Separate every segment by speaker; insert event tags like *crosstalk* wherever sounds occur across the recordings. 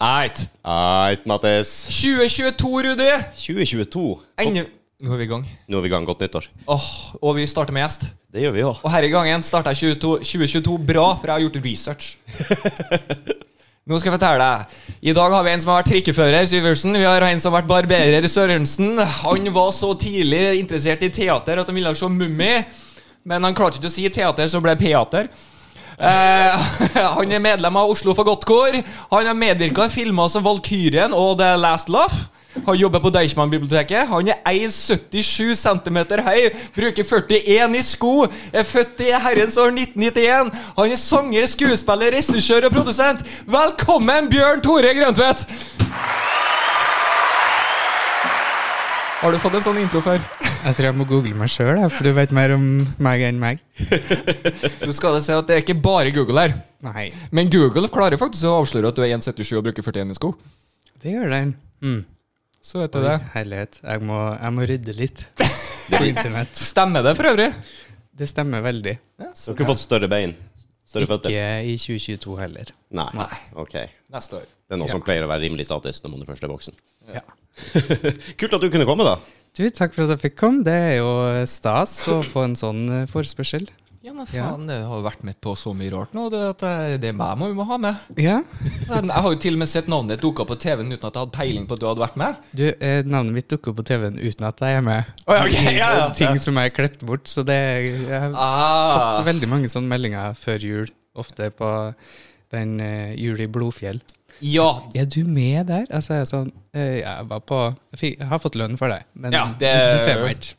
Speaker 1: Eit.
Speaker 2: Eit, Mattis.
Speaker 1: 2022, Rudi!
Speaker 2: 2022.
Speaker 1: Enda Nå er vi i gang.
Speaker 2: Nå er vi i gang. Godt nyttår.
Speaker 1: Åh, og vi starter med gjest.
Speaker 2: Det gjør vi òg.
Speaker 1: Og her i gangen starta jeg 22 2022 bra, for jeg har gjort research. Nå skal jeg fortelle deg. I dag har vi en som har vært trikkefører, Syversen. Vi har en som har vært barberer, Sørensen. Han var så tidlig interessert i teater at han ville se Mummi. Men han klarte ikke å si teater, så ble det peater. Eh, *laughs* han er medlem av Oslo Fagottkor. Han har medvirka i filmer som Valkyrien og The Last Laugh. Han jobber på Deichman-biblioteket. Han er 1,77 cm høy, bruker 41 i sko, er født i herrens år 1991. Han er sanger, skuespiller, regissør og produsent. Velkommen, Bjørn Tore Grøntvedt! Har du fått en sånn intro før?
Speaker 3: Jeg tror jeg må google meg sjøl, for du vet mer om meg enn meg.
Speaker 1: Du skal det se at det er ikke bare Google her.
Speaker 3: Nei,
Speaker 1: Men Google klarer faktisk å avsløre at du er 1,77 og bruker 41 i sko.
Speaker 3: det gjør den. Mm.
Speaker 1: Så vet du det.
Speaker 3: Herlighet. Jeg må, jeg må rydde
Speaker 1: *laughs*
Speaker 3: litt på internett.
Speaker 1: Stemmer det for øvrig?
Speaker 3: Det stemmer veldig.
Speaker 2: Dere har fått større bein. Større føtter.
Speaker 3: Ikke i 2022 heller.
Speaker 2: Nei.
Speaker 1: Nei.
Speaker 2: Ok. Det
Speaker 1: Neste år.
Speaker 2: er noe som pleier å være rimelig statisk når man er først er voksen.
Speaker 3: Ja.
Speaker 2: *laughs* Kult at du kunne komme, da.
Speaker 3: Du, takk for at jeg fikk komme. Det er jo stas å få en sånn eh, forespørsel.
Speaker 1: Ja, men
Speaker 3: Ja.
Speaker 1: faen, det har vært med på så mye rart nå. Det, at jeg- det er meg må vi må ha *laughs* med.
Speaker 3: Ja.
Speaker 1: Så Altså, jeg, jeg har jo til og med sett navnet ditt dukke opp på TV-en uten at jeg hadde peiling på at du hadde vært med.
Speaker 3: Du, eh, navnet mitt dukker opp på TV-en uten at jeg er med.
Speaker 1: Å, ja, ok, ja, ja.
Speaker 3: Og Ting som jeg har klept bort. Så det jeg har
Speaker 1: Ah.
Speaker 3: fått veldig mange sånne meldinger før jul, ofte på den eh, jul i Blodfjell.
Speaker 1: Ja,
Speaker 3: Er du med der? Altså, jeg, er sånn, eh, jeg, var på, jeg, fikk, jeg har fått lønn for deg, men
Speaker 1: Ja,
Speaker 3: du,
Speaker 1: det-
Speaker 3: du ser meg ikke.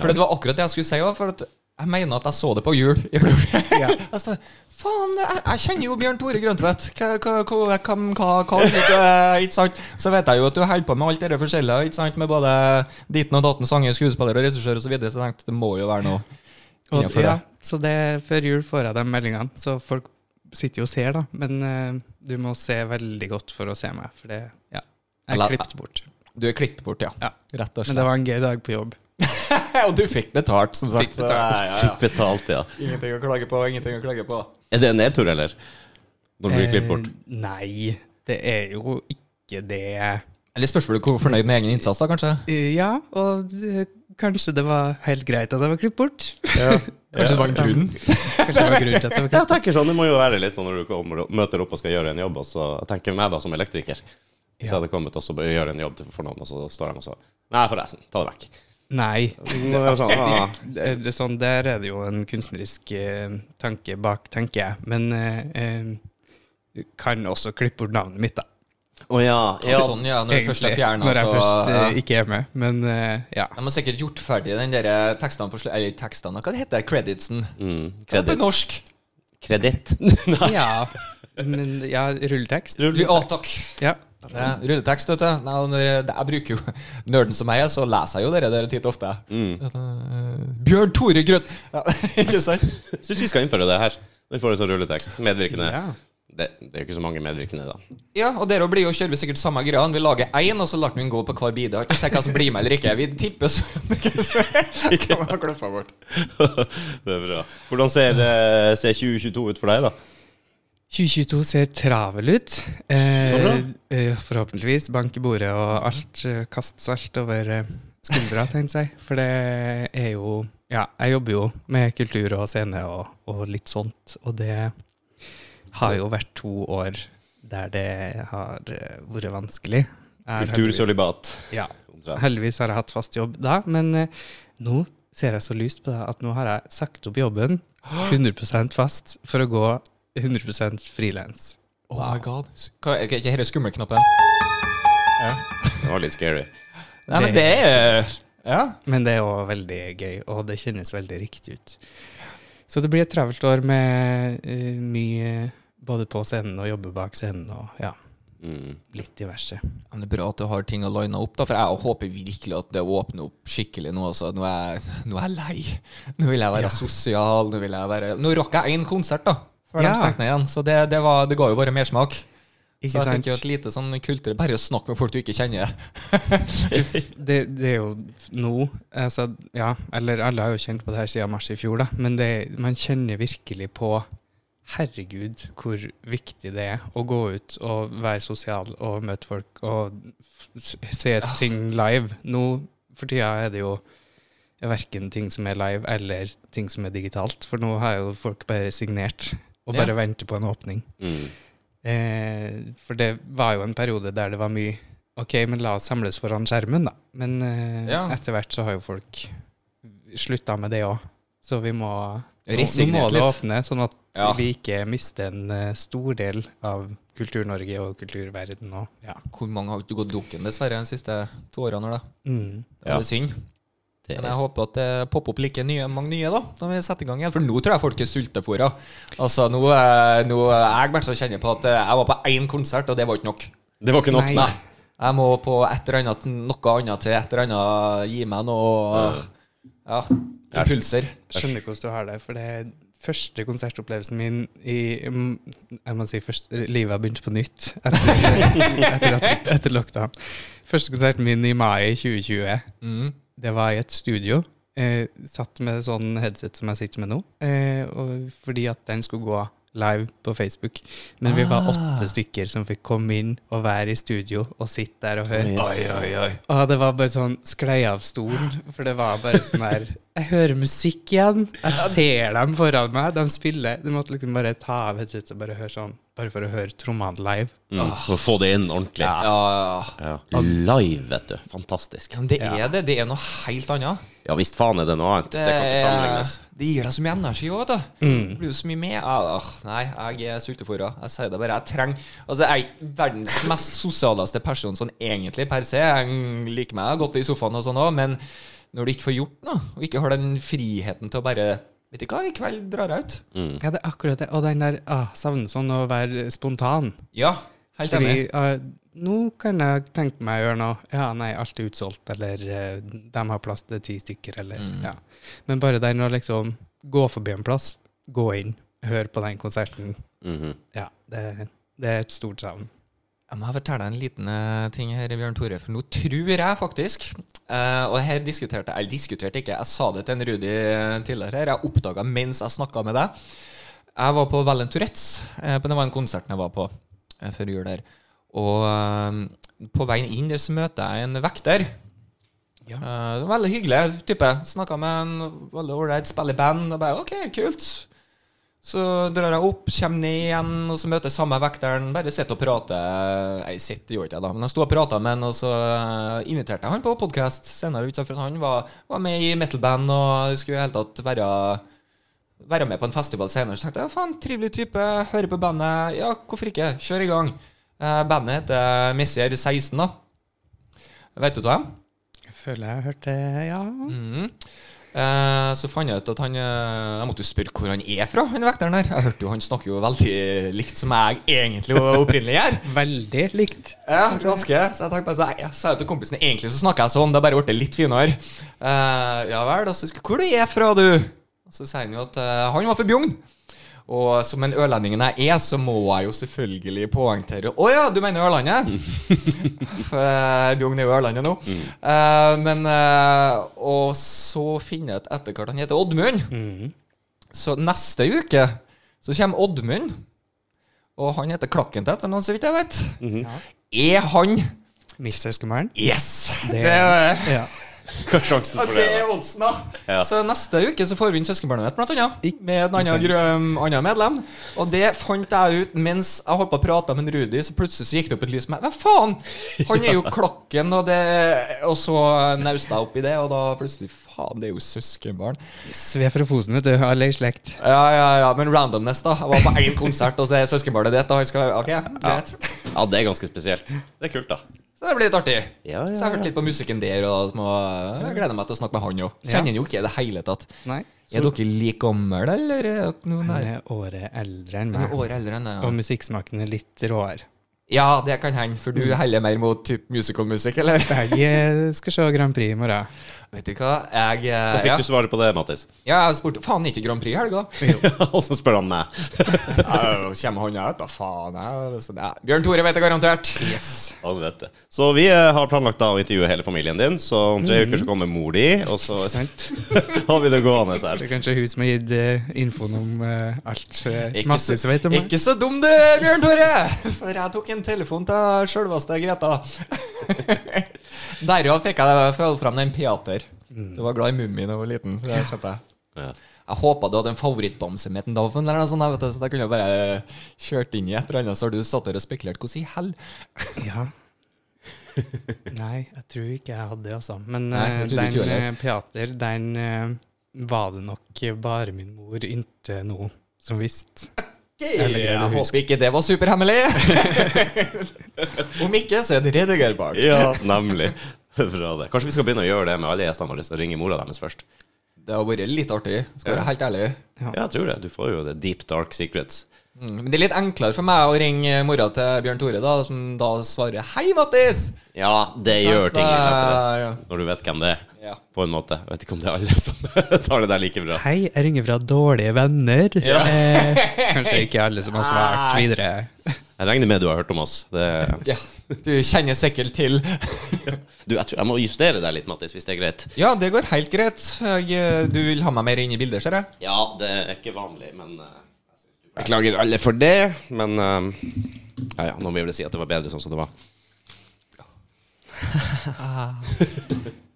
Speaker 1: for det var akkurat det jeg skulle si òg. For at jeg mener at jeg så det på jul. i
Speaker 3: *laughs*
Speaker 1: Blodfjell.
Speaker 3: Ja.
Speaker 1: Jeg sa, Faen, jeg, jeg kjenner jo Bjørn Tore Grøntvedt. Hva, hva, hva, hva, hva, hva ikke, ikke sant? Så vet jeg jo at du holder på med alt det der forskjellige, ikke sant? med både ditten og datten, sanger, skuespiller og regissør osv., så, videre, så jeg tenkte det må jo være noe
Speaker 3: Og,
Speaker 1: innenfor
Speaker 3: ja,
Speaker 1: det.
Speaker 3: så det, før jul får jeg de meldingene, så folk sitter jo og ser, da. Men eh, du må se veldig godt for å se meg, for det ja, jeg
Speaker 1: Eller-
Speaker 3: er klippet bort.
Speaker 1: Du er klippet bort, ja.
Speaker 3: Ja.
Speaker 1: Rett og
Speaker 3: Men det var en gøy dag på jobb.
Speaker 1: *laughs* og du fikk betalt, som sagt.
Speaker 3: Fikk
Speaker 1: Så,
Speaker 3: betalt.
Speaker 1: ja, ja,
Speaker 2: Fikk *laughs* betalt, ja.
Speaker 1: ja. Ingenting å klage på, ingenting å klage på.
Speaker 2: Er det en nedtur, eller? Når du blir klippet bort?
Speaker 3: Eh, nei, det er jo ikke det.
Speaker 1: Eller spørs du hvor fornøyd med egen innsats, da, kanskje?
Speaker 3: Eh, ja, og eh, kanskje det var helt greit at jeg var klippet bort.
Speaker 1: Kanskje det var en grunn?
Speaker 3: Kanskje det var grunnen til at jeg var klippet
Speaker 2: Jeg tenker sånn, Det må jo være litt sånn når du kommer og møter opp og skal gjøre en jobb. Og så jeg tenker meg da som elektriker. Hvis jeg hadde kommet og så bare gjør en jobb til- for noen, og så står de og så Nei, forresten, ta det vekk.
Speaker 3: Nei.
Speaker 2: Det er sånn, ah.
Speaker 3: Det, det, er sånn, der er det jo en kunstnerisk eh, tanke bak, tenker jeg. Men eh, eh, du kan også klippe bort navnet mitt, da.
Speaker 2: Å ja.
Speaker 1: Ja, sånn, ja. Når du først er
Speaker 3: egentlig,
Speaker 1: fjerna,
Speaker 3: når jeg
Speaker 1: så
Speaker 3: først eh,
Speaker 1: ja.
Speaker 3: ikke er med. Men eh, ja.
Speaker 1: De har sikkert gjort ferdig den der eh, tekstene på slutt Eller tekstene, hva det heter det? Creditsen?
Speaker 2: Mm,
Speaker 1: Hva er det på
Speaker 2: Kreditt.
Speaker 1: norsk?
Speaker 2: Kreditt.
Speaker 3: ja. *laughs* Men ja, rulletekst.
Speaker 1: Ja, takk.
Speaker 3: Ja.
Speaker 1: Ja, Rulletekst, vet du. Nei, og når jeg jeg bruker jo *laughs* Nerden som jeg er, så leser jeg jo dere der titt og ofte. Eh, Bjørn Tore Grøt... Ja, *laughs* ikke sant?
Speaker 2: *laughs* Syns vi skal innføre det her. Når vi får en sånn rulletekst. Medvirkende.
Speaker 3: Ja.
Speaker 2: Det, det er jo ikke så mange medvirkende,
Speaker 1: *laughs*
Speaker 2: da.
Speaker 1: Ja, og dere blir jo kjører vi sikkert samme greia. Vi lager én, og så lar vi den gå på hver bide. Ikke se hva som blir med eller ikke. Vi tipper så *laughs* Kan man kløffe bort.
Speaker 2: *laughs* det er bra. Hvordan ser, eh, ser 2022 ut for deg, da?
Speaker 3: 2022 ser travel ut. Eh,
Speaker 2: Så
Speaker 3: eh, forhåpentligvis bank i bordet og alt. Eh, kast salt over eh, skuldra, tenkte jeg. For det er jo Ja, jeg jobber jo med kultur og scene og, og litt sånt. Og det har jo vært to år der det har eh, vært vanskelig. Jeg har heldigvis-
Speaker 2: Kultursølibat.
Speaker 3: Ja.
Speaker 2: omtrent.
Speaker 3: Heldigvis har jeg hatt fast jobb da, men eh, nå ser jeg så lyst på det at nå har jeg sagt opp jobben 100 fast for å gå 100 frilans.
Speaker 1: Oh my god. Hva, er ikke dette skummelknappen?
Speaker 2: Det var litt scary.
Speaker 1: Nei, men det er Ja.
Speaker 3: Men det er òg veldig gøy, og det kjennes veldig riktig ut. Så det blir et travelt år med eh, mye både på scenen og jobbe bak scenen og ja,
Speaker 2: Mm.
Speaker 3: litt diverse.
Speaker 1: Men det er bra at du har ting å line opp, da, for jeg håper virkelig at det åpner opp skikkelig nå. Altså. Nå, er, jeg- nå er jeg lei. Nå vil jeg være sosial. Nå, vil jeg være, nå rakk jeg én konsert, da. Før
Speaker 3: Ja.
Speaker 1: de stengte ned igjen. Så det, det, var, det ga jo bare mersmak. Så
Speaker 3: Ikke
Speaker 1: jeg fikk jo
Speaker 3: sant?
Speaker 1: et lite sånn kultur Bare å snakke med folk du ikke kjenner.
Speaker 3: Det, det er jo f- nå altså, Ja, eller alle har jo kjent på det her siden mars i fjor, da, men det, man kjenner virkelig på herregud hvor viktig det er å gå ut og være sosial og møte folk og f- se ting live. Nå for tida er det jo verken ting som er live eller ting som er digitalt, for nå har jo folk bare signert og
Speaker 1: Ja.
Speaker 3: bare venter på en åpning.
Speaker 2: Mm.
Speaker 3: Eh, for det var jo en periode der det var mye Ok, men la oss samles foran skjermen, da. Men eh,
Speaker 1: Ja.
Speaker 3: etter hvert så har jo folk slutta med det òg. Så vi må nå- nå må
Speaker 1: Resignert
Speaker 3: det
Speaker 1: litt.
Speaker 3: åpne, sånn at
Speaker 1: Ja.
Speaker 3: vi ikke mister en eh, stor del av Kultur-Norge og kulturverden og ja.
Speaker 1: Hvor mange har ikke gått dukken, dessverre, de siste to årene? her, da?
Speaker 3: Mm.
Speaker 1: Det er
Speaker 2: Ja.
Speaker 1: jo synd.
Speaker 2: Det
Speaker 1: Men jeg håper at det popper opp like nye, mange nye da, når vi setter i gang igjen. For nå tror jeg folk er sultefòra. Altså, nå, eh, nå eh, Jeg bare så kjenner på at eh, jeg var på én konsert, og det var ikke nok.
Speaker 2: Det var ikke nok,
Speaker 3: Nei.
Speaker 2: nei.
Speaker 1: Jeg må på et eller annet, noe annet til et eller annet gi meg noe Ja. Impulser.
Speaker 3: Jeg skjønner ikke hvordan du har det, for det er første konsertopplevelsen min i mm, Jeg må si først, livet har begynt på nytt etter, etter, at- etter lockdown. Første konserten min i mai 2020,
Speaker 1: Mm.
Speaker 3: det var i et studio. Eh, satt med sånn headset som jeg sitter med nå, eh, og fordi at den skulle gå live på Facebook. Men vi var
Speaker 1: Ah.
Speaker 3: åtte stykker som fikk komme inn og være i studio og sitte der og høre.
Speaker 2: Oi,
Speaker 1: oi, oi.
Speaker 3: Å, det var bare sånn sklei av stolen, for det var bare sånn her Jeg hører musikk igjen. Jeg ser dem foran meg. De spiller. Du måtte liksom bare ta av headsetet og bare høre sånn, bare for å høre trommene live.
Speaker 2: Mm. For å få det inn ordentlig.
Speaker 1: Ja, ja, ja.
Speaker 2: Ja. Live, vet du. Fantastisk.
Speaker 1: Ja, Men det er det. Det er noe helt annet.
Speaker 2: Ja visst faen er det noe annet. Det, kan ikke sammenlignes. Mm.
Speaker 1: det gir deg så mye energi òg, vet du. Det blir jo så mye med. Ah, ah, nei, jeg er sultefòra. Jeg sier det bare. Jeg trenger Altså, jeg er ikke verdens mest sosialeste person sånn egentlig per se. Jeg liker meg godt i sofaen og sånn òg, men når du ikke får gjort noe, og ikke har den friheten til å bare Vet du hva, i kveld drar jeg ut.
Speaker 2: Mm.
Speaker 3: Ja, det er akkurat det. Og den der ah, savner sånn å være spontan.
Speaker 1: Ja, helt
Speaker 3: Fordi
Speaker 1: enig.
Speaker 3: ah, nå kan jeg tenke meg å gjøre noe. Ja, nei, alt er utsolgt, eller eh, de har plass til ti stykker, eller
Speaker 1: Mm.
Speaker 3: ja. Men bare den å liksom gå forbi en plass, gå inn, høre på den konserten.
Speaker 2: Mhm.
Speaker 3: Ja, det, det er et stort savn.
Speaker 1: Jeg må fortelle deg en liten eh, ting her, Bjørn Tore. For nå tror jeg faktisk eh, Og her diskuterte jeg Eller diskuterte ikke, jeg sa det til en Rudi eh, tidligere her. Jeg oppdaga mens jeg snakka med deg. Jeg var på Valen Tourettes. eh, på- det var en konsert jeg var på eh, før jul her. Og eh, på veien inn der så møter jeg en vekter.
Speaker 3: Ja.
Speaker 1: Eh, det var veldig hyggelig type. Snakka med en veldig ålreit, spiller i band. Og bare OK, kult. Så drar jeg opp, kommer ned igjen, og så møter jeg samme vekteren. Bare sitter og prater. Nei, sitter gjorde ikke jeg da, men jeg sto og prata med han, og så eh, inviterte jeg han på podkast senere, ut for at han var, var med i metalband og skulle i det hele tatt være være med på en festival senere. Så tenkte jeg faen, trivelig type, hører på bandet. Ja, hvorfor ikke? Kjør i gang. Eh, bandet heter Messier 16, da. Vet du hva dem?
Speaker 3: Jeg føler jeg har hørt det, ja.
Speaker 1: Mhm. Eh, så fant jeg ut at han eh, Jeg måtte jo spørre hvor han er fra, han vekteren her. Jeg hørte jo han snakker jo veldig likt som jeg egentlig var opprinnelig gjør.
Speaker 3: Veldig likt.
Speaker 1: Ja, ganske. Så jeg tenkte bare så, jeg sa jo til kompisen egentlig så snakker jeg sånn, det har bare blitt litt finere. Eh, ja vel, og så husker jeg, hvor du er fra, du? Og så sier han jo at eh, han var fra Bjugn. Og som en ørlendingen jeg er, så må jeg jo selvfølgelig poengtere Å ja, du mener Ørlandet? *laughs* For eh, Bjugn er jo Ørlandet nå. Eh, men eh, Og så finner jeg ut etter hvert han heter Oddmund. Så neste uke så kommer Oddmund, og han heter Klakken til etternavn, så vidt jeg vet. Er han
Speaker 3: Mitt søskenbarn.
Speaker 1: Yes!
Speaker 3: Det-
Speaker 1: Det, er-
Speaker 3: Ja.
Speaker 2: Hva er sjansen
Speaker 1: og
Speaker 2: for
Speaker 1: det
Speaker 2: det?
Speaker 1: er oddsen, da.
Speaker 2: Ja.
Speaker 1: Så neste uke så får vi inn søskenbarnet mitt, blant annet.
Speaker 3: Ikke
Speaker 1: Med en annen,
Speaker 3: sant.
Speaker 1: gru- um, annen medlem. Og det fant jeg ut mens jeg holdt på å prate med en Rudi, så plutselig så gikk det opp et lys med Hva faen? Han er jo Klakken, og det Og så nausta jeg opp i det, og da plutselig Faen, det er jo søskenbarn.
Speaker 3: Så vi er fra Fosen, vet du. Alle i slekt.
Speaker 1: Ja, ja, ja, men randomness, da. Jeg var på én konsert, og så er søskenbarnet ditt, og han skal OK, greit.
Speaker 2: Ja, det er ganske spesielt. Det er kult, da.
Speaker 1: Så det blir litt artig.
Speaker 2: Ja, ja,
Speaker 1: Så jeg har hørt
Speaker 2: ja.
Speaker 1: litt på musikken der, og da må, jeg gleder meg til å snakke med han òg. Kjenner han jo ikke i det hele tatt.
Speaker 3: Nei.
Speaker 1: Er dere like gamle, eller er dere noe
Speaker 3: Han
Speaker 1: nær?
Speaker 3: er året eldre enn
Speaker 1: Han er
Speaker 3: meg.
Speaker 1: året eldre enn
Speaker 3: Og
Speaker 1: jeg.
Speaker 3: musikksmaken er litt råere.
Speaker 1: Ja, det kan hende, for du heller mer mot typ musicalmusikk, eller?
Speaker 3: Jeg eh, skal se Grand Prix i morgen.
Speaker 1: Vet du hva, jeg eh,
Speaker 2: Fikk
Speaker 1: ja.
Speaker 2: du svaret på det, Mattis?
Speaker 1: ja, jeg spurte Faen, er ikke Grand Prix i helga?
Speaker 2: *laughs* Og så spør han meg.
Speaker 1: Ja, Kommer han ut, da? Faen. Jeg, så, ja. Bjørn Tore vet det garantert.
Speaker 2: Han vet det. Så vi eh, har planlagt da å intervjue hele familien din, så om tre uker så kommer mor di, og så
Speaker 3: Sant?
Speaker 2: *laughs* har vi det gående her.
Speaker 3: Det er kanskje hun som har gitt eh, infoen om eh, alt. Uh,
Speaker 1: Ikke
Speaker 3: masse
Speaker 1: så,
Speaker 3: som vet om meg.
Speaker 1: ikke så dum du, Bjørn Tore! For jeg tok en telefon til sjølveste Greta. Derav fikk jeg følge fram den Peater.
Speaker 3: Mm.
Speaker 1: Du var glad i Mummien da jeg var liten. Så det skjønte jeg.
Speaker 2: Ja.
Speaker 1: Jeg håpa du hadde en favorittbamse med den daven, eller noe sånt, jeg vet, det, så da kunne jeg bare kjørt inn i et eller annet, så har du satt der og spekulert. Hvordan i hell?
Speaker 3: Ja. Nei, jeg tror ikke jeg hadde det, altså. Men
Speaker 1: Nei,
Speaker 3: eh,
Speaker 1: jeg trodde ikke
Speaker 3: den
Speaker 1: heller.
Speaker 3: eh, Peater, den eh, var det nok bare min mor inntil nå som visste.
Speaker 1: Jeg,
Speaker 3: greier å huske.
Speaker 1: håper ikke det var
Speaker 3: *laughs*
Speaker 1: superhemmelig. Om ikke, så er det redigerbart.
Speaker 2: ja, nemlig. Bra det. Kanskje vi skal begynne å gjøre det med alle gjestene våre, og ringe mora deres først.
Speaker 1: Det har vært litt artig, skal være helt ærlig.
Speaker 3: Ja.
Speaker 2: Ja, jeg tror det. Du får jo det deep dark secrets.
Speaker 1: Mm, Men det er litt enklere for meg å ringe mora til Bjørn Tore, da, som da svarer 'Hei, Mattis'.
Speaker 2: Ja, det gjør ting litt lettere.
Speaker 1: lettere.
Speaker 2: Når du vet hvem det er,
Speaker 1: Ja.
Speaker 2: på en måte. Jeg vet ikke om det er alle som *laughs* tar det der like bra.
Speaker 3: Hei, jeg ringer fra dårlige venner.
Speaker 2: Ja.
Speaker 3: Eh, *laughs* kanskje ikke alle som har svart videre.
Speaker 2: Jeg regner med du har hørt om oss. Det,
Speaker 1: ja. Du kjenner sikkert til
Speaker 2: du, jeg, tror, jeg må justere deg litt, Mattis, hvis det er greit.
Speaker 1: *laughs* Ja, det går helt greit. Jeg, eh, du vil ha meg mer inn i bildet, ser jeg?
Speaker 2: Ja, det er ikke vanlig, men eh, Beklager alle for det, men eh, Ja, ja, nå må vi vel si at det var bedre sånn som det var.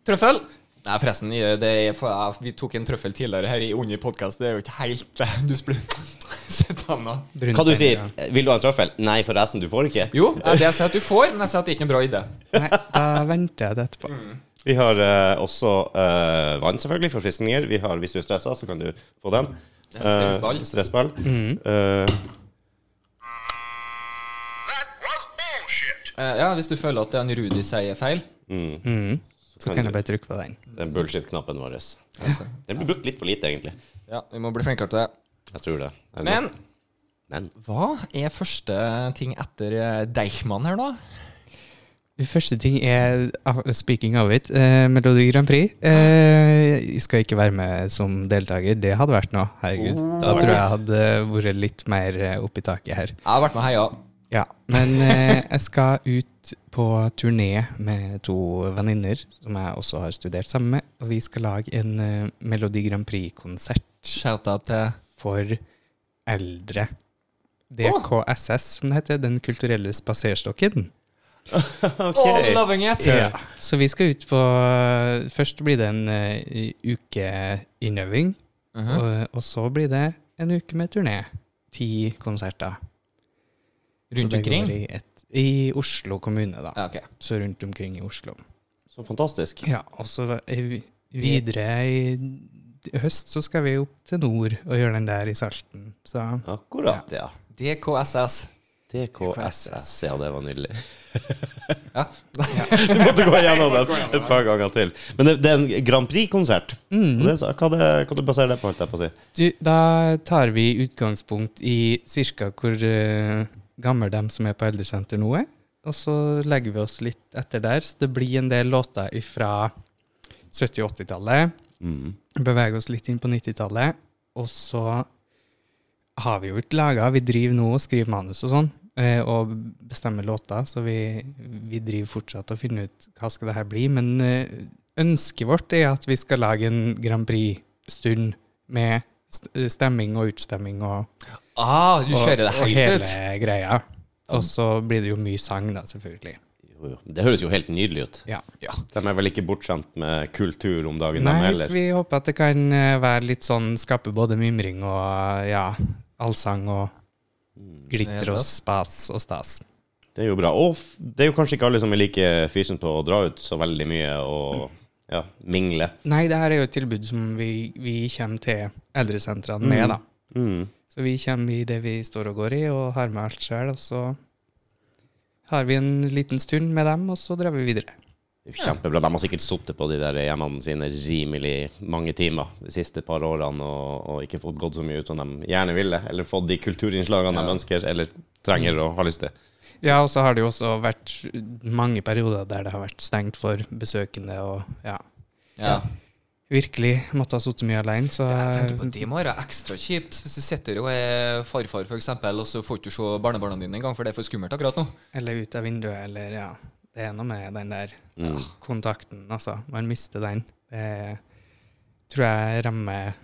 Speaker 1: Trøffel? Nei, forresten, jeg- det er for jeg, vi tok en trøffel tidligere her i under podkast. Det er jo ikke helt eh, Du spør *laughs* Sett an nå.
Speaker 3: Brunt
Speaker 2: Hva du
Speaker 3: penger,
Speaker 2: sier?
Speaker 3: ja.
Speaker 2: Vil du ha en trøffel? Nei, forresten, du får ikke.
Speaker 1: Jo, eh, det jeg sier at du får, men jeg sier at det er ikke noe bra idé.
Speaker 3: Nei, da venter jeg det etterpå.
Speaker 2: Vi har eh, også eh, vann, selvfølgelig, for fristninger. Vi har, hvis du er stressa, så kan du få den.
Speaker 1: Det er en stressball.
Speaker 2: Eh, stressball. Eh,
Speaker 4: That was bullshit.
Speaker 1: Eh, Ja, hvis du føler at det han Rudi sier, er feil.
Speaker 3: Mm. Så
Speaker 2: kan
Speaker 3: kan
Speaker 2: du-
Speaker 3: jeg bare trykke på den.
Speaker 2: den bullshit-knappen vår.
Speaker 1: Altså,
Speaker 2: Den blir brukt litt for lite, egentlig.
Speaker 1: ja, vi må bli flinkere til det.
Speaker 2: Jeg tror det. Eller-
Speaker 1: Men
Speaker 2: Men.
Speaker 1: hva er første ting etter eh, Deichman her, da?
Speaker 3: Det Første ting er, ah, speaking of it, eh, Melodi Grand Prix. Eh, jeg skal ikke være med som deltaker, det hadde vært noe. Herregud. Da
Speaker 2: Oh.
Speaker 3: tror jeg hadde vært litt mer eh, opp i taket her.
Speaker 1: Jeg har vært med og heia.
Speaker 3: Ja, Men eh, jeg skal ut på turné med to venninner som jeg også har studert sammen med. Og vi skal lage en eh, Melodi Grand Prix-konsert
Speaker 1: Shout-out til
Speaker 3: for eldre. DKSS, som det heter. Den kulturelle spaserstokken.
Speaker 1: All loving it!
Speaker 3: Ja. Så vi skal ut på Først blir det en eh, uke innøving,
Speaker 1: Mhm.
Speaker 3: og, og så blir det en uke med turné. Ti konserter.
Speaker 1: Rundt
Speaker 3: Så det går
Speaker 1: omkring?
Speaker 3: I, et, I Oslo kommune, da.
Speaker 1: Ja, ok.
Speaker 3: Så rundt omkring i Oslo.
Speaker 2: Så fantastisk.
Speaker 3: Ja, og så er vi- videre i i høst så skal vi opp til nord og gjøre den der i Salten. Så
Speaker 2: Akkurat, ja.
Speaker 1: DKSS.
Speaker 2: DKSS. Ja, det var nydelig.
Speaker 1: Ja.
Speaker 2: Du måtte gå gjennom den et par ganger til. Men det, det er en Grand Prix-konsert.
Speaker 3: Mm.
Speaker 2: Og det er så- Hva, det- hva du baserer det på, holdt jeg på å si?
Speaker 3: du, da tar vi utgangspunkt i cirka hvor eh, gammel de som er på eldresenter nå er. Og så legger vi oss litt etter der. Så det blir en del låter fra 70- og 80-tallet.
Speaker 2: Mm.
Speaker 3: beveger oss litt inn på 90-tallet, og så har vi jo ikke laga Vi driver nå og skriver manus og sånn, eh, og bestemmer låter, så vi, vi driver fortsatt og finner ut hva skal det her bli. Men eh, ønsket vårt er at vi skal lage en Grand Prix-stund med st- stemming og utstemming og,
Speaker 1: *laughs* Ah, du
Speaker 3: og,
Speaker 1: kjører det
Speaker 3: og
Speaker 1: helt
Speaker 3: hele
Speaker 1: ut?
Speaker 3: greia. Og så blir det jo mye sang, da, selvfølgelig.
Speaker 2: Jo, jo. Det høres jo helt nydelig ut.
Speaker 3: Ja.
Speaker 1: Ja.
Speaker 2: De er vel ikke bortskjemt med kultur om dagen, de
Speaker 3: Nei,
Speaker 2: heller.
Speaker 3: så vi håper at det kan eh, være litt sånn Skape både mimring og ja, allsang og
Speaker 1: Helt
Speaker 3: glitter og
Speaker 1: tatt.
Speaker 3: spas og stas.
Speaker 2: Det er jo bra. Og f- det er jo kanskje ikke alle som er like fysen på å dra ut så veldig mye og ja, mingle.
Speaker 3: Nei, det her er jo et tilbud som vi, vi kommer til eldresentrene med, da.
Speaker 2: Mm.
Speaker 3: Så vi kommer i det vi står og går i, og har med alt sjøl. Og så har vi en liten stund med dem, og så drar vi videre.
Speaker 2: Det er jo Kjempebra. De har sikkert sittet på de der hjemmene sine rimelig mange timer de siste par årene og, og ikke fått
Speaker 3: Mm.
Speaker 2: gått så mye ut som de gjerne ville, eller fått de kulturinnslagene de ønsker eller trenger og har lyst til.
Speaker 3: Ja, og så har det jo også vært mange perioder der det har vært stengt for besøkende, og ja,
Speaker 1: Ja.
Speaker 3: virkelig måtte ha sittet mye alene, så
Speaker 1: Jeg tenkte på at Det må være ekstra kjipt hvis du sitter og er farfar, for eksempel, og så får du ikke se barnebarna dine engang, for det er for skummelt akkurat nå.
Speaker 3: Eller ut av vinduet, eller ja. Det er noe med den der
Speaker 1: Mm.
Speaker 3: ah, kontakten, altså. Man mister den. Det tror jeg rammer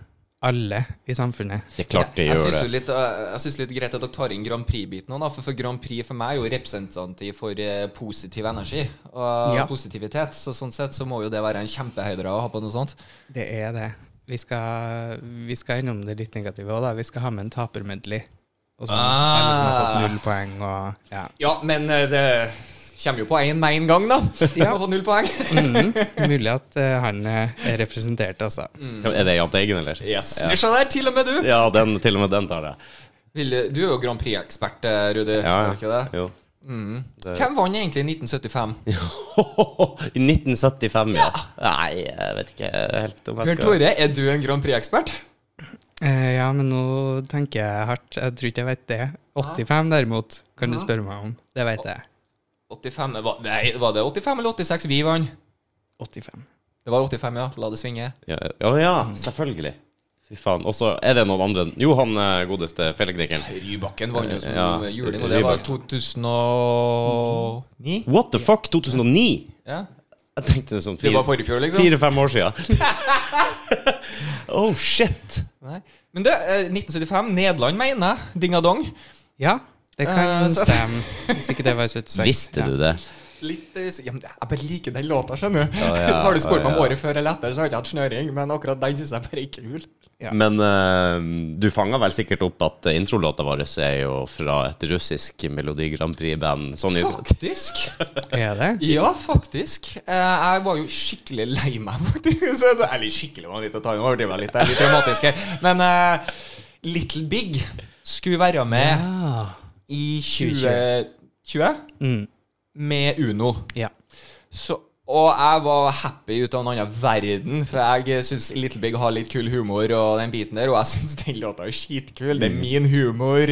Speaker 3: alle i samfunnet.
Speaker 2: Det er klart det
Speaker 1: jeg
Speaker 2: gjør
Speaker 1: syns
Speaker 2: det.
Speaker 1: jo litt, eh, jeg synes litt greit at dere tar inn Grand Prix-biten òg, for, for Grand Prix for meg er jo representativ for eh, positiv energi og
Speaker 3: Ja.
Speaker 1: positivitet. Så sånn sett så må jo det være en kjempehøydere å ha på noe sånt.
Speaker 3: Det er det. Vi skal, vi skal innom det litt negative òg, da. Vi skal ha med en tapermedley. Og så
Speaker 1: Ah.
Speaker 3: alle som har liksom fått null poeng og ja.
Speaker 1: Ja, men eh, det kommer jo på én med en *laughs* gang, da. Som har fått null *laughs* poeng.
Speaker 3: Mhm. Mulig at eh, han eh, er representert, altså.
Speaker 2: Er det Jahn Teigen, eller?
Speaker 1: Yes,
Speaker 2: Ja.
Speaker 1: Du skjønner, til og med du.
Speaker 2: ja, den, til og med den tar jeg.
Speaker 1: Vil, du er jo Grand Prix-ekspert, eh, Rudi.
Speaker 2: Ja,
Speaker 1: Er du ikke det?
Speaker 2: Jo. *laughs*
Speaker 1: Hvem vant egentlig i 1975?
Speaker 2: I 1975, ja. Nei, jeg vet ikke helt om jeg
Speaker 1: Bjørn
Speaker 2: skal
Speaker 1: Tore, er du en Grand Prix-ekspert?
Speaker 3: Eh, ja, men nå tenker jeg hardt. Jeg tror ikke jeg vet det. 85 derimot, kan du spørre meg om. Det vet jeg.
Speaker 1: 85, eh, var, nei, var det 85 eller 86 vi vant?
Speaker 3: 85.
Speaker 1: Det var 85, ja. La det svinge.
Speaker 2: Ja, ja, ja selvfølgelig. Fy faen. Og så er det noen andre Jo, han eh, godeste felgnikeren.
Speaker 1: Rybakken vant jo som
Speaker 2: Ja,
Speaker 1: juling, og det var 2009?
Speaker 2: What the fuck? 2009?
Speaker 1: Ja.
Speaker 2: Jeg tenkte det sånn
Speaker 1: Det
Speaker 2: fire-
Speaker 1: var forrige fjor, liksom?
Speaker 2: Fire-fem år siden. *laughs* oh, shit.
Speaker 1: Nei. Men du, eh, 1975, Nederland mener jeg. Dingadong.
Speaker 3: Ja, det
Speaker 1: Eh,
Speaker 3: kan
Speaker 1: så-
Speaker 3: stemme. Hvis ikke det var i 76.
Speaker 2: Visste du det?
Speaker 1: Litt eh, ja, men Jeg bare liker den låta, skjønner du.
Speaker 2: Ja,
Speaker 1: *laughs*
Speaker 2: ja,
Speaker 1: så har du spurt meg om
Speaker 2: ja, ja.
Speaker 1: året før eller etter, så har jeg ikke hatt snøring, men akkurat den syns jeg bare er kul.
Speaker 3: Ja.
Speaker 2: Men eh, du fanga vel sikkert opp at eh, introlåta vår er jo fra et russisk Melodi Grand Prix-band. Sånn i-
Speaker 1: Faktisk!
Speaker 3: Er det?
Speaker 1: Ja, faktisk. Eh, Jeg var jo skikkelig lei meg, *laughs* faktisk. Så det- Eller skikkelig var litt å ta i, nå overdriver jeg litt, det er litt dramatisk her. Men eh, Little Big skulle være med
Speaker 3: Ah.
Speaker 1: i 2020
Speaker 3: Mm.
Speaker 1: med Uno.
Speaker 3: Ja.
Speaker 1: Så, og jeg var happy ut av en annen verden, for jeg syns Little Big har litt kul humor, og den biten der, og jeg *laughs* syns den låta er skitkul. Det er min humor.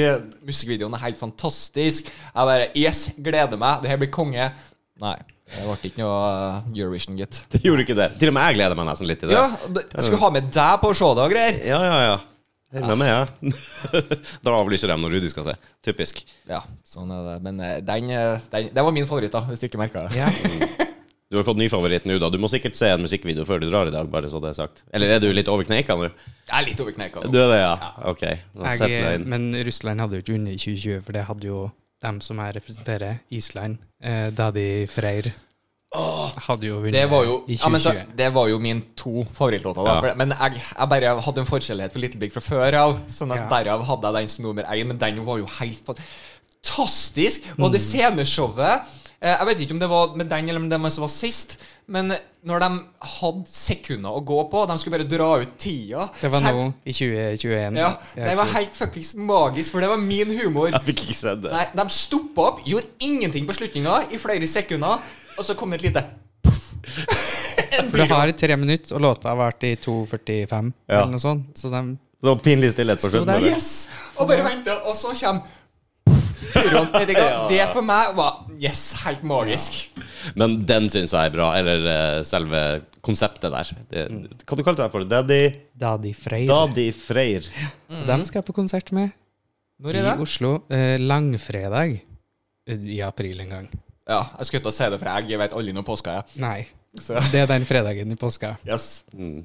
Speaker 1: Musikkvideoen er helt fantastisk. Jeg bare Yes, gleder meg. Det her blir konge. Nei, det ble ikke noe eh, Eurovision, gitt.
Speaker 2: Det gjorde ikke det. Til og med jeg gleder meg nesten litt til det.
Speaker 1: Ja, og det- jeg skulle ha med deg på showet og greier.
Speaker 2: ja, ja. ja. Jeg er Med, *laughs* ja. da avlyser de når Rudi skal se. Typisk.
Speaker 1: Ja, sånn er det. Men eh, den, eh, den Det var min favoritt, da, hvis du ikke merka det.
Speaker 3: ja.
Speaker 2: Du har fått ny favoritt nå, da. Du må sikkert se en musikkvideo før du drar i dag, bare så det er sagt. Eller er du litt over kneika nå?
Speaker 1: Jeg er litt over kneika nå.
Speaker 2: Du er det, ja? Ok. Da setter jeg
Speaker 3: Jeg,
Speaker 2: inn.
Speaker 3: men Russland hadde jo ikke vunnet i 2020, for det hadde jo dem som jeg representerer, Island, eh, Daddy Freyr, hadde jo vunnet
Speaker 1: Det var jo,
Speaker 3: i
Speaker 1: ja, men så,
Speaker 3: 2020.
Speaker 1: det var jo min to favorittlåter. da,
Speaker 2: Ja.
Speaker 1: for det- Men jeg, jeg bare hadde en forkjærlighet for Little Big fra før av. Sånn at
Speaker 3: Ja.
Speaker 1: derav hadde jeg den som nummer én, men den var jo helt fantastisk. Og
Speaker 3: Mm.
Speaker 1: det sceneshowet eh, Jeg vet ikke om det var med den eller med den som var sist, men når de hadde sekunder å gå på, de skulle bare dra ut tida
Speaker 3: det var
Speaker 1: så jeg-
Speaker 3: nå, i 2021.
Speaker 1: Ja,
Speaker 3: Jeg
Speaker 1: Det var
Speaker 3: tror-
Speaker 1: helt fuckings magisk, for det var min humor.
Speaker 2: *laughs* Jeg fikk ikke sett det.
Speaker 1: Nei, De stoppa opp, gjorde ingenting på slutninga i flere sekunder, og så kom det et lite puff. *laughs* En
Speaker 3: For du
Speaker 1: blyant.
Speaker 3: har tre minutter, og låta har vært i 2.45,
Speaker 2: Ja.
Speaker 3: eller noe sånt. Så
Speaker 2: Det
Speaker 3: de,
Speaker 2: var pinlig stillhet på
Speaker 3: Sto
Speaker 2: slutten.
Speaker 3: der,
Speaker 2: bare.
Speaker 1: Yes! Og bare vente, og så kommer pyroen. Vet du hva? Det for meg var yes, helt magisk.
Speaker 2: Men den syns jeg er bra. Eller eh, selve konseptet der. Det, hva du kalte du det for? Daddy
Speaker 3: Mm. Daddy Freyr.
Speaker 2: Daddy Freyr.
Speaker 3: Dem skal jeg på konsert med
Speaker 1: Mm. Når
Speaker 3: i
Speaker 1: er det?
Speaker 3: Oslo. Eh, langfredag eh, i april en gang.
Speaker 1: Ja, jeg skulle til å si det, for jeg vet aldri når påska er.
Speaker 3: Nei,
Speaker 1: Så
Speaker 3: det er den fredagen i påska.
Speaker 1: yes.
Speaker 2: Mm.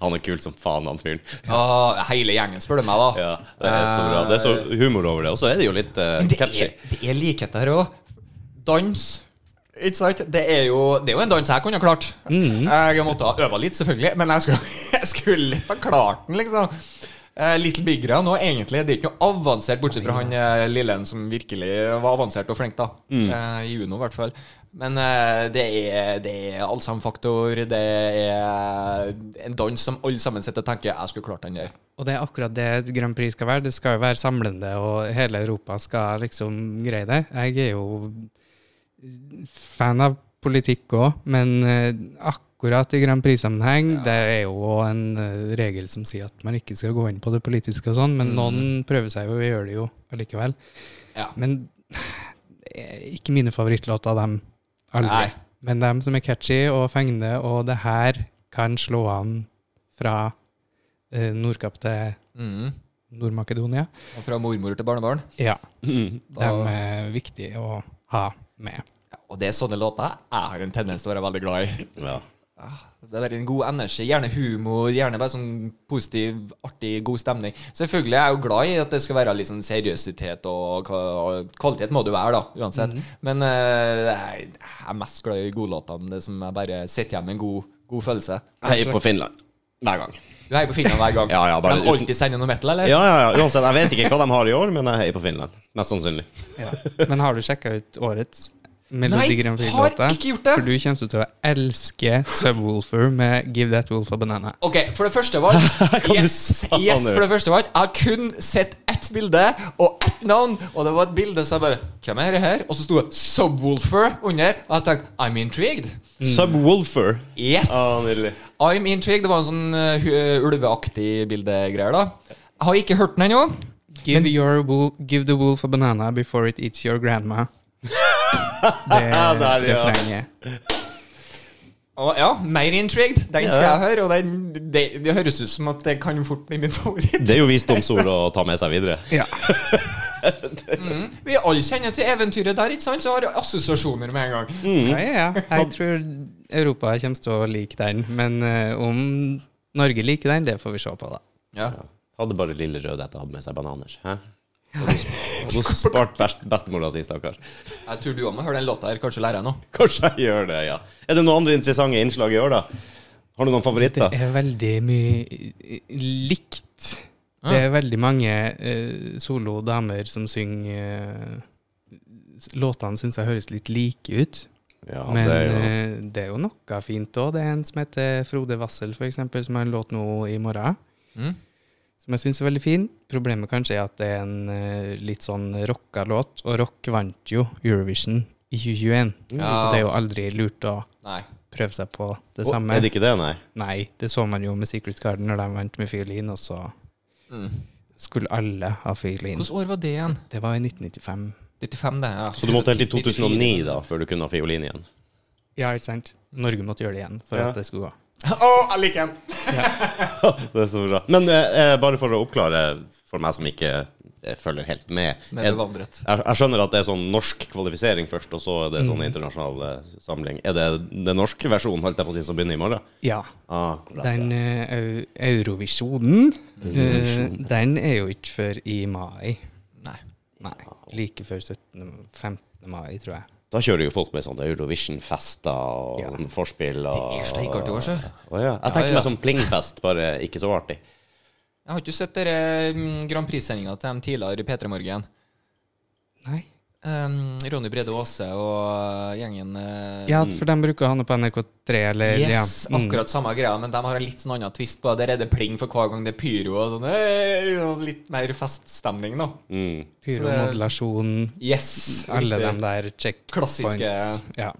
Speaker 2: Han er kul som faen, han fyren.
Speaker 1: Å, hele gjengen spør du meg, da.
Speaker 2: Ja, det er så bra. Det er så humor over det. Og så er det jo litt eh,
Speaker 1: Men det
Speaker 2: catchy.
Speaker 1: er, det er likheter her òg. Dans. Ikke sant? Det er, jo, det er jo en dans jeg kunne ha klart. Jeg måtte ha øva litt, selvfølgelig, men jeg skulle, *laughs* jeg skulle litt ha klart den, liksom. Eh, Little Bigger nå, egentlig. Det er ikke noe avansert, bortsett fra han eh, lille en som virkelig var avansert og flink, da. Eh, I Uno, i hvert fall. Men eh, det er, det er allsangfaktor, det er en dans som alle sammen sitter og tenker 'jeg skulle klart den der'.
Speaker 3: Og det er akkurat det et Grand Prix skal være. Det skal jo være samlende, og hele Europa skal liksom greie det. Jeg er jo fan av politikk òg, men eh, akkurat i Grand Prix-sammenheng Det er jo også en eh, regel som sier at man ikke skal gå inn på det
Speaker 1: Mm.
Speaker 3: politiske og sånn, men noen prøver seg jo og gjør det jo allikevel.
Speaker 1: Ja.
Speaker 3: Men eh, ikke mine favorittlåter, dem aldri.
Speaker 1: Nei.
Speaker 3: Men dem som er catchy og fengende, og det her kan slå an fra eh, Nordkapp til
Speaker 1: Mhm.
Speaker 3: Nord-Makedonia.
Speaker 1: Og fra mormor til barnebarn.
Speaker 3: Ja,
Speaker 2: Mm.
Speaker 3: de
Speaker 1: Da-
Speaker 3: er viktige å ha med.
Speaker 1: Ja, og det er sånne låter jeg har en tendens til å være veldig glad i.
Speaker 2: Ja.
Speaker 1: Ah, Det er en god energi, gjerne humor, gjerne bare sånn positiv, artig, god stemning. Selvfølgelig er jeg jo glad i at det skal være litt sånn seriøsitet og kva- og kvalitet må det jo være, da, uansett. Men eh, jeg jeg er mest glad i godlåtene, det som jeg bare sitter igjen med en god, god følelse.
Speaker 2: Jeg heier på Finland. Hver gang.
Speaker 1: Du heier på Finland hver gang.
Speaker 2: *laughs* Ja, ja, bare
Speaker 1: de
Speaker 2: uten-
Speaker 1: alltid sender noe metal, eller?
Speaker 2: Ja, ja, ja. Uansett, jeg vet ikke hva de har i år, men jeg heier på Finland. Mest sannsynlig.
Speaker 3: Men har du sjekka ut årets
Speaker 1: Nei,
Speaker 3: Melodi Grand Prix-låta?
Speaker 1: har ikke gjort det.
Speaker 3: For du kommer til å elske Subwoolfer med Give That Wolf a Banana.
Speaker 1: Ok, for det første
Speaker 2: *laughs*
Speaker 1: var yes,
Speaker 2: du sa
Speaker 1: yes,
Speaker 2: nå?
Speaker 1: for det første var Jeg har kun sett ett bilde og ett navn, og det var et bilde som jeg bare Hvem er det her? Og så sto det Subwoolfer under, og jeg tenkte I'm intrigued.
Speaker 2: Subwoolfer.
Speaker 1: Yes!
Speaker 2: Ah, nydelig.
Speaker 1: I'm intrigued. Det var en sånn eh, hu- ulveaktig bildegreier, da. Jeg har ikke hørt den ennå.
Speaker 3: Give, your wool, give the wolf a banana before it eats your grandma.
Speaker 1: *laughs*
Speaker 3: Det er
Speaker 2: Der, ja.
Speaker 3: refrenget.
Speaker 1: Og ja, mer intrigued. Den skal
Speaker 2: Ja.
Speaker 1: jeg høre, og den, det, det høres ut som at det kan fort bli min *laughs* favoritt.
Speaker 2: Det er jo visdomsord å ta med seg videre.
Speaker 3: Ja.
Speaker 1: Vi alle kjenner til eventyret der, ikke sant? Så har jeg assosiasjoner med en gang.
Speaker 2: Mm.
Speaker 3: Ja, ja, ja. Jeg tror Europa kommer til å like den. Men eh, om Norge liker den, det får vi se på, da.
Speaker 1: Ja.
Speaker 2: Hadde bare lille rød etter hadde med seg bananer. Hæ? Og så, og så spart best, bestemora si, stakkar.
Speaker 1: Jeg tror du òg må høre den låta her. Kanskje lærer jeg noe.
Speaker 2: Kanskje jeg gjør det, ja. Er det noen andre interessante innslag i år, da? Har du noen
Speaker 3: Det
Speaker 2: favoritter?
Speaker 3: er veldig mye likt. Det er veldig mange eh, solo damer som synger eh, s- Låtene syns jeg høres litt like ut.
Speaker 2: Ja,
Speaker 3: Men
Speaker 2: det er jo
Speaker 3: eh, det er jo noe fint òg. Det er en som heter Frode Wassel, for eksempel, som har en låt nå i morgen.
Speaker 1: Mm.
Speaker 3: Som jeg syns er veldig fin. Problemet kanskje er at det er en eh, litt sånn rocka låt, og rock vant jo Eurovision i 2021.
Speaker 1: Ja.
Speaker 3: Og Det er jo aldri lurt å
Speaker 1: Nei.
Speaker 3: prøve seg på det
Speaker 2: Å,
Speaker 3: samme.
Speaker 2: Er det ikke det, nei?
Speaker 3: Nei, det så man jo med Secret Garden når de vant med fiolin, og så
Speaker 1: Mm.
Speaker 3: skulle alle ha fiolin.
Speaker 1: Hvilket år var det igjen?
Speaker 3: Det var i 1995.
Speaker 1: 95, det. Ja.
Speaker 2: Så du måtte helt til 2009 da, før du kunne ha fiolin igjen?
Speaker 3: Ja, ikke sant? Norge måtte gjøre det igjen for
Speaker 2: Ja.
Speaker 3: at det skulle gå.
Speaker 1: Å, jeg liker den!
Speaker 2: Det er så bra. Men eh, eh, bare for å oppklare for meg som ikke eh, følger helt med
Speaker 1: Som er
Speaker 2: er-
Speaker 1: bevandret.
Speaker 2: jeg, jeg skjønner at det er sånn norsk kvalifisering først, og så er det
Speaker 1: Mm.
Speaker 2: sånn internasjonal eh, samling. Er det den norske versjonen holdt jeg på å si, som begynner i morgen?
Speaker 3: Ja.
Speaker 2: Ah, korrekt, ja.
Speaker 3: Den eh, eu- Eurovisjonen, eh, den er jo ikke før i mai.
Speaker 1: Nei.
Speaker 3: Nei, like før 17. 15. mai, tror jeg.
Speaker 2: Da kjører jo folk med sånne Eurovision-fester og
Speaker 3: Ja.
Speaker 2: sånne forspill. Og...
Speaker 1: Det er slik artig også.
Speaker 2: Å ja. Jeg
Speaker 1: Ja,
Speaker 2: tenker
Speaker 1: ja.
Speaker 2: meg som plingfest, bare ikke så artig.
Speaker 1: Jeg har ikke sett dere mm, Grand Prix-sendinga til dem tidligere i P3 Morgen.
Speaker 3: Nei.
Speaker 1: Um, Ronny Brede Aase og gjengen eh,
Speaker 3: Ja, for den bruker han på NRK3, eller
Speaker 1: Yes,
Speaker 3: ja. Mm.
Speaker 1: akkurat samme greia, men de har en litt sånn annen twist på det. Der er det pling for hver gang det er pyro og sånn. eh, og Litt mer feststemning, da.
Speaker 2: Mm.
Speaker 3: Pyromodulasjon,
Speaker 1: Yes.
Speaker 3: Mm, alle
Speaker 1: riktig.
Speaker 3: de der checkpoints.
Speaker 1: Klassiske-
Speaker 3: Ja.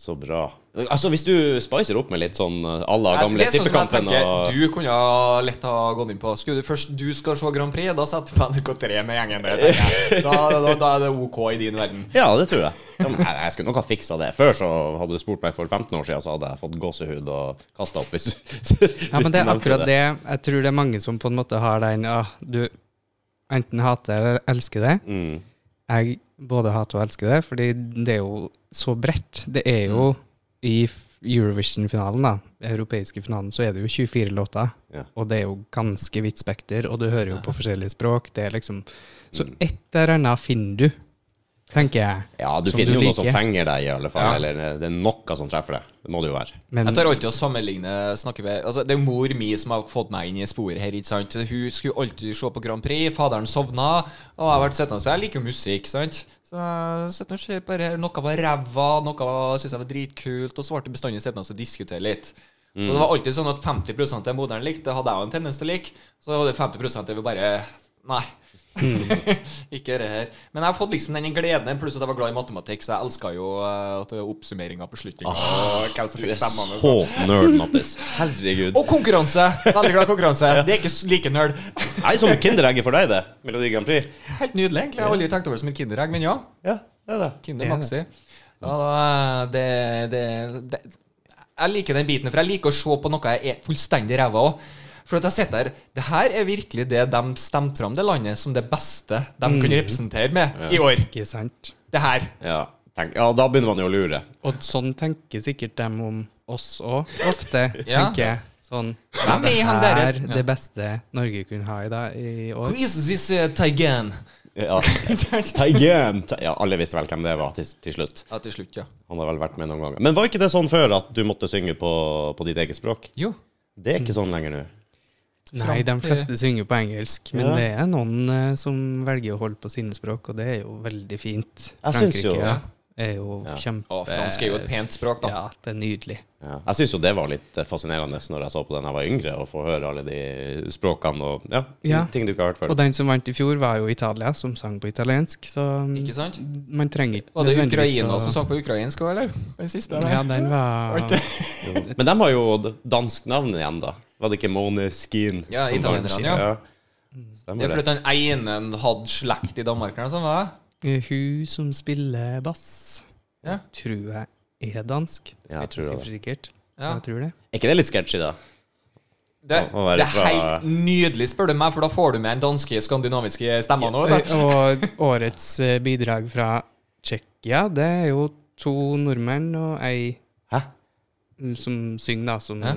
Speaker 2: Så bra. Altså, hvis du spicer opp med litt sånn eh, à la
Speaker 1: Nei,
Speaker 2: gamle
Speaker 1: det er sånn som jeg
Speaker 2: tippekampen
Speaker 1: tenker,
Speaker 2: og
Speaker 1: Du kunne ha lett ha gått inn på Skulle du først du skal se Grand Prix, da setter du på NRK3 med gjengen der. tenker jeg. Da, da, da er det OK i din verden.
Speaker 2: Ja, det tror jeg. Ja, men jeg, jeg skulle nok ha fiksa det. Før så hadde du spurt meg for 15 år siden, så hadde jeg fått gåsehud og kasta opp. Hvis du,
Speaker 3: ja, men det er akkurat det. Jeg tror det er mange som på en måte har den ah, Du enten hater eller elsker det.
Speaker 2: Mm.
Speaker 3: Jeg både hater og elsker det, fordi det er jo så bredt. Det er jo
Speaker 2: Mm.
Speaker 3: i f- Eurovision-finalen, da, europeiske finalen, så er det jo 24 låter.
Speaker 2: Ja.
Speaker 3: Og det er jo ganske vidt spekter, og du hører jo på forskjellige språk. Det er liksom Så et eller annet finner du, tenker jeg.
Speaker 2: Mm. Ja, du
Speaker 3: som
Speaker 2: finner jo noe som
Speaker 3: liker.
Speaker 2: fenger deg, i alle fall.
Speaker 1: Ja.
Speaker 2: Eller eh, det er noe som treffer deg. Det må det jo være.
Speaker 3: Men
Speaker 1: Jeg tar alltid å sammenligne snakker med, altså Det er mor mi som har fått meg inn i sporet her. ikke sant? Hun skulle alltid se på Grand Prix. Faderen sovna. Og jeg har vært sittende der. Jeg liker jo musikk, sant. Så jeg sitter og ser på det her. Noe var ræva, noe var- syntes jeg var dritkult. Og så ble det bestandig sittende og diskutere litt. Og det var alltid sånn at 50 av det moderen likte, det hadde jeg jo en tendens til å like. Så var det 50 det vi bare Nei. *laughs* ikke det her. Men jeg har fått liksom den gleden, pluss at jeg var glad i matematikk, så jeg elska jo eh, at det var oppsummeringa på slutten. og hvem som
Speaker 2: Du
Speaker 1: fikk
Speaker 2: er
Speaker 1: stemmene. og
Speaker 2: så nerd, Mattis. Herregud.
Speaker 1: og konkurranse! Veldig glad i konkurranse. Det er ikke s- like nerd.
Speaker 2: Nei, som kinderegget for deg, det. Melodi Grand Prix.
Speaker 1: Helt nydelig, egentlig. Jeg har aldri tenkt over det som et kinderegg, men ja.
Speaker 2: Ja. Det er det.
Speaker 1: Kinder Maxi. Ja, da, det, det, det, jeg liker den biten, for jeg liker å se på noe jeg er fullstendig ræva av. For at jeg sitter her, det her er virkelig det de stemte fram det landet som det beste de kunne representere med i år.
Speaker 3: Ikke sant?
Speaker 1: Det her.
Speaker 2: Ja, tenk, ja, da begynner man jo å lure.
Speaker 3: Og sånn tenker sikkert dem om oss òg, ofte,
Speaker 1: Ja.
Speaker 3: tenker jeg. Sånn
Speaker 1: Hvem er han
Speaker 3: det
Speaker 1: der?
Speaker 3: er det beste Norge kunne ha i, dag, i
Speaker 1: Who
Speaker 3: år.
Speaker 1: is this uh, Taigan?
Speaker 2: Ja. Teigen! Te- Ja, alle visste vel hvem det var til, til slutt.
Speaker 1: Ja, til slutt, ja.
Speaker 2: Han har vel vært med noen ganger. Men var ikke det sånn før at du måtte synge på, på ditt eget språk?
Speaker 1: Jo.
Speaker 2: Det er ikke sånn lenger nå.
Speaker 3: Nei, de
Speaker 1: Fram til-
Speaker 3: fleste synger på engelsk, men
Speaker 2: Ja.
Speaker 3: det er noen eh, som velger å holde på sine språk, og det er jo veldig fint.
Speaker 2: Jeg syns jo-
Speaker 3: ja, er jo kjempe...
Speaker 1: Å, fransk er jo et pent språk, da.
Speaker 3: Ja, det er nydelig.
Speaker 2: Ja. Jeg syns jo det var litt eh, fascinerende når jeg så på den jeg var yngre, å få høre alle de språkene og ja,
Speaker 3: Ja.
Speaker 2: ting du ikke har hørt før.
Speaker 3: Og den som vant i fjor, var jo Italia, som sang på italiensk, så
Speaker 1: Ikke sant?
Speaker 3: man trenger ikke
Speaker 1: Var det
Speaker 3: nødvendigvis
Speaker 1: Ukraina
Speaker 3: å-
Speaker 1: som sang på ukrainsk òg, eller? Den siste der.
Speaker 3: Ja, den var
Speaker 2: Men de har jo d- dansk navn igjen, da. Var det ikke Måneskin?
Speaker 1: Ja,
Speaker 2: som
Speaker 1: italienerne,
Speaker 2: dansk-
Speaker 1: ja. Mm. Det er
Speaker 2: Stemmer
Speaker 1: fordi
Speaker 2: det.
Speaker 1: den einen hadde slekt i Danmark eller noe sånt, hva?
Speaker 3: Eh, Hun som spiller bass,
Speaker 1: Ja.
Speaker 3: tror jeg er dansk.
Speaker 2: Ja, jeg tror det.
Speaker 3: Skal ikke si for sikkert.
Speaker 1: Ja.
Speaker 3: Jeg tror det.
Speaker 2: Er ikke det litt sketchy, da?
Speaker 1: Det,
Speaker 2: Å være
Speaker 1: det er
Speaker 2: fra-
Speaker 1: helt nydelig, spør du meg, for da får du med den danske, skandinaviske stemmen òg.
Speaker 3: Eh, Og årets eh, bidrag fra Tsjekkia, det er jo to nordmenn og ei
Speaker 2: Hæ?
Speaker 3: mm, som synger, da, som
Speaker 1: Hæ?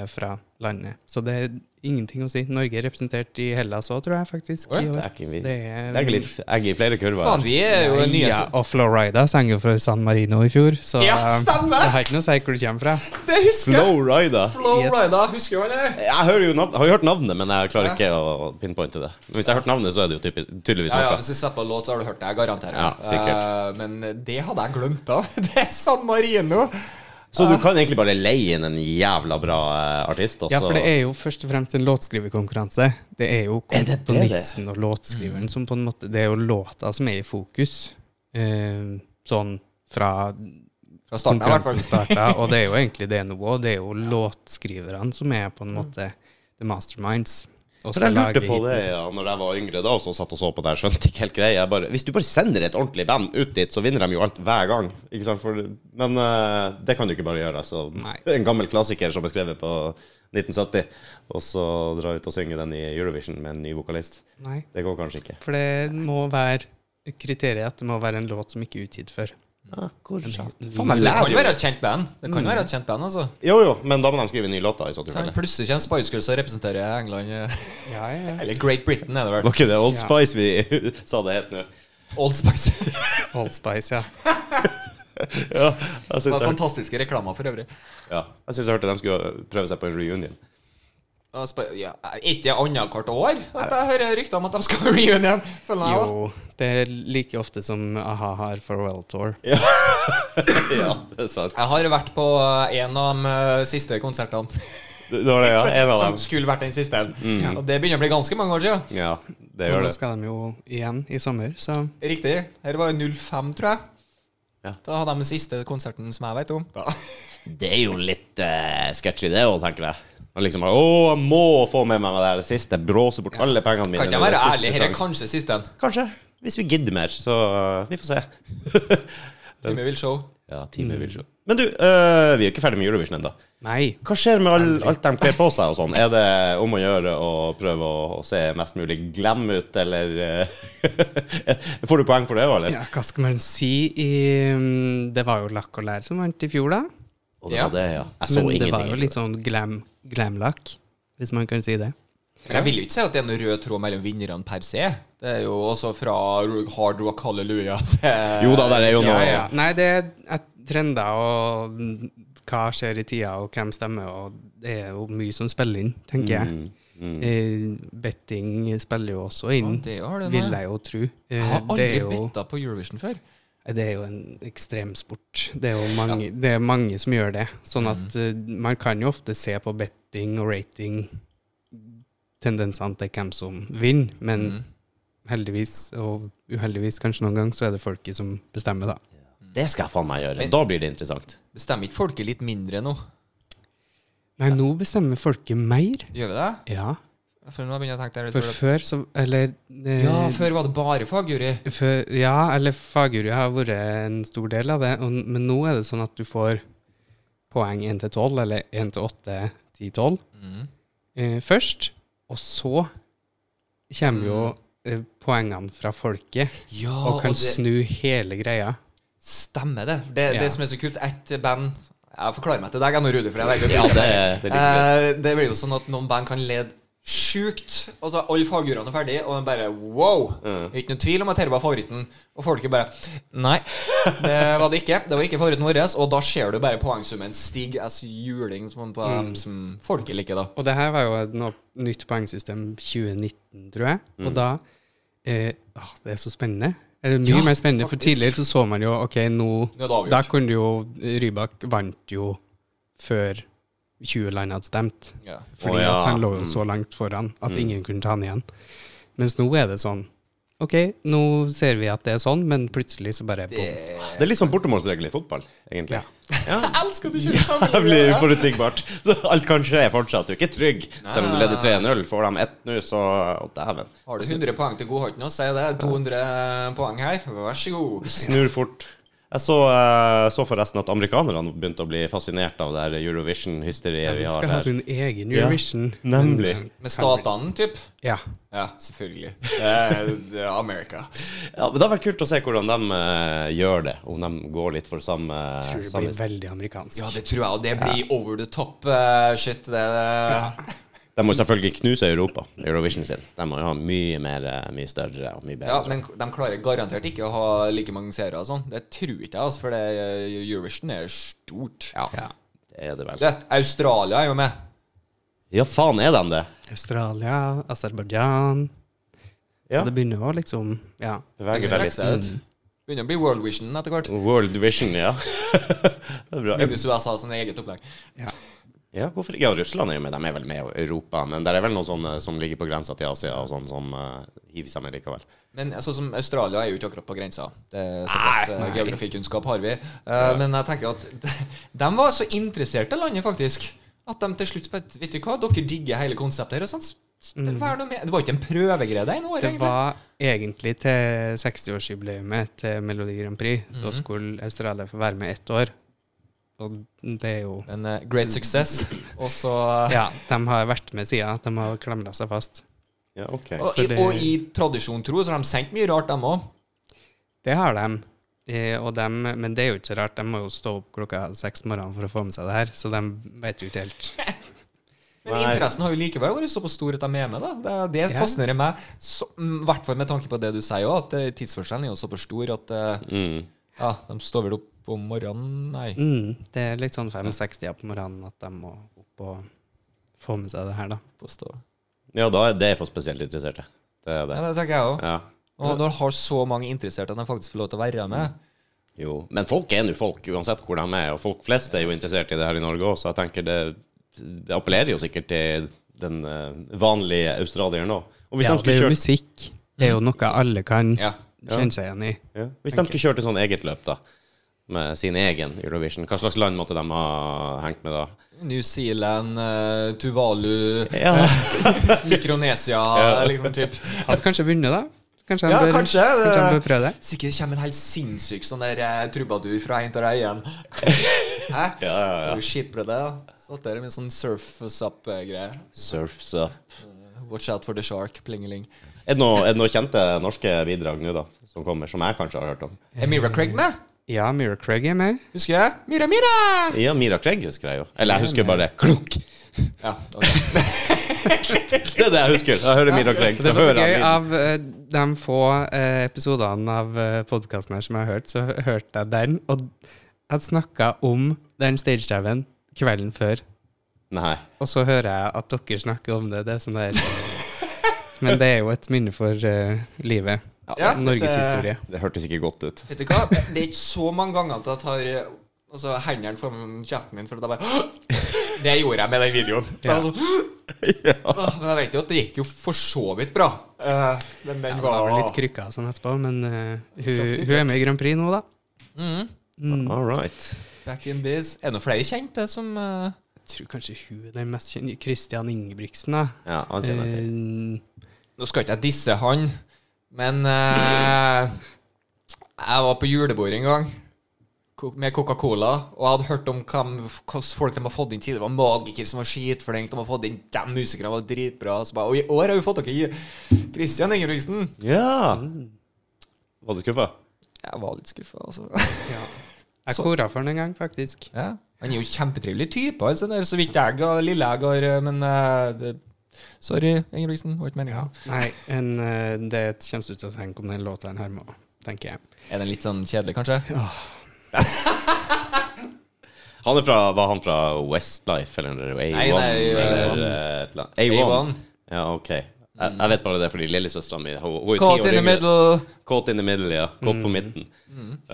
Speaker 3: er fra landet. Så det er ingenting å si. Norge er representert i Hellas òg, tror jeg faktisk.
Speaker 1: Oi,
Speaker 3: i år.
Speaker 2: Det er ikke vi.
Speaker 3: Det
Speaker 2: Det er ikke litt egg i flere kurver.
Speaker 1: Faen, vi er jo nye
Speaker 3: ja, og Florida sang jo for San Marino i fjor, så
Speaker 1: Ja, stemmer!
Speaker 3: det har ikke noe å si hvor du kommer fra.
Speaker 1: Det husker jeg!
Speaker 2: Flow Rida.
Speaker 1: Flow
Speaker 3: Yes.
Speaker 1: Rida, husker du han eller?
Speaker 2: Jeg hører jo navn, har jo hørt navnet, men jeg klarer ikke å pinpointe det. Men hvis jeg har hørt navnet, så er det jo typi- tydeligvis
Speaker 1: Ja, ja,
Speaker 2: noe.
Speaker 1: hvis du setter på låt, så har du hørt det, jeg garanterer.
Speaker 2: Ja, sikkert.
Speaker 1: Eh, men det hadde jeg glemt av. *laughs* Det er San Marino!
Speaker 2: Så du kan egentlig bare leie inn en jævla bra eh, artist, og
Speaker 3: Ja,
Speaker 2: så
Speaker 3: for det er jo først og fremst en låtskriverkonkurranse. Det er jo
Speaker 2: Er det det det er?
Speaker 3: komponisten og låtskriveren som på en måte Det er jo låta som er i fokus, eh, sånn fra
Speaker 1: Fra starten av, i hvert
Speaker 3: konkurransen
Speaker 1: fall.
Speaker 3: starta, og det er jo egentlig det nå òg. Det er jo låtskriverne som er på en måte the masterminds. Og
Speaker 2: For jeg
Speaker 3: skal
Speaker 2: lurte
Speaker 3: lage
Speaker 2: på det
Speaker 3: hiten.
Speaker 2: ja, når jeg var yngre da, og så satt og så på det her, skjønte ikke helt greia. Jeg bare, Hvis du bare sender et ordentlig band ut dit, så vinner de jo alt hver gang. Ikke sant? For, men eh, det kan du ikke bare gjøre. Så.
Speaker 3: Nei.
Speaker 2: *laughs* En gammel klassiker som er skrevet på 1970, og så dra ut og synge den i Eurovision med en ny vokalist.
Speaker 3: Nei,
Speaker 2: Det går kanskje ikke.
Speaker 3: for det må være kriteriet at det må være en låt som ikke er utgitt før.
Speaker 2: Akkurat.
Speaker 1: Så
Speaker 2: Faen, jeg
Speaker 1: Det kan
Speaker 2: lærer
Speaker 1: være
Speaker 2: jo.
Speaker 1: et kjent band. Det
Speaker 2: Mm.
Speaker 1: kan være et kjent band, altså.
Speaker 2: Jo, jo, men da må de skrive nye låter i så
Speaker 1: Så
Speaker 2: tilfelle.
Speaker 1: plutselig kommer Spice Girls og representerer England. eh,
Speaker 3: Ja, ja.
Speaker 1: Eller Great Britain, er det
Speaker 2: *laughs*
Speaker 1: vel.
Speaker 2: Var ikke det Old
Speaker 3: Ja.
Speaker 2: Spice vi *laughs* sa det het nå?
Speaker 1: Old Spice.
Speaker 2: *laughs*
Speaker 3: Old Spice, ja.
Speaker 2: Ja, jeg
Speaker 1: Det
Speaker 2: syns
Speaker 1: var
Speaker 2: jeg,
Speaker 1: fantastiske reklamer for øvrig.
Speaker 2: ja. jeg, synes jeg hørte de skulle prøve seg på en
Speaker 3: *laughs*
Speaker 2: reunion.
Speaker 1: Og Sp- Ja, er ikke det annethvert år at jeg hører rykter om at de skal *laughs* ha reunion? Føler jeg også.
Speaker 3: Jo, det er like ofte som a-ha har farewell tour.
Speaker 2: ja, det er sant.
Speaker 1: Jeg har vært på en av de eh, siste konsertene
Speaker 2: Det var det, *laughs* ja. En av
Speaker 1: som
Speaker 2: dem. Mm.
Speaker 1: skulle vært den siste. Og det begynner å bli ganske mange år siden.
Speaker 2: Ja, det
Speaker 3: Og
Speaker 2: gjør
Speaker 3: nå
Speaker 2: det.
Speaker 3: skal de jo igjen i sommer, så
Speaker 1: Riktig. Her var jo 05, tror jeg.
Speaker 2: Ja.
Speaker 1: Da hadde de den siste konserten som jeg vet om. Da.
Speaker 2: Det er jo litt uh, sketchy, det òg, tenker jeg. Og liksom bare, Å, jeg må få med meg det her siste. Bråse bort alle pengene mine.
Speaker 1: Kan ikke jeg
Speaker 2: når det
Speaker 1: være
Speaker 2: er siste
Speaker 1: ærlig, her er
Speaker 2: sjanse.
Speaker 1: kanskje siste en.
Speaker 2: Kanskje. Hvis vi gidder mer, så eh, Vi får se.
Speaker 1: *laughs* Time vil show.
Speaker 2: ja, time vil se. Mm. Men du, eh, vi er ikke ferdig med Eurovision ennå.
Speaker 3: Nei.
Speaker 2: Hva skjer med all, alt de kler på seg og sånn? Er det om å gjøre å prøve å, å se mest mulig glam ut, eller eh, *laughs* Får du poeng for det òg, eller?
Speaker 3: Ja, hva skal man si? I, mm, det var jo Lakk og Lær som vant i fjor, da.
Speaker 2: Og det var det, ja. Jeg så
Speaker 3: Men det var
Speaker 2: ingenting.
Speaker 3: jo litt sånn glam, glam-lakk, hvis man kan si det.
Speaker 1: Men jeg vil jo ikke si at det er noen rød tråd mellom vinnerne per se. Det er jo også fra Hard Rock Hallelujah til
Speaker 2: Jo da, der er jo noe
Speaker 3: Nei, det er et trender, og mm, hva skjer i tida, og hvem stemmer, og det er jo mye som spiller inn, tenker jeg.
Speaker 2: Mm,
Speaker 3: Eh, betting spiller jo også inn,
Speaker 1: Å, det har det,
Speaker 3: vil
Speaker 1: nei.
Speaker 3: jeg jo tro. Eh,
Speaker 1: Jeg har
Speaker 3: det
Speaker 1: aldri
Speaker 3: er jo-
Speaker 1: betta på Eurovision før.
Speaker 3: Det er jo en ekstremsport. Det er jo mange, det er mange som gjør det. Sånn
Speaker 1: Mhm.
Speaker 3: at eh, man kan jo ofte se på betting og rating tendensene til hvem som vinner, men
Speaker 1: Mhm.
Speaker 3: heldigvis, og uheldigvis kanskje noen gang, så er det folket som bestemmer, da.
Speaker 2: Det skal jeg faen meg gjøre. Da blir det interessant.
Speaker 1: Bestemmer ikke folket litt mindre nå?
Speaker 3: Nei, nå bestemmer folket mer.
Speaker 1: Gjør vi det?
Speaker 3: Ja.
Speaker 1: For nå begynner jeg å tenke det
Speaker 3: For
Speaker 1: litt.
Speaker 3: før så Eller eh,
Speaker 1: Ja, før var det bare fagjuri.
Speaker 3: før- ja, eller fagguru har vært en stor del av det. Og, men nå er det sånn at du får poeng 1 til 12, eller 1 til 8, 10, 12
Speaker 1: Mm.
Speaker 3: eh, først. Og så kommer jo eh, poengene fra folket,
Speaker 1: Ja,
Speaker 3: og
Speaker 1: Mm. og
Speaker 3: kan
Speaker 1: det
Speaker 3: snu hele greia.
Speaker 1: stemmer, det. Det,
Speaker 3: Ja.
Speaker 1: det som er så kult, ett band Jeg forklarer meg til deg, jeg nå, Rudi, for jeg vet jo
Speaker 2: Ja, det, det liker vi.
Speaker 1: Eh, det blir jo sånn at noen band kan lede sjukt. Og så alle fagjurene er ferdige, og man bare wow!
Speaker 2: Mm.
Speaker 1: Ikke noe tvil om at dette var favoritten. Og folket bare Nei, det var det ikke. Det var ikke favoritten vår. Og da ser du bare poengsummen stige as juling som, på,
Speaker 2: Mm.
Speaker 1: som folket liker, da.
Speaker 3: Og det her var jo et nå- nytt poengsystem 2019, tror jeg. Og da eh, åh, Det er så spennende. Eller mye
Speaker 1: Ja,
Speaker 3: mer spennende, for
Speaker 1: faktisk.
Speaker 3: tidligere så så man jo OK, nå
Speaker 1: Nå er det avgjort.
Speaker 3: Da kunne du jo Rybak vant jo før 20 land hadde stemt.
Speaker 1: Ja.
Speaker 3: Fordi
Speaker 2: Å, ja.
Speaker 3: at han lå jo så langt foran at ingen kunne ta han igjen. Mens nå er det sånn OK, nå ser vi at det er sånn, men plutselig så bare
Speaker 1: Det,
Speaker 2: Det er litt sånn bortemålsregel i fotball, egentlig.
Speaker 1: jeg elsker at du kjører
Speaker 2: Det
Speaker 1: sammen!
Speaker 2: blir uforutsigbart. Så alt kan skje fortsatt. Du er ikke trygg. Selv om du leder 3-0, får de ett nå, så Å, dæven.
Speaker 1: Har du 100 poeng til god hånd nå, sier det. 200 poeng her. Vær så god.
Speaker 2: Snur fort. Jeg så, eh, så forresten at amerikanerne begynte å bli fascinert av det her Eurovision-hysteriet vi
Speaker 3: De
Speaker 2: har
Speaker 3: skal ha
Speaker 2: her.
Speaker 3: sin egen
Speaker 2: Ja,
Speaker 3: Eurovision.
Speaker 2: Nemlig.
Speaker 1: Med statene, typ
Speaker 3: Ja.
Speaker 1: Ja, selvfølgelig. Det er, *laughs* det er America.
Speaker 2: Ja, men Det har vært kult å se hvordan de eh, gjør det, om de går litt for samme
Speaker 3: Tror det
Speaker 2: samme-
Speaker 3: blir veldig amerikansk.
Speaker 1: Ja, det tror jeg, og det blir over the top eh, shit. Det, det.
Speaker 2: De må selvfølgelig knuse Europa, Eurovision sin. De må jo ha mye mer, eh, mye større og mye bedre.
Speaker 1: Ja, Men de klarer garantert ikke å ha like mange seere og sånn. Det tror ikke jeg, altså, for det, eh, Eurovision er stort.
Speaker 3: Ja.
Speaker 2: Det er det vel.
Speaker 1: Det, Australia er jo med.
Speaker 2: Ja, faen, er de det?
Speaker 3: Australia, Aserbajdsjan
Speaker 2: Ja.
Speaker 3: Det begynner å liksom Ja.
Speaker 1: De
Speaker 2: Beveger seg
Speaker 1: strekker
Speaker 2: litt.
Speaker 1: seg ut. Begynner å bli World Vision etter hvert.
Speaker 2: World Vision, ja. *laughs* det er bra.
Speaker 1: Minus USA sin eget opplegg.
Speaker 2: Ja, hvorfor ikke? Ja, Russland er jo med, de er vel med i Europa, men det er vel noen sånne som ligger på grensa til Asia og sånn som eh, hiver seg med likevel.
Speaker 1: Men sånn som Australia er jo ikke akkurat på grensa. Det er Såpass eh, geografikunnskap har vi. Eh, Men jeg tenker at *laughs* de, de var så interesserte landet, faktisk, at de til slutt bare Vet du hva, dere digger hele konseptet her. og sånn. Det, hva er det, med? det var ikke en prøvegreie det ene året,
Speaker 3: Mm.
Speaker 1: egentlig.
Speaker 3: Det var egentlig til 60-årsjubileet til Melodi Grand Prix, så skulle Australia få være med ett år. Og det er jo
Speaker 1: En eh, great
Speaker 3: *laughs*
Speaker 1: success. Og så
Speaker 3: Ja, de har vært med siden. De har klamra seg fast.
Speaker 2: Ja, ok.
Speaker 1: og, i,
Speaker 3: for det-
Speaker 1: og i tradisjon tro så har de sendt mye rart, dem òg.
Speaker 3: Det har de. Eh, og dem- men det er jo ikke så rart. De må jo stå opp klokka seks om morgenen for å få med seg det her, så de vet jo ikke helt.
Speaker 1: Men
Speaker 2: Nei.
Speaker 1: interessen har jo likevel vært såpass stor at de er med, da. Det, det
Speaker 3: Ja.
Speaker 1: fascinerer meg, så- mm, i hvert fall med tanke på det du sier òg, at eh, tidsforskjellen er jo såpass stor at eh,
Speaker 2: Mm.
Speaker 1: ja, de står vel opp om morgenen Nei.
Speaker 3: Mm, det er litt sånn fem-seks-tida på morgenen at de må opp og få med seg det her, da.
Speaker 1: Påstå.
Speaker 2: Ja, da er det for spesielt interesserte. Det
Speaker 1: Ja,
Speaker 2: er det.
Speaker 1: det tenker jeg òg.
Speaker 2: Ja.
Speaker 1: Og når du har så mange interesserte at de faktisk får lov til å være med
Speaker 2: Jo. Men folk er nå folk, uansett hvor de er, og folk flest er jo interessert i det her i Norge òg, så jeg tenker det, det appellerer jo sikkert til den eh, vanlige australieren òg. Og hvis
Speaker 3: ja,
Speaker 2: de
Speaker 3: det
Speaker 2: skulle
Speaker 3: er jo
Speaker 2: kjørt
Speaker 3: musikk. Det er jo noe alle kan
Speaker 1: Mm. Ja.
Speaker 3: kjenne seg igjen i.
Speaker 2: Ja. Hvis de skulle kjørt et sånn eget løp, da, med sin egen Eurovision, hva slags land måtte de ha hengt med da?
Speaker 1: New Zealand, eh, Tuvalu,
Speaker 2: Ja, *laughs*
Speaker 1: Mikronesia liksom typ.
Speaker 3: Hadde kanskje vunnet, da. Kanskje han
Speaker 1: Ja,
Speaker 3: bør,
Speaker 1: kanskje, det-
Speaker 3: kanskje han bør prøve det.
Speaker 1: Sikkert kommer en helt sinnssyk sånn der eh, trubadur fra en av deg igjen.
Speaker 2: *laughs*
Speaker 1: Hæ?
Speaker 2: ja, ja.
Speaker 1: Det er jo Shit, ble det. da. Satt der med en sånn surfs up-greie.
Speaker 2: Surfs up.
Speaker 1: Watch out for the shark, plingeling.
Speaker 2: Er det noen noe kjente norske bidrag nå, da, som kommer, som jeg kanskje har hørt om?
Speaker 1: Er Mira Craig med?
Speaker 3: Ja, Mira Craig er med.
Speaker 1: Husker jeg? Mira, Mira!
Speaker 2: Ja, Mira Craig husker jeg jo. Eller jeg husker bare klunk.
Speaker 1: Ja, ok.
Speaker 2: *laughs* Det er det jeg husker. Jeg hører Mira Craig,
Speaker 3: Det
Speaker 2: så
Speaker 3: var så
Speaker 2: hører
Speaker 3: gøy.
Speaker 2: jeg lyden.
Speaker 3: Av eh, de få eh, episodene av podkasten her som jeg har hørt, så hørte jeg den, og jeg snakka om den stagediven kvelden før.
Speaker 2: Nei.
Speaker 3: Og så hører jeg at dere snakker om det. Det er sånn der
Speaker 1: *laughs*
Speaker 3: Men det er jo et minne for eh, livet.
Speaker 1: Ja,
Speaker 3: Norges Norgeshistorie.
Speaker 2: Det hørtes ikke godt ut.
Speaker 1: Vet du hva? Det er ikke så mange ganger at jeg tar eh, altså, hendene foran kjeften min for at jeg bare *gasps* Det gjorde jeg med den videoen. Det var sånn, *gasps* Åh, Men jeg vet jo at det gikk jo for så vidt bra. Eh, men den
Speaker 3: Ja, det var
Speaker 1: var
Speaker 3: vel litt krykka og sånn etterpå, men eh, hun,
Speaker 1: Kraftig
Speaker 3: hun er med i Grand Prix nå, da.
Speaker 1: Mhm.
Speaker 3: Mm.
Speaker 2: All right.
Speaker 1: Back in this. Er det noen flere kjente som eh,
Speaker 3: tror kanskje hun er den mest kjente. Christian Ingebrigtsen, da.
Speaker 2: Ja, han kjenner jeg til.
Speaker 3: Eh,
Speaker 1: Nå skal ikke jeg disse han, men eh, jeg var på julebord en gang ko- med Coca-Cola, og jeg hadde hørt om hvem, hvordan folk de har fått inn tidligere. Det var magikere som var skitflinke, de har fått inn de musikerne var dritbra. Så bare, og i år har vi fått dere Kristian Ingebrigtsen.
Speaker 3: Eh.
Speaker 2: Ja! Mm. Var du skuffa?
Speaker 1: Jeg var litt skuffa, altså.
Speaker 3: ja. Jeg
Speaker 1: Så-
Speaker 3: kora for han en gang, faktisk.
Speaker 1: Ja. Han er jo kjempetrivelig type, altså, der, så vidt jeg og lille jeg har, eh, men eh, det, Sorry, Ingebrigtsen. Var ikke meninga.
Speaker 3: Nei, en, eh, det kommer du til å tenke om den låta her med, tenker jeg.
Speaker 1: Er den litt sånn kjedelig, kanskje?
Speaker 2: Han er fra, var han fra Westlife eller A1?
Speaker 1: Nei, nei,
Speaker 2: eller, eh, et eller annet? A1.
Speaker 1: A1.
Speaker 2: Ja, ok. Jeg, jeg vet bare det fordi lillesøstera mi hun, hun er ti
Speaker 1: Caught in
Speaker 2: år
Speaker 1: the
Speaker 2: yngre.
Speaker 1: middle. Mm.
Speaker 2: Caught in the middle, ja. Caught på midten.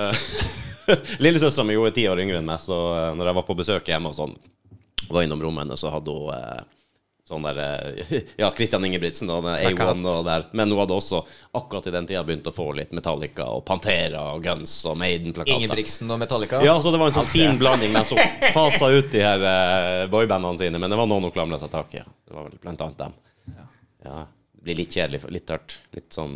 Speaker 2: Eh, *laughs* Lillesøstera mi hun er ti år yngre enn meg, så eh, når jeg var på besøk hjemme og sånn, og var innom rommet hennes, så hadde hun eh, sånn der eh, *laughs* Ja, Christian Ingebrigtsen og den A1 og der. Men hun hadde også akkurat i den tida begynt å få litt Metallica og Pantera og Guns og Maiden-plakater.
Speaker 1: Ingebrigtsen og Metallica.
Speaker 2: Ja, så det var en sånn fin blanding.
Speaker 1: *laughs*
Speaker 2: Men så fasa ut de her eh, boybandene sine. Men det var noen hun klamra seg tak i. Ja. Det var vel blant annet dem. Ja. Det blir litt kjedelig, litt tørt. Litt sånn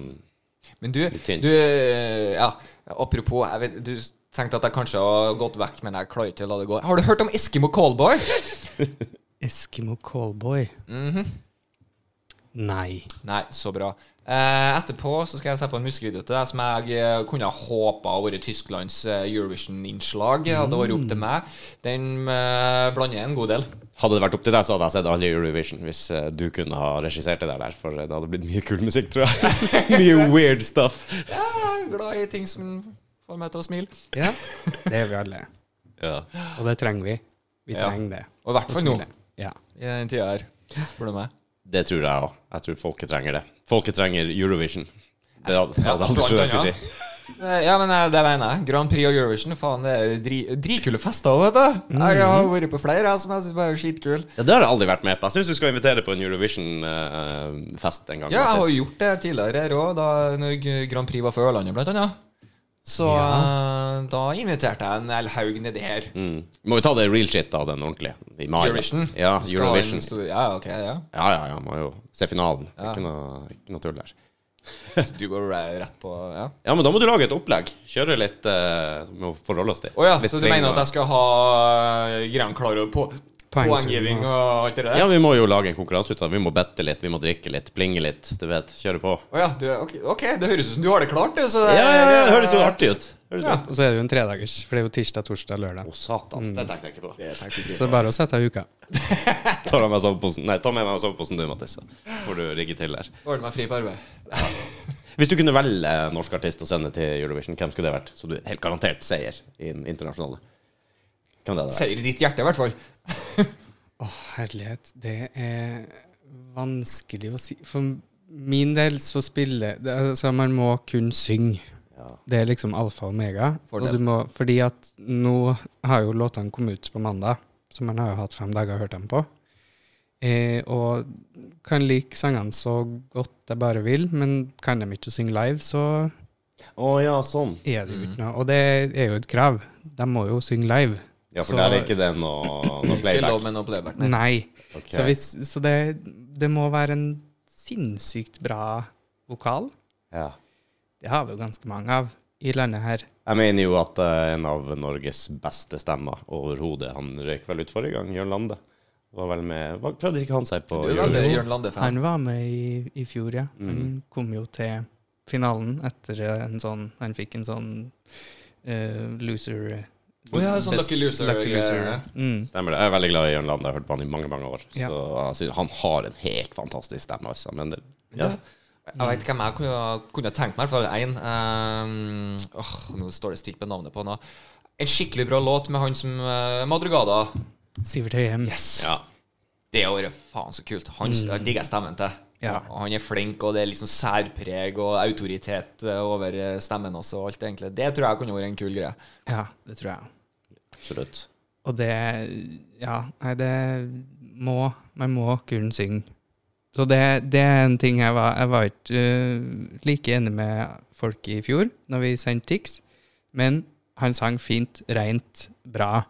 Speaker 1: Men du,
Speaker 2: tynt.
Speaker 1: du eh, ja, Apropos, jeg vet, du tenkte at jeg kanskje har gått vekk, men jeg klarer ikke å la det gå. Har du hørt om Eskimo *laughs* Callboy?
Speaker 3: Eskimo Callboy. Mhm. Nei.
Speaker 1: Nei, så bra. Eh, etterpå så skal jeg se på en musikkvideo til deg som jeg eh, kunne ha håpa hadde vært Tysklands eh, Eurovision-innslag. eh, Hadde vært opp til meg. Den eh, blander jeg en god del.
Speaker 2: Hadde det vært opp til deg, så hadde jeg sett alle i Eurovision hvis eh, du kunne ha regissert det der, der, for eh, det hadde blitt mye kul musikk,
Speaker 1: *laughs*
Speaker 2: tror jeg. mye weird stuff.
Speaker 1: Ja, jeg er glad i ting som får meg til å smile.
Speaker 3: Ja, det er vi alle. Og det trenger vi. Vi
Speaker 1: Ja.
Speaker 3: trenger det.
Speaker 1: Og i hvert fall nå,
Speaker 3: Smile. Ja.
Speaker 1: i den tida her, spør du meg.
Speaker 2: Det tror jeg òg. Jeg tror folket trenger det. Folket trenger Eurovision. Det hadde,
Speaker 1: Ja,
Speaker 2: hadde aldri trodd jeg
Speaker 1: blant
Speaker 2: skulle
Speaker 1: annet.
Speaker 2: si.
Speaker 1: Eh, Ja, men eh, det mener jeg. Grand Prix og Eurovision, faen, det er dri dritkule fester òg, vet du. Jeg har vært på flere jeg, som jeg syns bare er skitkule.
Speaker 2: Mm. Ja, det har jeg aldri vært med på. Jeg syns du skal invitere på en Eurovision-fest en gang.
Speaker 1: Ja, jeg har
Speaker 2: Mattis.
Speaker 1: jo gjort det tidligere her òg, da når G- Grand Prix var for Ørlandet, blant annet. Så eh, da inviterte jeg en L. Haug nedi her.
Speaker 2: Mm. Vi må jo ta det real shit av den ordentlige. I mai. da.
Speaker 1: Eurovision?
Speaker 2: Ja,
Speaker 1: Skal ha en
Speaker 2: Eurovision.
Speaker 1: stor- Ja, ok, ja.
Speaker 2: Ja, ja, ja. Må jo se finalen. Ikke, noe, ikke noe tull der.
Speaker 1: Du går re- rett på Ja.
Speaker 2: Ja, men da må du lage et opplegg. Kjøre litt eh, Må forholde oss til.
Speaker 1: Å ja,
Speaker 2: Litt
Speaker 1: så du
Speaker 2: pling
Speaker 1: mener
Speaker 2: og-
Speaker 1: at jeg skal ha eh, greiene klare og på
Speaker 3: Poengsum
Speaker 1: poenggiving
Speaker 3: og-
Speaker 1: og alt det der?
Speaker 2: Ja, vi må jo lage en konkurranse ut av det. Vi må bette litt, vi må drikke litt, plinge litt. Du vet, kjøre på.
Speaker 1: Å ja, du, ok, ok, det høres ut som du har det klart, du. Så
Speaker 2: Ja, ja, ja, det høres jo artig ut. Høres
Speaker 1: Ja.
Speaker 2: ut.
Speaker 3: Og så er det jo en tredagers, for det er jo tirsdag, torsdag, lørdag.
Speaker 2: Å, satan. Det tenkte jeg ikke *laughs* på.
Speaker 3: Så det er bare å sette av uka.
Speaker 2: Tar jeg meg soveposen. Nei, ta med meg soveposen du, Mattis. Så får du rigge til der.
Speaker 1: Ordne meg fri på arbeid.
Speaker 2: Hvis du kunne velge en norsk artist å sende til Eurovision, hvem skulle det vært? Så du helt garantert seier i den internasjonale. Hvem det hadde vært?
Speaker 1: Seier i ditt hjerte, i hvert fall.
Speaker 3: Å, herlighet. Det er vanskelig å si. For min del så spiller det, altså Man må kun synge.
Speaker 2: Ja.
Speaker 3: Det er liksom alfa og omega.
Speaker 1: Fordel.
Speaker 3: Og du må, fordi at nå har jo låtene kommet ut på mandag, så man har jo hatt fem dager å høre dem på. Eh, og kan like sangene så godt jeg bare vil, men kan de ikke synge live, så
Speaker 2: Å ja, sånn.
Speaker 3: er det jo ikke noe. Og det er jo et krav. De må jo synge live.
Speaker 2: Ja, for
Speaker 3: Så-
Speaker 2: der er ikke det noe, noe
Speaker 1: Ikke lov
Speaker 2: playback.
Speaker 1: med noe playback. Nei.
Speaker 3: Nei.
Speaker 2: Ok.
Speaker 3: Så, hvis, så det, det må være en sinnssykt bra vokal.
Speaker 2: Ja.
Speaker 3: Det har vi jo ganske mange av i landet her.
Speaker 2: Jeg mener jo at eh, en av Norges beste stemmer overhodet Han røyk vel ut forrige gang, Jørn Lande. Var vel med var, Prøvde ikke han seg på
Speaker 1: Du er
Speaker 2: Eurovision?
Speaker 1: veldig Jørn Lande-fan.
Speaker 3: Han var med i, i fjor, ja. Han kom jo til finalen etter en sånn Han fikk en sånn eh, loser
Speaker 1: Å ja, sånn
Speaker 3: best-
Speaker 1: Lucky Loser-
Speaker 3: loser. Mm.
Speaker 2: Stemmer det. Jeg er veldig glad i Jørn Lande. Jeg har hørt på han i mange mange år.
Speaker 3: Ja.
Speaker 2: Så jeg synes han har en helt fantastisk stemme, altså. Men det, ja.
Speaker 1: Jeg vet hvem jeg kunne, kunne tenkt meg, i hvert fall én. ehm, åh, nå står det stilt på navnet på han. også. En skikkelig bra låt med han som eh, Madrugada.
Speaker 3: Sivert Høyem.
Speaker 2: ja.
Speaker 1: Det har vært faen så kult. Han mm. digger jeg stemmen til.
Speaker 3: Ja.
Speaker 1: Og han er flink, og det er liksom særpreg og autoritet eh, over eh, stemmen også. og Alt det egentlig. Det tror jeg kunne vært en kul greie.
Speaker 3: Ja, det tror jeg.
Speaker 2: Absolutt.
Speaker 3: Og det Ja, nei, det må Man må kunne synge. Så det, det er en ting jeg var Jeg var ikke eh, like enig med folk i fjor når vi sendte Tix, men han sang fint, rent, bra.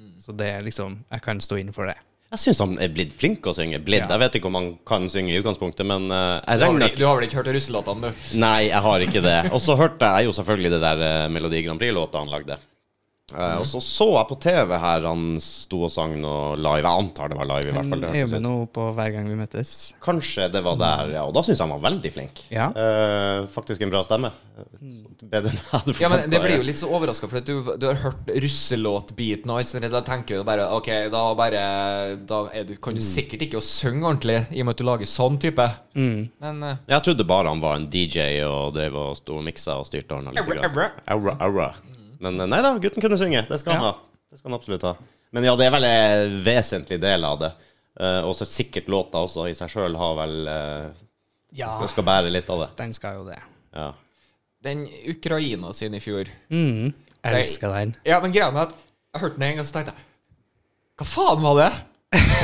Speaker 2: Mm.
Speaker 3: Så det er liksom Jeg kan stå inn for det.
Speaker 2: Jeg syns han er blitt flink å synge. Blitt.
Speaker 3: Ja.
Speaker 2: Jeg vet ikke om han kan synge i utgangspunktet, men eh, jeg
Speaker 1: Du har,
Speaker 2: regner
Speaker 1: vel, du har vel ikke hørt russelåtene, du?
Speaker 2: Nei, jeg har ikke det. Og så hørte jeg jo selvfølgelig det der eh, Melodi Grand Prix-låta han lagde. Eh, og så så jeg på TV her han sto og sang noe live. Jeg antar det var live, i hvert fall.
Speaker 3: Men
Speaker 2: Det
Speaker 3: jeg er Mm, jo med
Speaker 2: hørtes ut.
Speaker 3: noe på hver gang vi møtes.
Speaker 2: Kanskje det var der, ja. Og da syns jeg han var veldig flink.
Speaker 3: Ja.
Speaker 2: Eh, faktisk en bra stemme. Bedre enn jeg hadde
Speaker 1: Ja, men Det
Speaker 2: forventet,
Speaker 1: blir
Speaker 2: ja.
Speaker 1: jo litt så overraska, for at du, du har hørt russelåtbiten og alt sånt. Da tenker du bare OK, da bare Da er du, kan du sikkert ikke å synge ordentlig, i og med at du lager sånn type. Men eh,
Speaker 2: Jeg trodde bare han var en DJ og drev og sto og miksa og styrte og ordna litt.
Speaker 1: Aura,
Speaker 2: grann.
Speaker 1: aura.
Speaker 2: Aura, aura. Men eh, nei da, gutten kunne synge. Det skal han
Speaker 3: Ja.
Speaker 2: ha. Det skal han absolutt ha. Men ja, det er vel en vesentlig del av det. Eh, og så sikkert låta også i seg sjøl har vel eh,
Speaker 3: Ja.
Speaker 2: skal, skal bære litt av det.
Speaker 3: Den skal jo det.
Speaker 2: Ja.
Speaker 1: den Ukraina sin i fjor
Speaker 3: Mm. Jeg elsker den.
Speaker 1: Ja, men greia er at jeg hørte den en gang, så tenkte jeg Hva faen var det?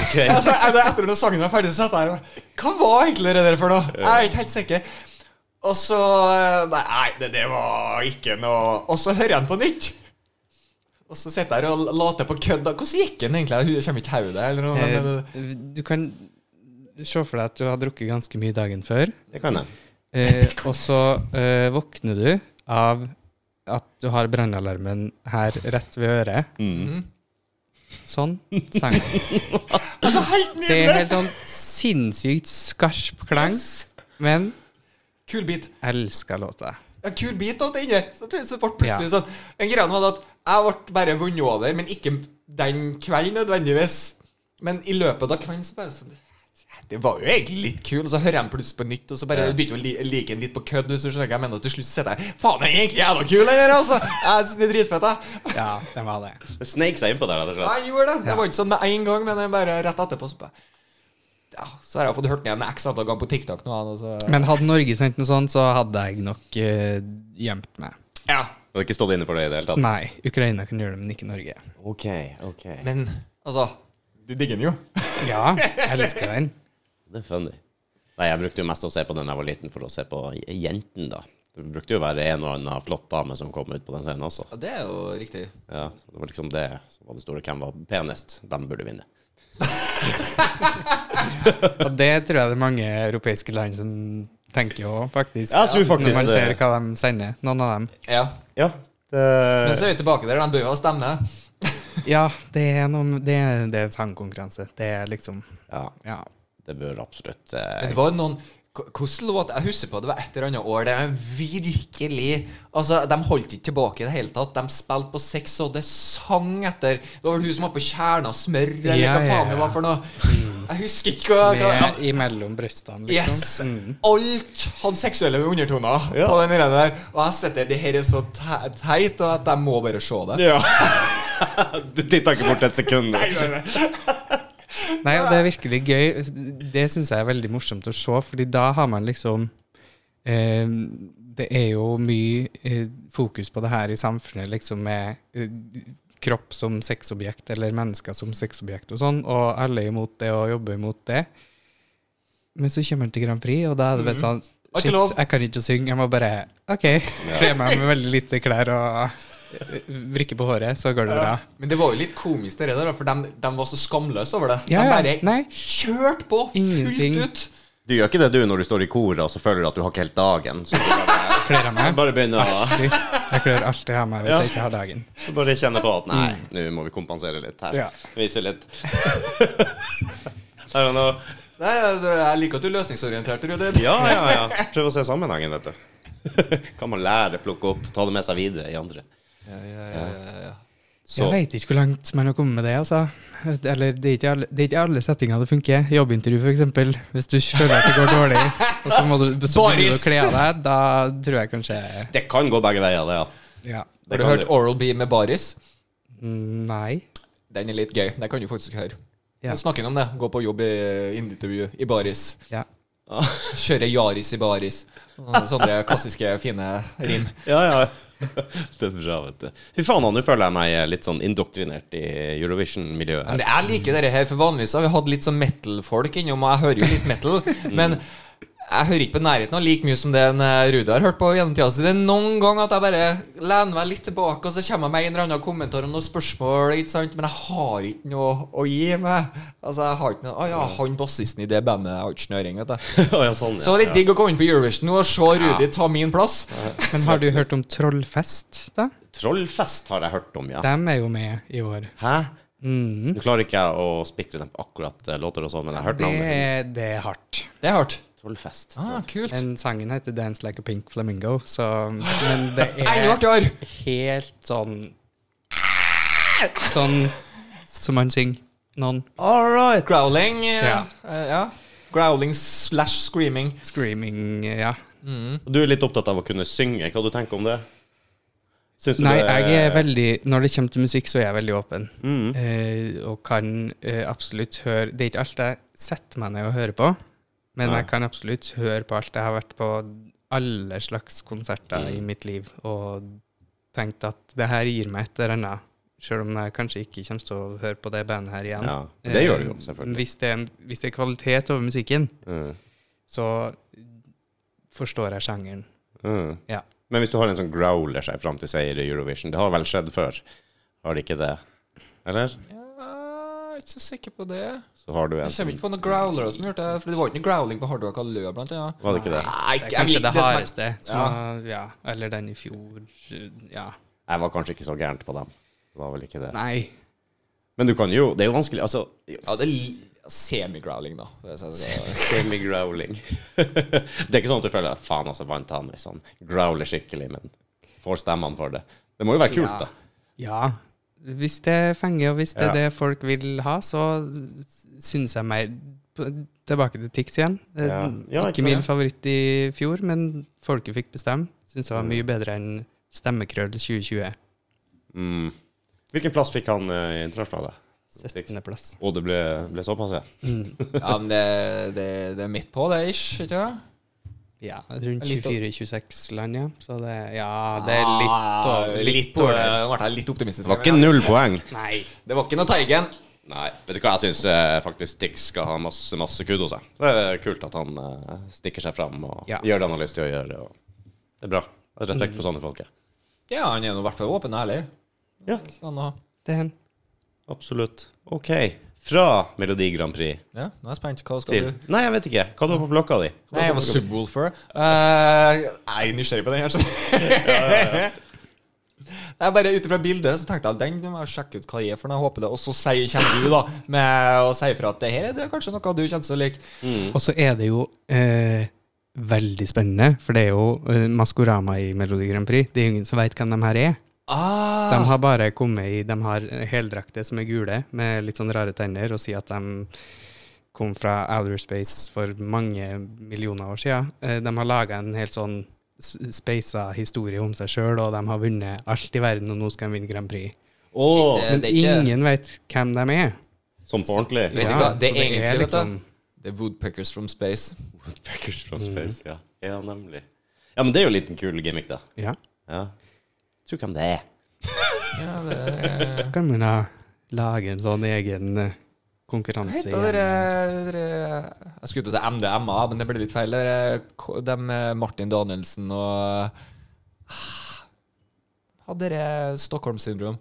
Speaker 2: Okay.
Speaker 1: Altså, er det etter når sangen var ferdig, så satt jeg her og bare, Hva var egentlig det der for noe? Jeg er ikke helt sikker. Og så eh, Nei, nei, det, det var ikke noe Og så hører jeg den på nytt. Og så sitter jeg her og later på kødd. Hvordan gikk den egentlig? Jeg kommer ikke i hodet eller noe. Men,
Speaker 3: Eh, Du kan se for deg at du har drukket ganske mye dagen før,
Speaker 2: *laughs* Det kan jeg.
Speaker 3: eh, og så eh, våkner du av at du har brannalarmen her rett ved øret.
Speaker 2: Mm.
Speaker 3: Sånn sang.
Speaker 1: altså, helt
Speaker 3: Det er
Speaker 1: nydelig!
Speaker 3: helt sånn sinnssykt skarp klang, men
Speaker 1: Kul bit.
Speaker 3: jeg elsker låta.
Speaker 1: Ja, kul bit alt det inni. Så jeg tror- så ble det plutselig sånn En greie var det at jeg ble bare vunnet over, men ikke den kvelden nødvendigvis. Men i løpet av kvelden så bare sånn Det var jo egentlig litt kul, og så hører jeg den plutselig på nytt, og så bare begynte jeg å li- like den litt på kødd, hvis du skjønner hva jeg mener, og til slutt sitter jeg Faen, den er egentlig jævla kul, den der, altså! Jeg synes det er dritfett, jeg.
Speaker 3: Ja, den var det.
Speaker 2: Det sneik seg innpå der, rett og slett.
Speaker 1: Jeg gjorde det. Det var ikke sånn med en gang, men jeg bare rett etterpå så bare ja, så har jeg fått hørt den igjen x antall ganger på TikTok nå. altså. og Så,
Speaker 3: Men hadde Norge sendt noe sånt, så hadde jeg nok eh, gjemt meg.
Speaker 1: ja.
Speaker 2: Du har ikke stått inne for det i det hele tatt?
Speaker 3: Nei, Ukraina kan gjøre det, men ikke Norge.
Speaker 2: OK, OK.
Speaker 1: Men altså Du digger den jo.
Speaker 3: Ja, jeg elsker den.
Speaker 2: Det er funny. Nei, jeg brukte jo mest å se på den da jeg var liten, for å se på j- jenten, da. Det brukte jo å være en og annen flott dame som kom ut på den scenen også.
Speaker 1: Ja, Det er jo riktig.
Speaker 2: Ja, så det var liksom det som var det store. Hvem var penest? De burde vinne.
Speaker 3: Og det tror jeg det er mange europeiske land som tenker òg, faktisk.
Speaker 2: Jeg tror faktisk
Speaker 3: Når man
Speaker 2: det.
Speaker 3: ser hva de sender, noen av dem.
Speaker 1: Ja.
Speaker 2: Ja.
Speaker 1: Men så er vi tilbake der. De bør jo ha stemme.
Speaker 3: Ja, det er, noe, det, er- det er sangkonkurranse. Det er liksom
Speaker 2: ja,
Speaker 3: Ja.
Speaker 2: det bør absolutt
Speaker 1: Men
Speaker 2: eh,
Speaker 1: det var jo noen K- Hvordan låt Jeg husker på det var et eller annet år der de virkelig Altså, de holdt ikke tilbake i det hele tatt. De spilte på sex, og det sang etter Det var vel hun som var på kjerna av smør, eller
Speaker 3: Ja,
Speaker 1: hva
Speaker 3: ja,
Speaker 1: faen det var
Speaker 3: ja. Mm.
Speaker 1: for noe. Jeg husker ikke hva, hva
Speaker 3: Med, imellom brystene, liksom.
Speaker 1: Yes!
Speaker 3: Mm.
Speaker 1: Alt hadde seksuelle undertoner
Speaker 2: Ja.
Speaker 1: på den greia der. Og jeg sitter Det her er så te- teit, og at jeg må bare se det.
Speaker 2: Ja. *laughs* du titta ikke bort et sekund.
Speaker 3: Nei, og det er virkelig gøy. Det syns jeg er veldig morsomt å se, fordi da har man liksom eh, Det er jo mye eh, fokus på det her i samfunnet, liksom med eh, kropp som sexobjekt, eller mennesker som sexobjekt og sånn, og alle er imot det og jobber imot det. Men så kommer man til Grand Prix, og da er det bare sånn
Speaker 1: Var ikke
Speaker 3: Shit,
Speaker 1: lov.
Speaker 3: jeg kan ikke synge, jeg må bare OK. Kle meg med veldig lite klær og eh, vrikke på håret, så går det bra.
Speaker 1: Men det var jo litt komisk, det der, da, for de, de var så skamløse over det.
Speaker 3: Ja,
Speaker 1: de
Speaker 3: ja.
Speaker 1: bare
Speaker 3: Nei.
Speaker 1: kjørte på fullt
Speaker 3: Ingenting.
Speaker 1: ut.
Speaker 2: Du gjør ikke det du når du står i koret og så føler du at du har ikke helt dagen. Så du *laughs* bare,
Speaker 3: Kler jeg meg?
Speaker 2: bare begynner å *laughs*
Speaker 3: Jeg klør alltid av meg hvis jeg ikke har dagen.
Speaker 2: bare kjenne på at nei, nå må vi kompensere litt her.
Speaker 3: Ja.
Speaker 2: Vise litt. *laughs* I don't know.
Speaker 1: Nei, det- jeg liker at du er løsningsorientert, Rudi.
Speaker 2: Ja, ja, ja. Prøv å se sammenhengen, vet du. *laughs* Kan man lære, plukke opp, ta det med seg videre i andre.
Speaker 1: Ja, ja, ja, ja, ja.
Speaker 2: Så
Speaker 3: Jeg veit ikke hvor langt man har kommet med det, altså. Eller det er ikke alle, det er ikke alle settinger det funker. Jobbintervju, f.eks. Hvis du føler at det går dårlig, og så må du, så begynner du å
Speaker 1: Boris!
Speaker 3: kle av deg, da tror jeg kanskje
Speaker 2: det kan gå begge veier, det, ja.
Speaker 3: Ja.
Speaker 2: Det
Speaker 1: Har du
Speaker 2: kan
Speaker 1: hørt Oral B med Baris?
Speaker 3: Mm, Nei.
Speaker 1: Den er litt gøy. Den kan du faktisk høre.
Speaker 3: Ja.
Speaker 1: Ja. Snakker om det. Gå på jobb i intervju i Baris.
Speaker 3: Ja.
Speaker 1: Kjøre Yaris i Baris. Og Sånne klassiske, fine rim.
Speaker 2: Ja, ja. *laughs* Det er bra, vet du. Fy faen, nå føler jeg meg litt sånn indoktrinert i Eurovision-miljøet
Speaker 1: Men
Speaker 2: her.
Speaker 1: det *laughs* er like dere her, for vanligvis har vi hatt litt sånn metal-folk innom, og jeg hører jo litt metal, men Jeg hører ikke på nærheten av like mye som det en eh, Rudi har hørt på gjennom tida si. Det er noen ganger at jeg bare lener meg litt tilbake, og så kommer jeg med en eller annen kommentar om noen spørsmål, ikke sant? men jeg har ikke noe å gi meg. Altså, jeg har ikke noe Å ja, han bassisten i det bandet jeg har ikke snøring, *laughs* vet du.
Speaker 2: Å, ja, sånn,
Speaker 1: Så det var
Speaker 2: ja.
Speaker 1: litt digg å komme inn på Eurovision nå og se Rudi ta min plass.
Speaker 3: Men har du hørt om Trollfest, da?
Speaker 2: Trollfest har jeg hørt om, ja.
Speaker 3: Dem er jo med i år.
Speaker 2: Hæ?
Speaker 3: Mm.
Speaker 2: Nå klarer ikke jeg å spikre dem på akkurat eh, låter og sånn, men jeg har hørt
Speaker 3: Det,
Speaker 2: navnet.
Speaker 3: det er hardt.
Speaker 1: Det er hardt.
Speaker 2: Trollfest.
Speaker 1: Ah, kult.
Speaker 3: Den sangen heter 'Dance Like a Pink Flamingo', så Men det
Speaker 2: *laughs*
Speaker 1: Enda
Speaker 3: er
Speaker 1: artigere!
Speaker 3: helt sånn Sånn som man synger noen
Speaker 1: All right. Growling. eh,
Speaker 3: Ja.
Speaker 1: eh, ja. Growling slash screaming.
Speaker 3: screaming Ja.
Speaker 2: Du er litt opptatt av å kunne synge. Hva du tenker om det? Syns
Speaker 3: Nei,
Speaker 2: det Mm.
Speaker 3: jeg er veldig Når det kommer til musikk, så er jeg veldig åpen. Eh, og kan eh, absolutt høre Det er ikke alt jeg setter meg ned og hører på, men
Speaker 2: Nei.
Speaker 3: jeg kan absolutt høre på alt. Jeg har vært på alle slags konserter
Speaker 2: Mm.
Speaker 3: i mitt liv og tenkt at det her gir meg et eller annet. Selv om jeg kanskje ikke kommer til å høre på det bandet her igjen.
Speaker 2: Ja, det gjør du jo,
Speaker 3: Eh,
Speaker 2: selvfølgelig.
Speaker 3: Hvis det, er en, hvis det er kvalitet over musikken,
Speaker 2: Mm.
Speaker 3: så forstår jeg sjangeren.
Speaker 2: Mm.
Speaker 3: Ja.
Speaker 2: Men hvis du har en sånn growler seg fram til seier i Eurovision, det har vel skjedd før? Har det ikke det? Eller?
Speaker 1: Jeg er ikke så sikker på det.
Speaker 2: Så har du en
Speaker 1: Jeg kommer ikke på noen growlere som gjorde det. For det var ikke noe growling på Hard Rock Allø, blant annet.
Speaker 2: Var det ikke det?
Speaker 1: Nei,
Speaker 3: Det
Speaker 1: jeg
Speaker 3: er kanskje
Speaker 1: liker
Speaker 3: det
Speaker 1: som er-
Speaker 3: hardeste. Som
Speaker 1: Ja.
Speaker 3: har, ja, eller den i fjor. Ja.
Speaker 2: Jeg var kanskje ikke så gærent på dem. Det var vel ikke det.
Speaker 3: Nei.
Speaker 2: Men du kan jo Det er jo vanskelig. Altså
Speaker 1: Ja, det er li- semi-growling, da. Det er sånn-
Speaker 2: Semi-growling. *laughs* det er ikke sånn at du føler at faen, altså, vant han, liksom. Growler skikkelig, men får stemmene for det. Det må jo være kult,
Speaker 3: Ja.
Speaker 2: da.
Speaker 3: Ja. Hvis det fenger, og hvis det er
Speaker 2: Ja.
Speaker 3: det folk vil ha, så syns jeg mer p- Tilbake til Tix igjen. Eh,
Speaker 2: Ja. Ja, ikke
Speaker 3: ikke min
Speaker 2: sant?
Speaker 3: favoritt i fjor, men folket fikk bestemme. Syns jeg var mye bedre enn Stemmekrøll 2020.
Speaker 2: Mm. Hvilken plass fikk han eh, i internasjonale?
Speaker 3: 17. plass.
Speaker 2: Og det ble, ble såpass, ja.
Speaker 1: Ja, men det, det, det er midt på, det, ish? Ikke det?
Speaker 3: Ja, rundt
Speaker 1: Litt å-
Speaker 3: 24-26 land, ja. Så det Ja, det er litt
Speaker 1: Ah,
Speaker 3: over.
Speaker 1: litt
Speaker 3: Litt
Speaker 1: over.
Speaker 3: over.
Speaker 1: Nå ble jeg litt optimistisk.
Speaker 2: Det var ikke null poeng.
Speaker 3: Nei.
Speaker 1: Det var ikke noe Teigen.
Speaker 2: Nei, vet du hva, jeg syns eh, faktisk Tix skal ha masse masse kudos. jeg. Så det er kult at han eh, stikker seg fram og
Speaker 3: Ja.
Speaker 2: gjør det han har lyst til å gjøre. Og det er bra. Jeg har Respekt for sånne folk. jeg.
Speaker 1: Ja, han er nå i hvert fall åpen og ærlig.
Speaker 2: Ja,
Speaker 1: Sånn, og-
Speaker 3: Det er en
Speaker 2: absolutt. OK. Fra Melodi Grand Prix
Speaker 1: ja, nå er jeg spent. Hva skal
Speaker 2: til
Speaker 1: du
Speaker 2: Nei, jeg vet ikke. Hva du har på blokka di? Hva du
Speaker 1: Nei,
Speaker 2: har
Speaker 1: jeg var
Speaker 2: på blokka di?
Speaker 1: subwoolfer. Eh, jeg er nysgjerrig på den her. *laughs* så- Jeg bare Ut ifra bildet så tenkte jeg den må jeg sjekke ut hva det er for noe. Jeg håper det Og så sier kommer du da med å si ifra at det her er det kanskje noe du kjenner til å like.
Speaker 3: Og så er det jo eh, veldig spennende, for det er jo eh, Maskorama i Melodi Grand Prix. Det er jo ingen som veit hvem de her er.
Speaker 1: Ah,
Speaker 3: De har bare kommet i De har heldrakter som er gule, med litt sånn rare tenner, og sier at de kom fra outer space for mange millioner år siden. Eh, de har laga en helt sånn s- speisa historie om seg sjøl, og de har vunnet alt i verden, og nå skal de vinne Grand Prix.
Speaker 2: Åh,
Speaker 1: Det-
Speaker 3: Men
Speaker 1: er ikke-
Speaker 3: ingen veit hvem de er.
Speaker 2: Sånn på ordentlig?
Speaker 1: Vet du Mm.
Speaker 3: Ja,
Speaker 1: hva, det er
Speaker 3: så det er
Speaker 1: egentlig, vet du
Speaker 3: liksom-
Speaker 1: Det er Woodpeckers from Space.
Speaker 2: Woodpeckers from space, ja. Ja, nemlig. Mm. Ja, men det er jo en liten kul gimmick, da.
Speaker 3: Ja.
Speaker 2: Ja. Tror hvem det er.
Speaker 1: Ja, det er,
Speaker 3: Kan man da lage en sånn egen
Speaker 1: hva
Speaker 3: eh, konkurranse?
Speaker 1: heter
Speaker 3: igjen?
Speaker 1: dere, dere Jeg skulle til å si MDMA, men det ble litt feil. Dere, K- dem, eh, Martin Danielsen og Ah, Hadde dere Stockholm-syndrom?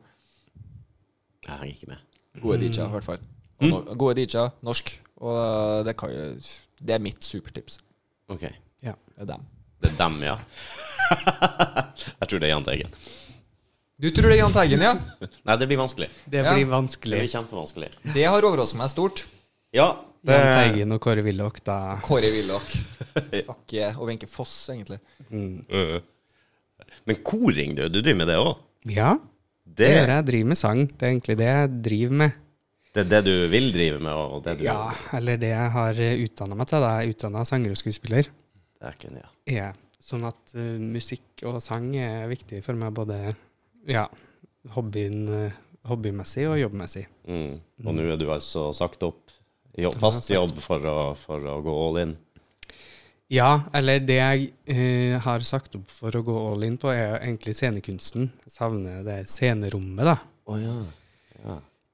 Speaker 2: Jeg henger ikke med.
Speaker 1: Gode DJ-er, i hvert fall.
Speaker 2: Mm.
Speaker 1: Og no gode DJ-er, norsk. Og det, kan, jo- det er mitt supertips.
Speaker 2: OK.
Speaker 3: Ja.
Speaker 1: Det er dem.
Speaker 2: Det er dem, ja. *laughs* jeg tror det er Jahn Teigen. *laughs*
Speaker 1: Du tror det er Jahn Teigen, ja?
Speaker 2: Nei, det blir vanskelig.
Speaker 3: Det
Speaker 1: Ja.
Speaker 3: blir
Speaker 2: Det
Speaker 3: vanskelig.
Speaker 2: blir kjempevanskelig.
Speaker 1: *laughs* Det har overrasket meg stort.
Speaker 2: Ja, det
Speaker 3: Jahn Teigen og Kåre Willoch, da.
Speaker 1: Kåre
Speaker 2: *laughs*
Speaker 1: Willoch. Fuck yeah. Og Wenche Foss, egentlig.
Speaker 2: Øh. Men koring, du. Du driver med det òg?
Speaker 3: Ja, det
Speaker 2: Det,
Speaker 3: gjør jeg. Jeg driver med sang. Det er egentlig det jeg driver med.
Speaker 2: det er det du vil drive med? Og det du,
Speaker 3: Ja, eller det jeg har utdanna meg til. da. Jeg er utdanna sanger og skuespiller.
Speaker 2: Det er ikke, ja.
Speaker 3: Er jeg. Sånn at eh, musikk og sang er viktig for meg både ja, hobbyen, eh, hobbymessig og jobbmessig.
Speaker 2: mm. Og nå er du altså sagt opp? Jobb, fast
Speaker 3: Jeg har
Speaker 2: jobb for å, for å gå all in?
Speaker 3: Ja, eller det jeg eh, har sagt opp for å gå all in på, er jo egentlig scenekunsten. Jeg savner det scenerommet, da.
Speaker 2: Å ja.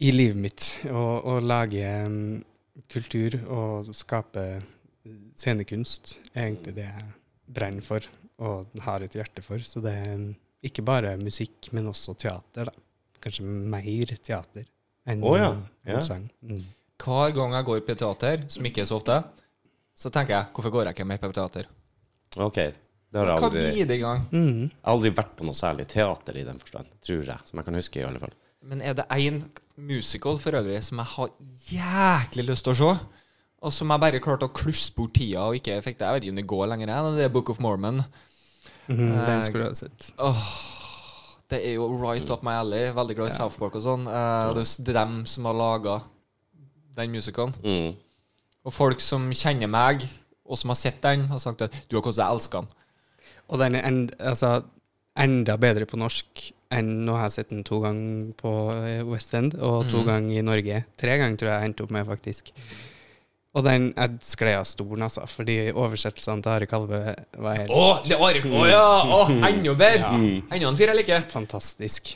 Speaker 3: i livet mitt. Å å lage mm, kultur og skape scenekunst er egentlig
Speaker 2: Mm.
Speaker 3: det jeg brenner for og har et hjerte for. Så det er ikke bare musikk, men også teater, da. Kanskje mer teater enn
Speaker 2: Å ja,
Speaker 3: enn
Speaker 2: ja.
Speaker 3: sang. Mm.
Speaker 1: Hver gang jeg går på teater, som ikke er så ofte, så tenker jeg hvorfor går jeg ikke mer på teater?
Speaker 2: Ok. Det har jeg
Speaker 1: Hva
Speaker 2: aldri,
Speaker 1: blir det i gang?
Speaker 3: Mm.
Speaker 2: aldri vært på noe særlig teater i den forstand, tror jeg. Som jeg kan huske, i alle fall.
Speaker 1: Men er det én musical for øvrig som jeg har jæklig lyst til å se, og som jeg bare klarte å klusse bort tida og ikke fikk det Jeg vet ikke om det går lenger, jeg, det er Book of Mormon.
Speaker 3: Mhm,
Speaker 1: Eh,
Speaker 3: den skulle du ha sett.
Speaker 1: Det er jo right up my alley. Veldig glad i South Park og sånn. Eh, det er s- det er dem som har laga den musicalen.
Speaker 2: Mm.
Speaker 1: Og folk som kjenner meg, og som har sett den, har sagt at 'du har hvordan jeg elsker den'.
Speaker 3: Og den er end, altså, enda bedre på norsk enn nå har jeg sett den to ganger på eh, West End, og
Speaker 1: Mm.
Speaker 3: to ganger i Norge. Tre ganger tror jeg jeg endte opp med, faktisk. Og den jeg skled av stolen, altså, fordi oversettelsene til Are Kalve var helt
Speaker 1: Å, det var Å ja! Å, enda bedre! Enda en fyr jeg liker.
Speaker 3: fantastisk.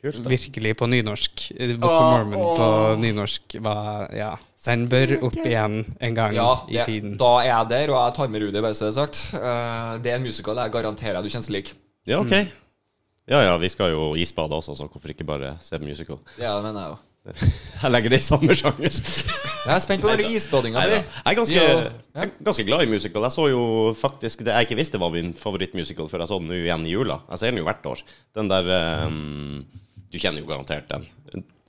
Speaker 2: Kult, da.
Speaker 3: Virkelig på nynorsk. Eh, Book of
Speaker 1: Åh,
Speaker 3: Mormon på
Speaker 1: åh.
Speaker 3: nynorsk var Ja. Den bør opp igjen en gang
Speaker 1: Ja,
Speaker 3: i
Speaker 1: det,
Speaker 3: tiden.
Speaker 1: da er jeg der, og jeg tar med Rudi, bare så det er sagt. Eh, det er en musical jeg garanterer du kjennes lik.
Speaker 2: Ja, ok. Ja ja, vi skal jo isbade også, så hvorfor ikke bare se på musical? *laughs*
Speaker 1: Det er det, mener jeg jo.
Speaker 2: Jeg legger det i samme sjanger.
Speaker 1: Jeg er spent på den isbadinga di.
Speaker 2: Neida. Jeg er ganske,
Speaker 1: Ja.
Speaker 2: jeg er ganske glad i musical. Jeg så jo faktisk det jeg ikke visste var min favorittmusical før jeg så den nå igjen i jula. Jeg ser den jo hvert år. Den der ehm, Du kjenner jo garantert den.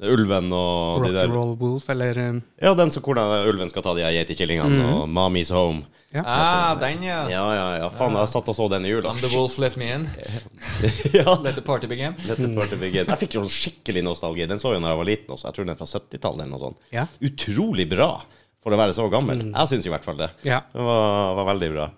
Speaker 2: Ulven og de der
Speaker 3: Rock'n'roll Wolf, eller eh,
Speaker 2: Ja, den som hvordan ulven skal ta de her geitekillingene og Mommy's Home.
Speaker 1: Ah, den, ja.
Speaker 2: Ja, ja, ja. Faen, jeg satt og så den i jula.
Speaker 1: I'm the wolf, let me in.
Speaker 2: *laughs* ja.
Speaker 1: Let the party begin.
Speaker 2: Let the party begin. Jeg fikk jo skikkelig nostalgi. Den så jeg da jeg var liten også. Jeg tror den er fra 70-tallet eller noe sånt.
Speaker 3: Ja. Mm.
Speaker 2: Utrolig bra for å være så gammel. Jeg syns i hvert fall det.
Speaker 3: Ja.
Speaker 2: Det var, var veldig bra.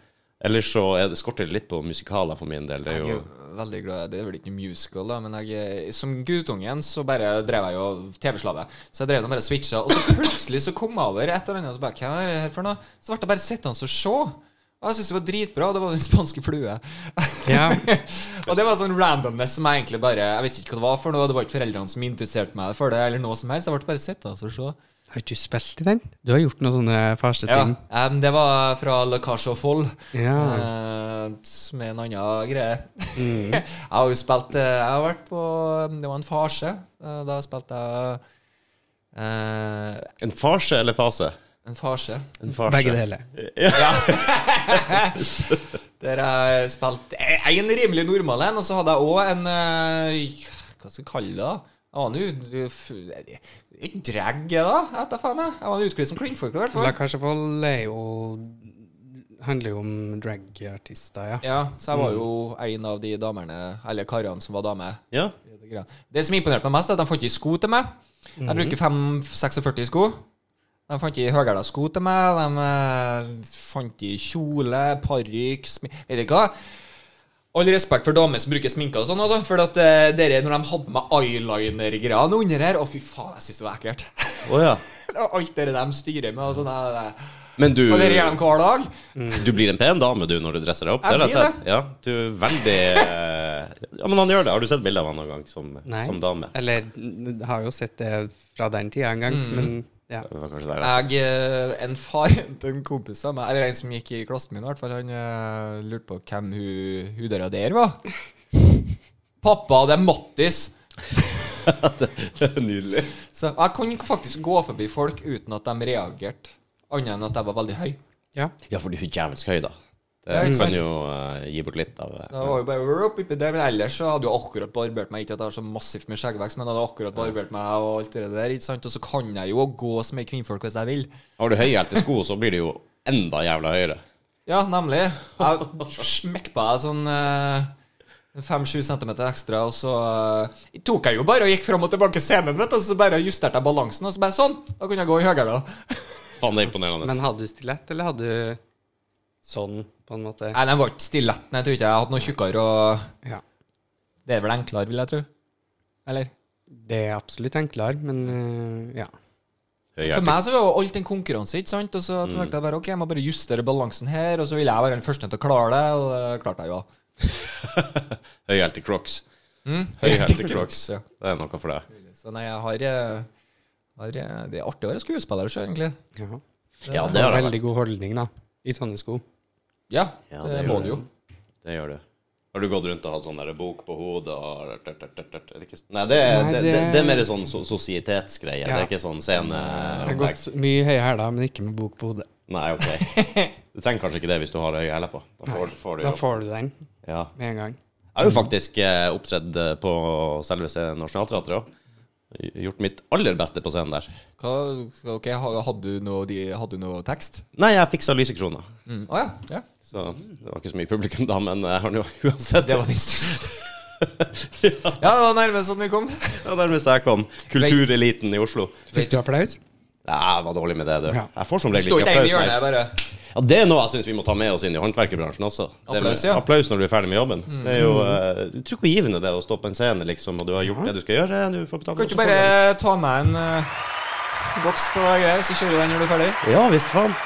Speaker 2: Ellers så er det skorter det litt på musikaler for min del. Det er
Speaker 1: Jeg er
Speaker 2: jo
Speaker 1: jo veldig glad Det er vel ikke noe musical, da, men jeg, er- som guttungen så bare drev jeg jo TV-slave. Så jeg drev og bare switcha, og så plutselig så kom jeg over et eller annet. Så bare, Hva er det her for noe? Så ble jeg bare sittende og se. Og jeg syntes det var dritbra. Det var Den spanske flue.
Speaker 3: Ja.
Speaker 1: *laughs* og det var sånn randomness som jeg egentlig bare Jeg visste ikke hva det var for noe. Det var ikke foreldrene som interesserte meg for det, eller noe som helst. Jeg ble bare sittende og se.
Speaker 3: Har ikke du spilt i den? Du har gjort noen sånne farste
Speaker 1: Ja,
Speaker 3: ting.
Speaker 1: em, det var fra La Cage aux Foll,
Speaker 3: Ja.
Speaker 1: eh, som er en annen greie. *laughs*
Speaker 3: Mm.
Speaker 1: jeg har jo spilt eh, Jeg har vært på Det var en farse. eh, Da spilte jeg eh,
Speaker 2: En farse eller fase?
Speaker 1: en farse.
Speaker 2: En farse.
Speaker 3: Begge deler.
Speaker 1: Der jeg spilte e, en rimelig normal en, og så hadde jeg òg en eh, Hva skal jeg kalle det? da? Jeg var nå eh, f- Ikke drag, da? Jeg vet da faen. Jeg Jeg var utkledd som kvinnfolk, i hvert fall.
Speaker 3: La Cage Vold er jo handler jo om dragartister, ja.
Speaker 1: Ja, så
Speaker 3: Mm.
Speaker 1: jeg var jo en av de damerne, eller karene, som var dame.
Speaker 2: Ja.
Speaker 1: Det som imponerte meg mest, er at de fant ikke sko til meg. Jeg bruker 5-46 sko. De fant ikke høyhæla sko til meg. De eh, fant ikke kjole, parykk smi- Vet du hva? All respekt for damer som bruker sminke og sånn, altså. For at eh, dere, når de hadde med eyeliner-greiene under her Å, fy faen, jeg syns det var ekkelt. *laughs*
Speaker 2: Å ja.
Speaker 1: Og Alt det de styrer med og sånn. eh,
Speaker 2: Men du, Mm.
Speaker 1: Og dere gjør dem hver dag.
Speaker 2: du blir en pen dame du når du dresser deg opp.
Speaker 1: Jeg
Speaker 2: det har jeg
Speaker 1: blir
Speaker 2: sett. Ja, du er veldig eh, Ja, men han gjør det. Har du sett bilde av han noen gang som,
Speaker 3: Nei. Eh.
Speaker 2: som dame?
Speaker 3: Eller n- har jo sett det fra den tida en gang, men ja.
Speaker 2: Det var kanskje der, altså.
Speaker 1: Jeg, eh, en far *laughs* til en kompis av meg, eller en som gikk i klassen min i hvert fall, han eh, lurte på hvem hun, hun der og der var. *laughs* Pappa, det er Mattis.
Speaker 2: *laughs* Nydelig.
Speaker 1: Så jeg kunne faktisk gå forbi folk uten at de reagerte, annet enn at jeg var veldig høy.
Speaker 3: ja.
Speaker 2: Ja, for du er jævelsk høy, da. Det
Speaker 1: Ja, ikke sant?
Speaker 2: kan jo eh, gi bort litt av eh,
Speaker 1: Så jeg var jo bare «Rup, oppi der, Men ellers så hadde jeg akkurat barbert meg, ikke at jeg har så massivt med skjeggvekst, men jeg hadde akkurat barbert meg og alt det der, ikke sant? Og så kan jeg jo gå som ei kvinnfolk hvis jeg vil.
Speaker 2: Har du høyhælte sko, så blir det jo enda jævla høyere.
Speaker 1: Ja, nemlig. Jeg smekk på deg sånn eh, 5-7 cm ekstra, og så eh, tok jeg jo bare og gikk fram og tilbake scenen, vet du, og så bare justerte jeg balansen, og så bare sånn. Da kunne jeg gå i høyere.
Speaker 2: Faen, det er imponerende.
Speaker 3: Men hadde du stilett, eller hadde du sånn, på en måte?
Speaker 1: Nei, den var ikke stiletten, jeg tror ikke jeg hadde noe tjukkere, og
Speaker 3: Ja.
Speaker 1: det er vel enklere, vil jeg tro. Eller?
Speaker 3: Det er absolutt enklere, men eh, ja.
Speaker 2: Høyhælte.
Speaker 1: For meg så var jo alt en konkurranse, ikke sant, og så
Speaker 2: Mm.
Speaker 1: tenkte jeg bare ok, jeg må bare justere balansen her, og så ville jeg være den første til å klare det, og det klarte jeg jo.
Speaker 2: Høyhælte crocs.
Speaker 1: *laughs*
Speaker 2: Høyhælte crocs.
Speaker 1: Ja.
Speaker 2: Det er noe for deg.
Speaker 1: Så nei, jeg har, eh, har eh, Det er artig å være skuespiller sjøl, egentlig.
Speaker 3: ja.
Speaker 2: Ja,
Speaker 3: Det
Speaker 2: det har jeg
Speaker 3: var
Speaker 2: vært.
Speaker 3: veldig god holdning, da. I sånne sko.
Speaker 1: Ja,
Speaker 2: Ja,
Speaker 1: det,
Speaker 2: det
Speaker 1: må
Speaker 2: gjør
Speaker 1: du jo.
Speaker 2: Det gjør du. Har du gått rundt og hatt sånn der bok på hodet og Er det ikke s- Nei, det,
Speaker 3: Nei,
Speaker 2: det,
Speaker 3: det-
Speaker 2: det, det er mer sånn so sosietetsgreie. Det
Speaker 3: Ja.
Speaker 2: er ikke sånn scene...
Speaker 3: Jeg har gått mye høye hæler, men ikke med bok på hodet.
Speaker 2: Nei, ok. Du trenger kanskje ikke det hvis du har høye hæler på. Da får, får du
Speaker 3: Da
Speaker 2: jo
Speaker 3: får du den
Speaker 2: ja.
Speaker 3: med en gang.
Speaker 2: Jeg
Speaker 1: Mm.
Speaker 2: har jo faktisk eh, opptredd eh, på selveste Nationaltheatret òg. Gjort mitt aller beste på scenen der.
Speaker 1: Hva, ok, ha- Hadde du noe, de, hadde du noe tekst?
Speaker 2: Nei, jeg fiksa lysekrona.
Speaker 1: Å mm. å ja, ja.
Speaker 2: Så mm, det var ikke så mye publikum da, men jeg har nå *laughs* uansett
Speaker 1: Det var din
Speaker 2: *laughs*
Speaker 1: Ja, det var nærmest sånn vi kom.
Speaker 2: Det var nærmest jeg kom. Kultureliten i Oslo.
Speaker 3: Fikk du applaus?
Speaker 2: Nei, jeg var dårlig med det, du.
Speaker 3: Ja.
Speaker 2: Jeg får som regel
Speaker 1: Stå
Speaker 2: ikke
Speaker 1: ikke inn i
Speaker 2: applaus.
Speaker 1: hjørnet,
Speaker 2: nei.
Speaker 1: jeg bare
Speaker 2: Ja, det er noe jeg syns vi må ta med oss inn i håndverkerbransjen også. Det med
Speaker 1: Applaus, ja. Mm.
Speaker 2: Applaus når du er ferdig med jobben. Det er jo uh, utrolig det å stå på en scene, liksom, og du har gjort det du skal gjøre. Du får betalt
Speaker 1: Kan
Speaker 2: og
Speaker 1: ikke
Speaker 2: så
Speaker 1: du
Speaker 2: får du
Speaker 1: bare
Speaker 2: den.
Speaker 1: ta med en eh, boks på greier, så kjører du den når du er ferdig?
Speaker 2: Ja visst, faen.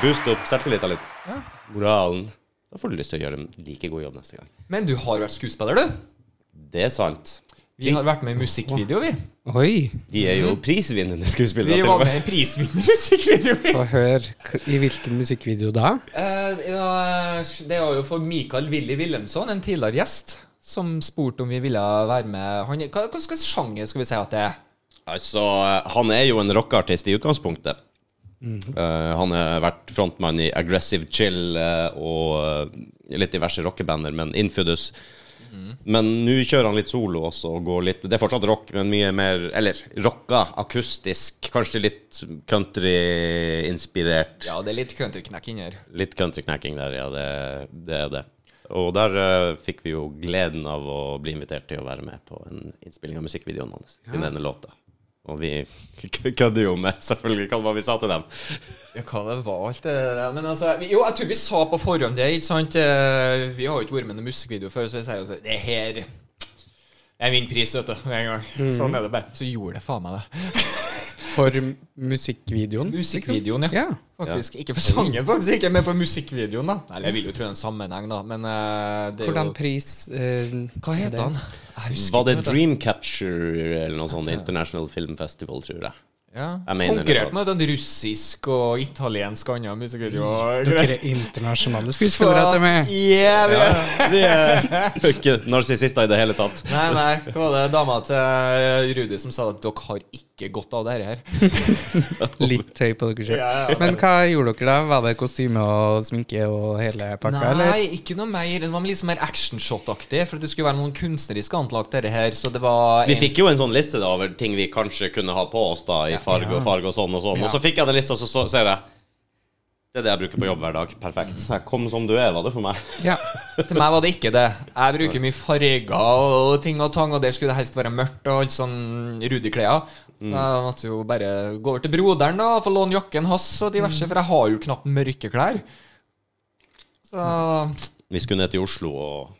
Speaker 2: Boost opp selvtilliten litt.
Speaker 1: Ja.
Speaker 2: Moralen. Da får du lyst til å gjøre en like god jobb neste gang.
Speaker 1: Men du har vært skuespiller, du.
Speaker 2: Det er sant.
Speaker 1: Vi har vært med i musikkvideo, vi.
Speaker 3: Oi!
Speaker 2: De er jo prisvinnende skuespillere.
Speaker 1: Mhm. Vi
Speaker 2: til
Speaker 1: var
Speaker 2: og med.
Speaker 1: med i en prisvinnende *laughs* musikkvideo. vi.
Speaker 3: Få høre k- i hvilken musikkvideo da?
Speaker 1: *laughs* Eh, ja, det var jo for Mikael Willy Wilhelmsson, en tidligere gjest, som spurte om vi ville være med. Han, hva, hva slags sjanger skal vi si at det er?
Speaker 2: Altså, han er jo en rockeartist i utgangspunktet.
Speaker 1: Mhm.
Speaker 2: Eh, han har vært frontmann i Aggressive Chill eh, og eh, litt diverse rockebander, men Infidus.
Speaker 1: Mhm.
Speaker 2: Men nå kjører han litt solo også og går litt Det er fortsatt rock, men mye mer Eller rocka, akustisk, kanskje litt country-inspirert.
Speaker 1: Ja, det er litt countryknekk inni her.
Speaker 2: Litt countryknacking der, ja. Det, det er det. Og der eh, fikk vi jo gleden av å bli invitert til å være med på en innspilling av musikkvideoen hans til denne låta. Og vi *laughs* kødder jo med selvfølgelig hva det var vi sa til dem.
Speaker 1: Ja, hva det var alt det der Men altså vi- Jo, jeg tror vi sa på forhånd det, ikke sant? Eh, Vi har jo ikke vært med i noen musikkvideo før, så vi sier jo sånn Det her Jeg vinner pris, vet du, med en gang.
Speaker 3: Mm.
Speaker 1: Sånn er det bare. Så gjorde det faen meg det.
Speaker 3: For m- musikkvideoen?
Speaker 1: Musikkvideoen, ja.
Speaker 3: Liksom. Ja.
Speaker 1: Faktisk. Ikke for sangen, faktisk, ikke, men for musikkvideoen, da. Eller jeg vil jo tro det er en sammenheng, da, men eh, det er
Speaker 3: Hvordan
Speaker 1: jo
Speaker 3: pris eh,
Speaker 1: Hva
Speaker 3: det?
Speaker 1: heter han? Jeg husker
Speaker 2: Var det
Speaker 1: ikke, vet du.
Speaker 2: Dream Capture eller noe sånt International Film Festival, tror jeg.
Speaker 1: Ja.
Speaker 2: Jeg mener det
Speaker 1: Konkurrerte
Speaker 2: var-
Speaker 1: med den russisk og italiensk og annen musikkvideo. og greier.
Speaker 3: Dere er internasjonale skuespillere til meg.
Speaker 1: Yeah, vi er-
Speaker 2: De er ikke narsissister i det hele tatt.
Speaker 1: Nei, nei. Hva var det dama til eh, Rudi som sa at dere har ikke godt av det her?
Speaker 3: Litt høy på dere selv.
Speaker 1: Ja, ja.
Speaker 3: Men hva gjorde dere da? Var det kostyme og sminke og hele pakka, eller?
Speaker 1: Nei, ikke noe mer. Det var litt mer actionshot-aktig, for det skulle være noen kunstnerisk anlagt, dette her. Så det var
Speaker 2: Vi fikk jo en sånn liste da over ting vi kanskje kunne ha på oss da i farge og farge og sånn og sånn. Og så fikk jeg den lista, og så, så ser jeg Det er det jeg bruker på jobb hver dag. Perfekt.
Speaker 1: Mm.
Speaker 2: Så jeg kom som du er, var det for meg.
Speaker 3: Ja.
Speaker 1: Til meg var det ikke det. Jeg bruker mye farger og ting og tang, og der skulle det helst være mørkt og alt sånn Rudi-klær. Så jeg måtte jo bare gå over til broderen da og få låne jakken hans og diverse, for jeg har jo knapt mørke klær. Så
Speaker 2: Vi skulle ned til Oslo og,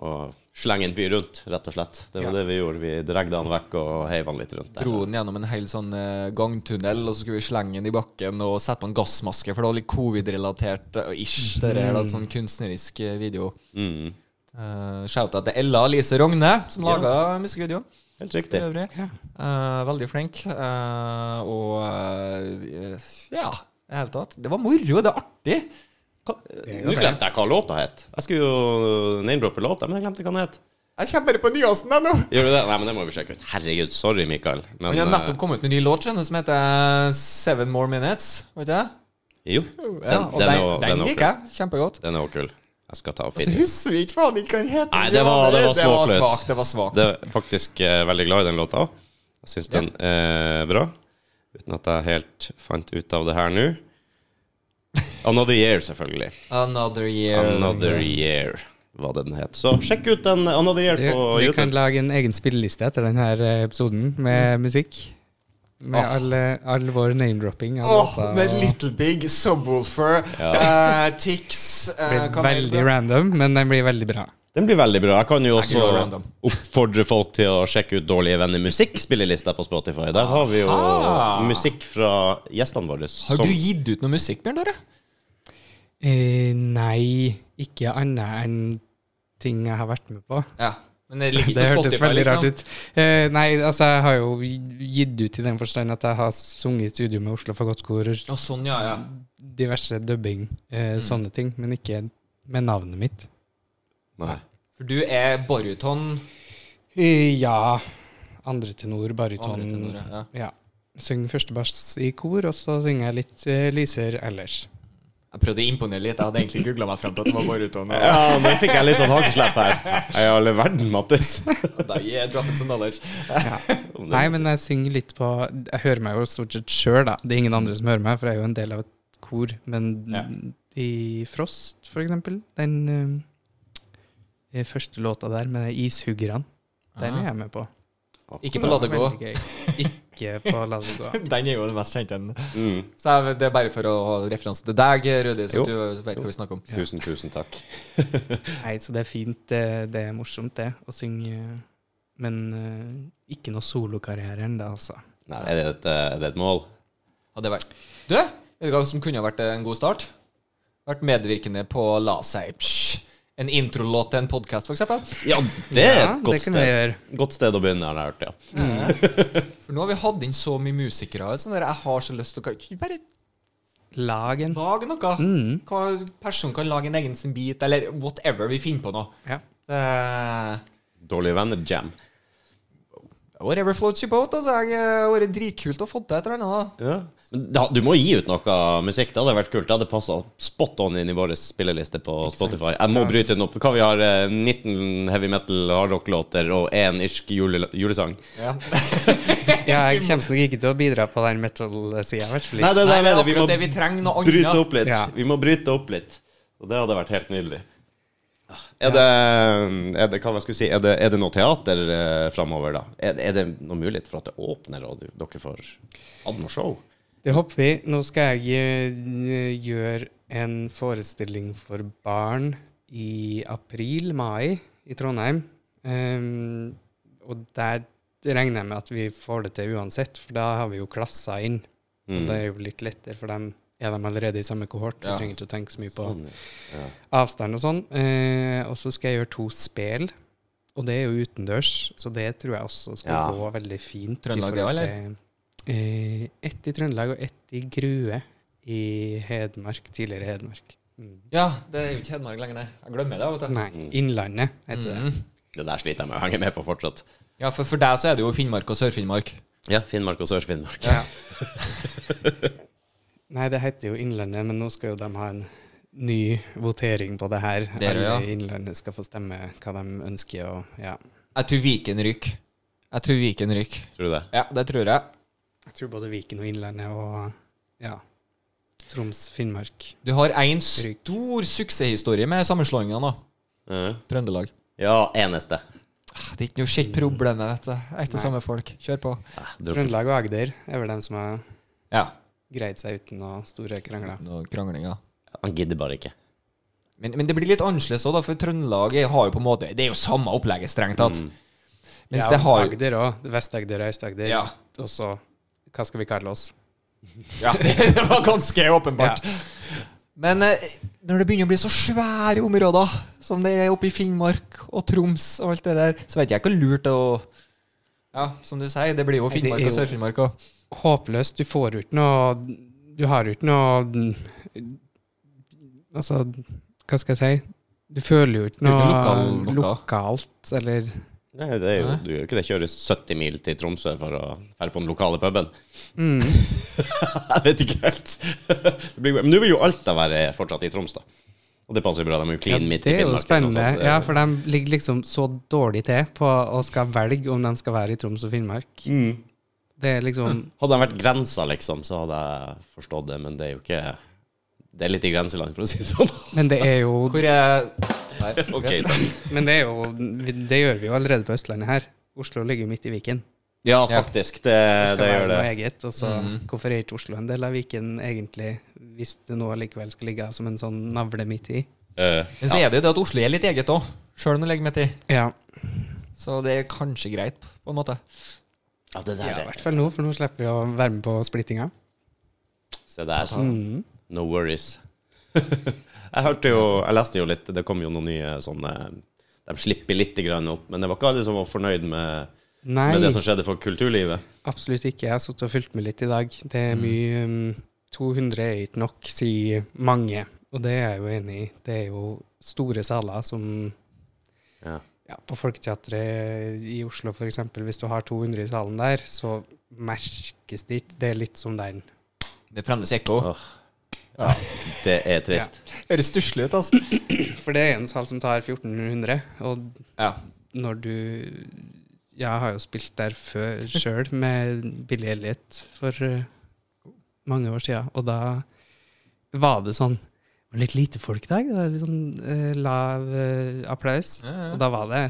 Speaker 2: og slenge en fyr rundt, rett og slett. Det var det vi gjorde. Vi dreg han vekk og heiv han litt rundt. Der.
Speaker 1: dro den gjennom en hel sånn eh, gangtunnel, og så skulle vi slenge den i bakken og sette på en gassmaske, for det var litt covid-relatert eh, ish, det der, da, sånn kunstnerisk eh, video.
Speaker 2: Mm.
Speaker 1: Uh, Shouta til Ella Lise Rogne, som
Speaker 2: Ja.
Speaker 1: laga musikkvideoen.
Speaker 2: Helt riktig.
Speaker 1: for øvrig. Eh, veldig flink. eh, og eh, ja, i det hele tatt. Det var moro, det er artig.
Speaker 2: Hva- Nå glemte jeg hva låta het. Jeg skulle jo name-droppe låta, men jeg glemte hva den het.
Speaker 1: Jeg kommer bare på nyhåsen jeg nå.
Speaker 2: Gjør du det? Nei, men det må vi sjekke ut. Herregud, sorry, Mikael. Men,
Speaker 1: Han har
Speaker 2: eh,
Speaker 1: nettopp kommet med en ny låt skjønner du, som heter Seven More Minutes. Vet du det?
Speaker 2: Jo. Den,
Speaker 1: Ja, og den,
Speaker 2: den,
Speaker 1: den,
Speaker 2: er jo- den, er
Speaker 1: liker
Speaker 2: kul.
Speaker 1: jeg kjempegodt.
Speaker 2: den er jo kul. Jeg skal ta og
Speaker 1: Så
Speaker 2: finne
Speaker 1: husker vi ikke faen ikke hva den heter.
Speaker 2: Nei, det var- det var småfløyt.
Speaker 1: svakt. Det var svakt.
Speaker 2: Det er faktisk eh, veldig glad i den låta. Jeg syns den er bra. Uten at jeg helt fant ut av det her nå. Another Year, selvfølgelig.
Speaker 1: Another Year.
Speaker 2: Another Year var det den het. Så sjekk ut den Another Year
Speaker 3: Du,
Speaker 2: på
Speaker 3: vi kan
Speaker 2: YouTube.
Speaker 3: lage en egen spilleliste etter denne episoden med musikk. Med
Speaker 1: Mm. Åh.
Speaker 3: all, eh, all vår name-dropping. av
Speaker 1: Åh,
Speaker 3: låter
Speaker 1: med
Speaker 3: og-
Speaker 1: Little Big, Subwoolfer, eh, Tix eh,
Speaker 3: Det
Speaker 1: hva
Speaker 3: blir
Speaker 1: mer?
Speaker 3: veldig random, men den blir veldig bra.
Speaker 2: Den blir veldig bra. Jeg kan jo også
Speaker 1: Nei, gud, det var random.
Speaker 2: oppfordre folk til å sjekke ut Dårlige venner musikkspillelista på Spotify. Der har vi jo
Speaker 1: Aha.
Speaker 2: musikk fra gjestene våre.
Speaker 1: Har
Speaker 2: som-
Speaker 1: du gitt ut noe musikk, Bjørn Dore?
Speaker 3: Eh, nei, ikke annet enn ting jeg har vært med på.
Speaker 1: Ja. Men *laughs* det ligger
Speaker 3: Det
Speaker 1: ikke på
Speaker 3: hørtes
Speaker 1: Spotify,
Speaker 3: veldig
Speaker 1: liksom.
Speaker 3: rart ut. Eh, nei, altså, jeg har jo gitt ut i den forstand at jeg har sunget i studio med Oslo Fagottkor,
Speaker 1: Å, sånn, ja, ja.
Speaker 3: diverse dubbing, eh,
Speaker 1: Mm.
Speaker 3: sånne ting, men ikke med navnet mitt.
Speaker 2: Nei.
Speaker 1: For du er baryton.
Speaker 3: Eh, ja. Andre tenor, baryton.
Speaker 1: Andre tenor, ja.
Speaker 3: Ja. Synger første bass i kor, og så synger jeg litt eh, lyser ellers.
Speaker 1: Jeg prøvde å imponere litt. Jeg hadde egentlig googla meg fram til at det var baryton. og-
Speaker 2: Ja, nå fikk jeg litt sånn hakeslepp her. Jeg er i all verden, Mattis.
Speaker 1: Da, yeah, drop it some knowledge.
Speaker 3: Nei, men jeg synger litt på Jeg hører meg jo stort sett sjøl, da. Det er ingen andre som hører meg, for jeg er jo en del av et kor. Men
Speaker 2: Ja.
Speaker 3: i Frost, for eksempel, den eh, første låta der med ishuggerne, den
Speaker 1: Ah.
Speaker 3: er jeg med på.
Speaker 1: Ikke på La det gå.
Speaker 3: Veldig gøy. Ikke på La det gå.
Speaker 1: Den er jo den mest kjente. en.
Speaker 2: Mm.
Speaker 1: Så jeg- det er bare for å ha referanse til deg, Rudi, så
Speaker 2: Jo.
Speaker 1: du vet hva vi snakker om.
Speaker 2: Tusen, tusen takk.
Speaker 3: Nei, så det er fint. Det, det er morsomt, det, å synge. Men eh, ikke noe solokarriere ennå, altså.
Speaker 2: Nei, er, det et, eh, er det et mål?
Speaker 1: Hadde vært. Du, vet du hva som kunne ha vært en god start? Vært medvirkende på La seg psj, en introlåt til en podkast, f.eks.
Speaker 2: Ja, det er et
Speaker 3: Ja,
Speaker 2: godt,
Speaker 3: det kunne vi
Speaker 2: sted.
Speaker 3: gjøre.
Speaker 2: godt sted å begynne, har jeg hørt, ja.
Speaker 1: For nå har vi hatt inn så mye musikere. Sånn der, jeg har så lyst til å kan ikke vi Bare
Speaker 3: Lag en.
Speaker 1: lage noe.
Speaker 3: Mm.
Speaker 1: Hva Personen kan lage en egen sin bit, eller whatever vi finner på nå.
Speaker 3: Ja.
Speaker 1: Det-
Speaker 2: Dårlige venner jam.
Speaker 1: Whatever floats your boat. Altså. Jeg eh, har vært dritkult å få til et eller annet. da.
Speaker 2: Ja. Men da, du må gi ut noe musikk. Det hadde vært kult. Det hadde passa spot on inn i vår spilleliste på Spotify. Jeg må bryte den opp. For hva vi har eh, 19 heavy metal hardrock-låter og én irsk jule, julesang.
Speaker 1: Ja.
Speaker 3: Ja, jeg kommer nok ikke til å bidra på den metal-sida, i hvert fall.
Speaker 2: Nei,
Speaker 3: ikke.
Speaker 2: det
Speaker 1: Nei,
Speaker 2: der
Speaker 1: men
Speaker 2: er det. Vi
Speaker 1: akkurat
Speaker 2: må
Speaker 1: det, vi trenger noe
Speaker 2: bryte
Speaker 1: annet.
Speaker 2: opp litt.
Speaker 3: Ja.
Speaker 2: Vi må bryte opp litt. Og det hadde vært helt nydelig. Er det, er det, hva jeg skulle si, er det, er det noe teater eh, framover, da? Er, det- er det noe mulighet for at det åpner, og du- dere får hatt noe show?
Speaker 3: Det hopper vi. Nå skal jeg eh, gjøre en forestilling for barn i april-mai i Trondheim. Ehm, og der regner jeg med at vi får det til uansett, for da har vi jo klasser inn. Og det er jo litt lettere, for dem er de allerede i samme kohort. Vi
Speaker 1: Ja.
Speaker 3: trenger ikke å tenke så mye på
Speaker 2: Sånn, ja.
Speaker 3: avstand og sånn. Eh, og så skal jeg gjøre to spel, og det er jo utendørs, så det tror jeg også skal
Speaker 2: Ja.
Speaker 3: gå veldig fint. i
Speaker 1: Trøndelag det
Speaker 3: forhold
Speaker 1: også,
Speaker 3: til- Eh, ett i Trøndelag og ett i Grue i Hedmark, tidligere Hedmark. Mm.
Speaker 1: Ja, det er jo ikke Hedmark lenger, nei. Jeg glemmer det. vet du.
Speaker 3: Nei, Innlandet heter det.
Speaker 1: Mhm.
Speaker 2: Det der sliter jeg med å henge med på fortsatt.
Speaker 1: Ja, for, for deg så er det jo Finnmark og Sør-Finnmark.
Speaker 2: Ja, Finnmark og Sør-Finnmark.
Speaker 1: Ja.
Speaker 3: Nei, det heter jo Innlandet, men nå skal jo de ha en ny votering på det her.
Speaker 1: Det er det, ja.
Speaker 3: Alle i Innlandet skal få stemme hva de ønsker og ja.
Speaker 1: Jeg tror Viken ryker. Jeg tror Viken ryker.
Speaker 2: Tror du det?
Speaker 1: Ja, det tror jeg.
Speaker 3: Jeg tror både Viken og Innlandet og ja. Troms, Finnmark.
Speaker 1: Du har en stor suksesshistorie med sammenslåinga nå.
Speaker 2: Mhm.
Speaker 1: Trøndelag.
Speaker 2: Ja, eneste.
Speaker 1: Ah, Det er ikke noe shit problemet, vet du. Jeg er ikke det samme folk. Kjør på.
Speaker 2: Ah, drukket.
Speaker 3: Trøndelag og Agder er vel dem som har
Speaker 1: Ja.
Speaker 3: greid seg uten noe store krangler.
Speaker 1: Noe krangling, ja.
Speaker 2: Han gidder bare ikke.
Speaker 1: Men, men det blir litt annerledes òg, for Trøndelag er- har jo på en måte Det er jo samme opplegget, strengt tatt. Mens
Speaker 3: ja,
Speaker 1: det har jo
Speaker 3: Agder òg. Vest-Agder og Øst-Agder.
Speaker 1: Ja.
Speaker 3: Og så Hva skal vi kalle oss?
Speaker 1: Ja, det, det var ganske åpenbart. Men eh, når det begynner å bli så svære områder, som det er oppe i Finnmark og Troms og alt det der, så vet jeg ikke hvor lurt det er å Ja, som du sier, det blir jo
Speaker 3: det
Speaker 1: Finnmark
Speaker 3: er
Speaker 1: og
Speaker 3: jo-
Speaker 1: Sør-Finnmark òg.
Speaker 3: Håpløst. Du får jo ikke noe Du har jo ikke noe Altså, hva skal jeg si? Du føler jo ikke
Speaker 1: er jo
Speaker 3: noe
Speaker 1: ikke lokal- lokal.
Speaker 3: lokalt, eller
Speaker 2: Nei, det er jo,
Speaker 1: Nei.
Speaker 2: du gjør ikke det. Kjører 70 mil til Tromsø for å dra på den lokale puben.
Speaker 3: mm.
Speaker 2: *laughs* Jeg vet ikke helt. Det blir, men nå vil jo Alta være fortsatt i Troms, da. Og det passer jo bra. De er jo clean midt i
Speaker 3: Det er jo
Speaker 2: Finnmark. eller noe
Speaker 3: spennende.
Speaker 2: sånt. Det er-
Speaker 3: Ja, for de ligger liksom så dårlig til på å skal velge om de skal være i Troms og Finnmark.
Speaker 2: Mm.
Speaker 3: Det er liksom
Speaker 2: Hadde de vært grensa, liksom, så hadde jeg forstått det, men det er jo ikke Det er litt i grenseland, for å si det sånn. *laughs*
Speaker 3: Men det er jo
Speaker 1: Hvor er *laughs* Nei,
Speaker 2: Ok,
Speaker 1: vet
Speaker 2: da.
Speaker 3: Men det, er jo, det gjør vi jo allerede på Østlandet her. Oslo ligger jo midt i Viken.
Speaker 2: Ja,
Speaker 1: Ja.
Speaker 2: faktisk.
Speaker 3: Det
Speaker 2: Det,
Speaker 3: skal
Speaker 2: det gjør
Speaker 3: være noe
Speaker 2: det.
Speaker 3: eget. Og så hvorfor er ikke Oslo en del av Viken egentlig, hvis det nå likevel skal ligge som en sånn navle midt i?
Speaker 2: Eh,
Speaker 1: du. Men så er det jo det at Oslo er litt eget òg, sjøl om det ligger midt i.
Speaker 3: Ja,
Speaker 1: Så det er kanskje greit, på en måte.
Speaker 2: ja, det der
Speaker 3: i
Speaker 2: er
Speaker 3: hvert fall nå, for nå slipper vi å være med på splittinga. Mm.
Speaker 2: Se der. No *laughs* worries. jeg hørte jo Jeg leste jo litt Det kom jo noen nye sånne de slipper litt grann opp. Men det var ikke alle som var fornøyd med,
Speaker 3: Nei,
Speaker 2: med det som skjedde for kulturlivet.
Speaker 3: absolutt ikke. Jeg har sittet og fulgt med litt i dag. Det er mye um, 200 er ikke nok, sier mange. Og det er jeg jo enig i. Det er jo store saler som
Speaker 2: Ja.
Speaker 3: ja, På Folketeatret i Oslo, f.eks., hvis du har 200 i salen der, så merkes det ikke. Det er litt som den.
Speaker 1: Det er fremdeles ekko.
Speaker 2: Åh. Det er trist.
Speaker 1: Høres stusslig ut, altså.
Speaker 3: For det er en sal som tar 1400, og
Speaker 1: Ja.
Speaker 3: når du Jeg har jo spilt der før sjøl med Billy Elliot for eh, mange år sia, og da var det sånn det var Litt lite folk i dag. Det var litt sånn eh, lav eh, applaus.
Speaker 1: Ja, ja.
Speaker 3: Og da var det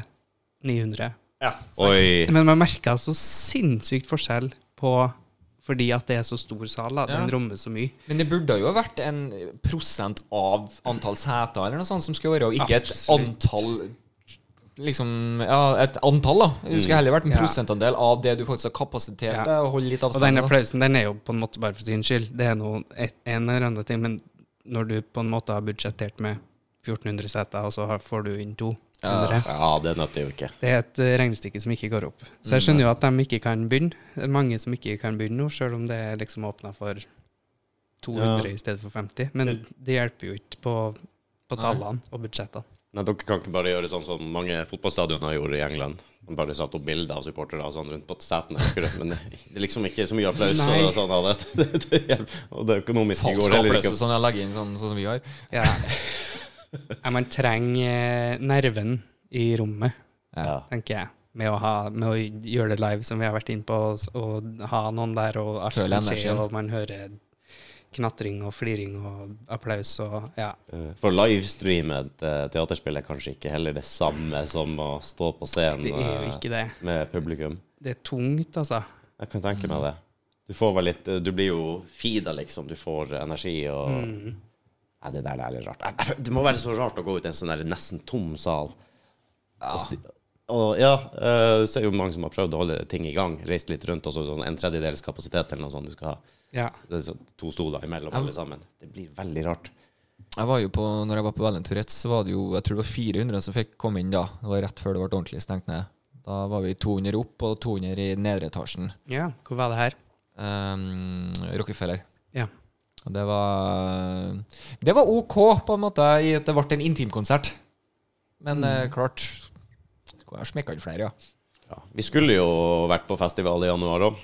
Speaker 3: 900.
Speaker 1: ja.
Speaker 2: Oi.
Speaker 3: Men man merka så sinnssykt forskjell på Fordi at det er så stor sal, da. Den
Speaker 1: Ja.
Speaker 3: rommer så mye.
Speaker 1: Men det burde jo ha vært en prosent av antall seter eller noe sånt som skulle være, og ikke et
Speaker 3: Absolutt.
Speaker 1: antall Liksom, ja, et antall, da. Det
Speaker 2: Mm.
Speaker 1: skulle heller vært en
Speaker 3: Ja.
Speaker 1: prosentandel av det du faktisk har kapasitet
Speaker 3: Ja.
Speaker 1: til. Og holde litt
Speaker 3: Og
Speaker 1: avstand.
Speaker 3: den
Speaker 1: da.
Speaker 3: applausen den er jo på en måte bare for sin skyld. Det er noe, et, en eller annen ting, men når du på en måte har budsjettert med 1400 seter, og så har, får du inn
Speaker 1: Ja.
Speaker 3: 200
Speaker 2: Ja, det nøtter jo ikke.
Speaker 3: Det er et eh, regnestykke som ikke går opp. Så jeg skjønner jo at de ikke kan begynne. Det er mange som ikke kan begynne nå, sjøl om det er liksom åpna for 200
Speaker 2: Ja.
Speaker 3: i stedet for 50. Men det hjelper jo ikke på, på
Speaker 1: Nei.
Speaker 3: tallene og budsjettene.
Speaker 2: Nei, Dere kan ikke bare gjøre sånn som mange fotballstadioner gjorde i England. De bare satte opp bilder av supportere og sånn rundt på setene. husker du? Men det er liksom ikke så mye applaus.
Speaker 3: Nei.
Speaker 2: Og, sånn, av det. Det, *laughs* det, hjelper. og det økonomiske
Speaker 1: Faen,
Speaker 2: går
Speaker 1: skal
Speaker 2: heller
Speaker 1: applause
Speaker 2: ikke.
Speaker 1: sånn jeg legger inn sånn, sånn som vi har.
Speaker 3: Ja. Ja, Man trenger eh, nerven i rommet.
Speaker 2: Ja.
Speaker 3: tenker jeg. Med å, ha, med å gjøre det live, som vi har vært inne på, og, s- og ha noen der, og alt
Speaker 1: Føle
Speaker 3: kan skje,
Speaker 1: energien.
Speaker 3: og man hører knatring og fliring og applaus og ja.
Speaker 2: Eh, For livestreame et eh, teaterspill er kanskje ikke heller det samme som å stå på scenen
Speaker 3: Det er jo
Speaker 2: eh,
Speaker 3: ikke det.
Speaker 2: med publikum.
Speaker 3: Det er tungt, altså.
Speaker 2: Jeg kan tenke meg det. Du får vel litt eh, Du blir jo feeda, liksom. Du får energi og
Speaker 3: Mm.
Speaker 2: Nei, det der det er litt rart. Jeg- jeg- Det må være så rart å gå ut i en sånn der nesten tom sal.
Speaker 1: Ja.
Speaker 2: Og, sti- og ja, eh, så er det jo mange som har prøvd å holde ting i gang. Reist litt rundt, og så sånn en tredjedels kapasitet eller noe sånt du skal ha.
Speaker 3: Ja.
Speaker 2: Det er så, to stoler imellom
Speaker 1: Ja.
Speaker 2: alle sammen. Det blir veldig rart.
Speaker 1: Jeg var jo på, når jeg var på Valen Tourettes, så var det jo jeg tror det var 400 som fikk komme inn da. Det var rett før det ble ordentlig stengt ned. Da var vi 200 opp og 200 i nedre etasjen.
Speaker 3: ja. Hvor var det her?
Speaker 1: Um, Rockefeller.
Speaker 3: Ja.
Speaker 1: Og det var Det var OK, på en måte, i at det ble en intimkonsert. Men eh, klart Skulle ha smekka inn flere, ja.
Speaker 2: Ja. Vi skulle jo vært på festival i januar òg.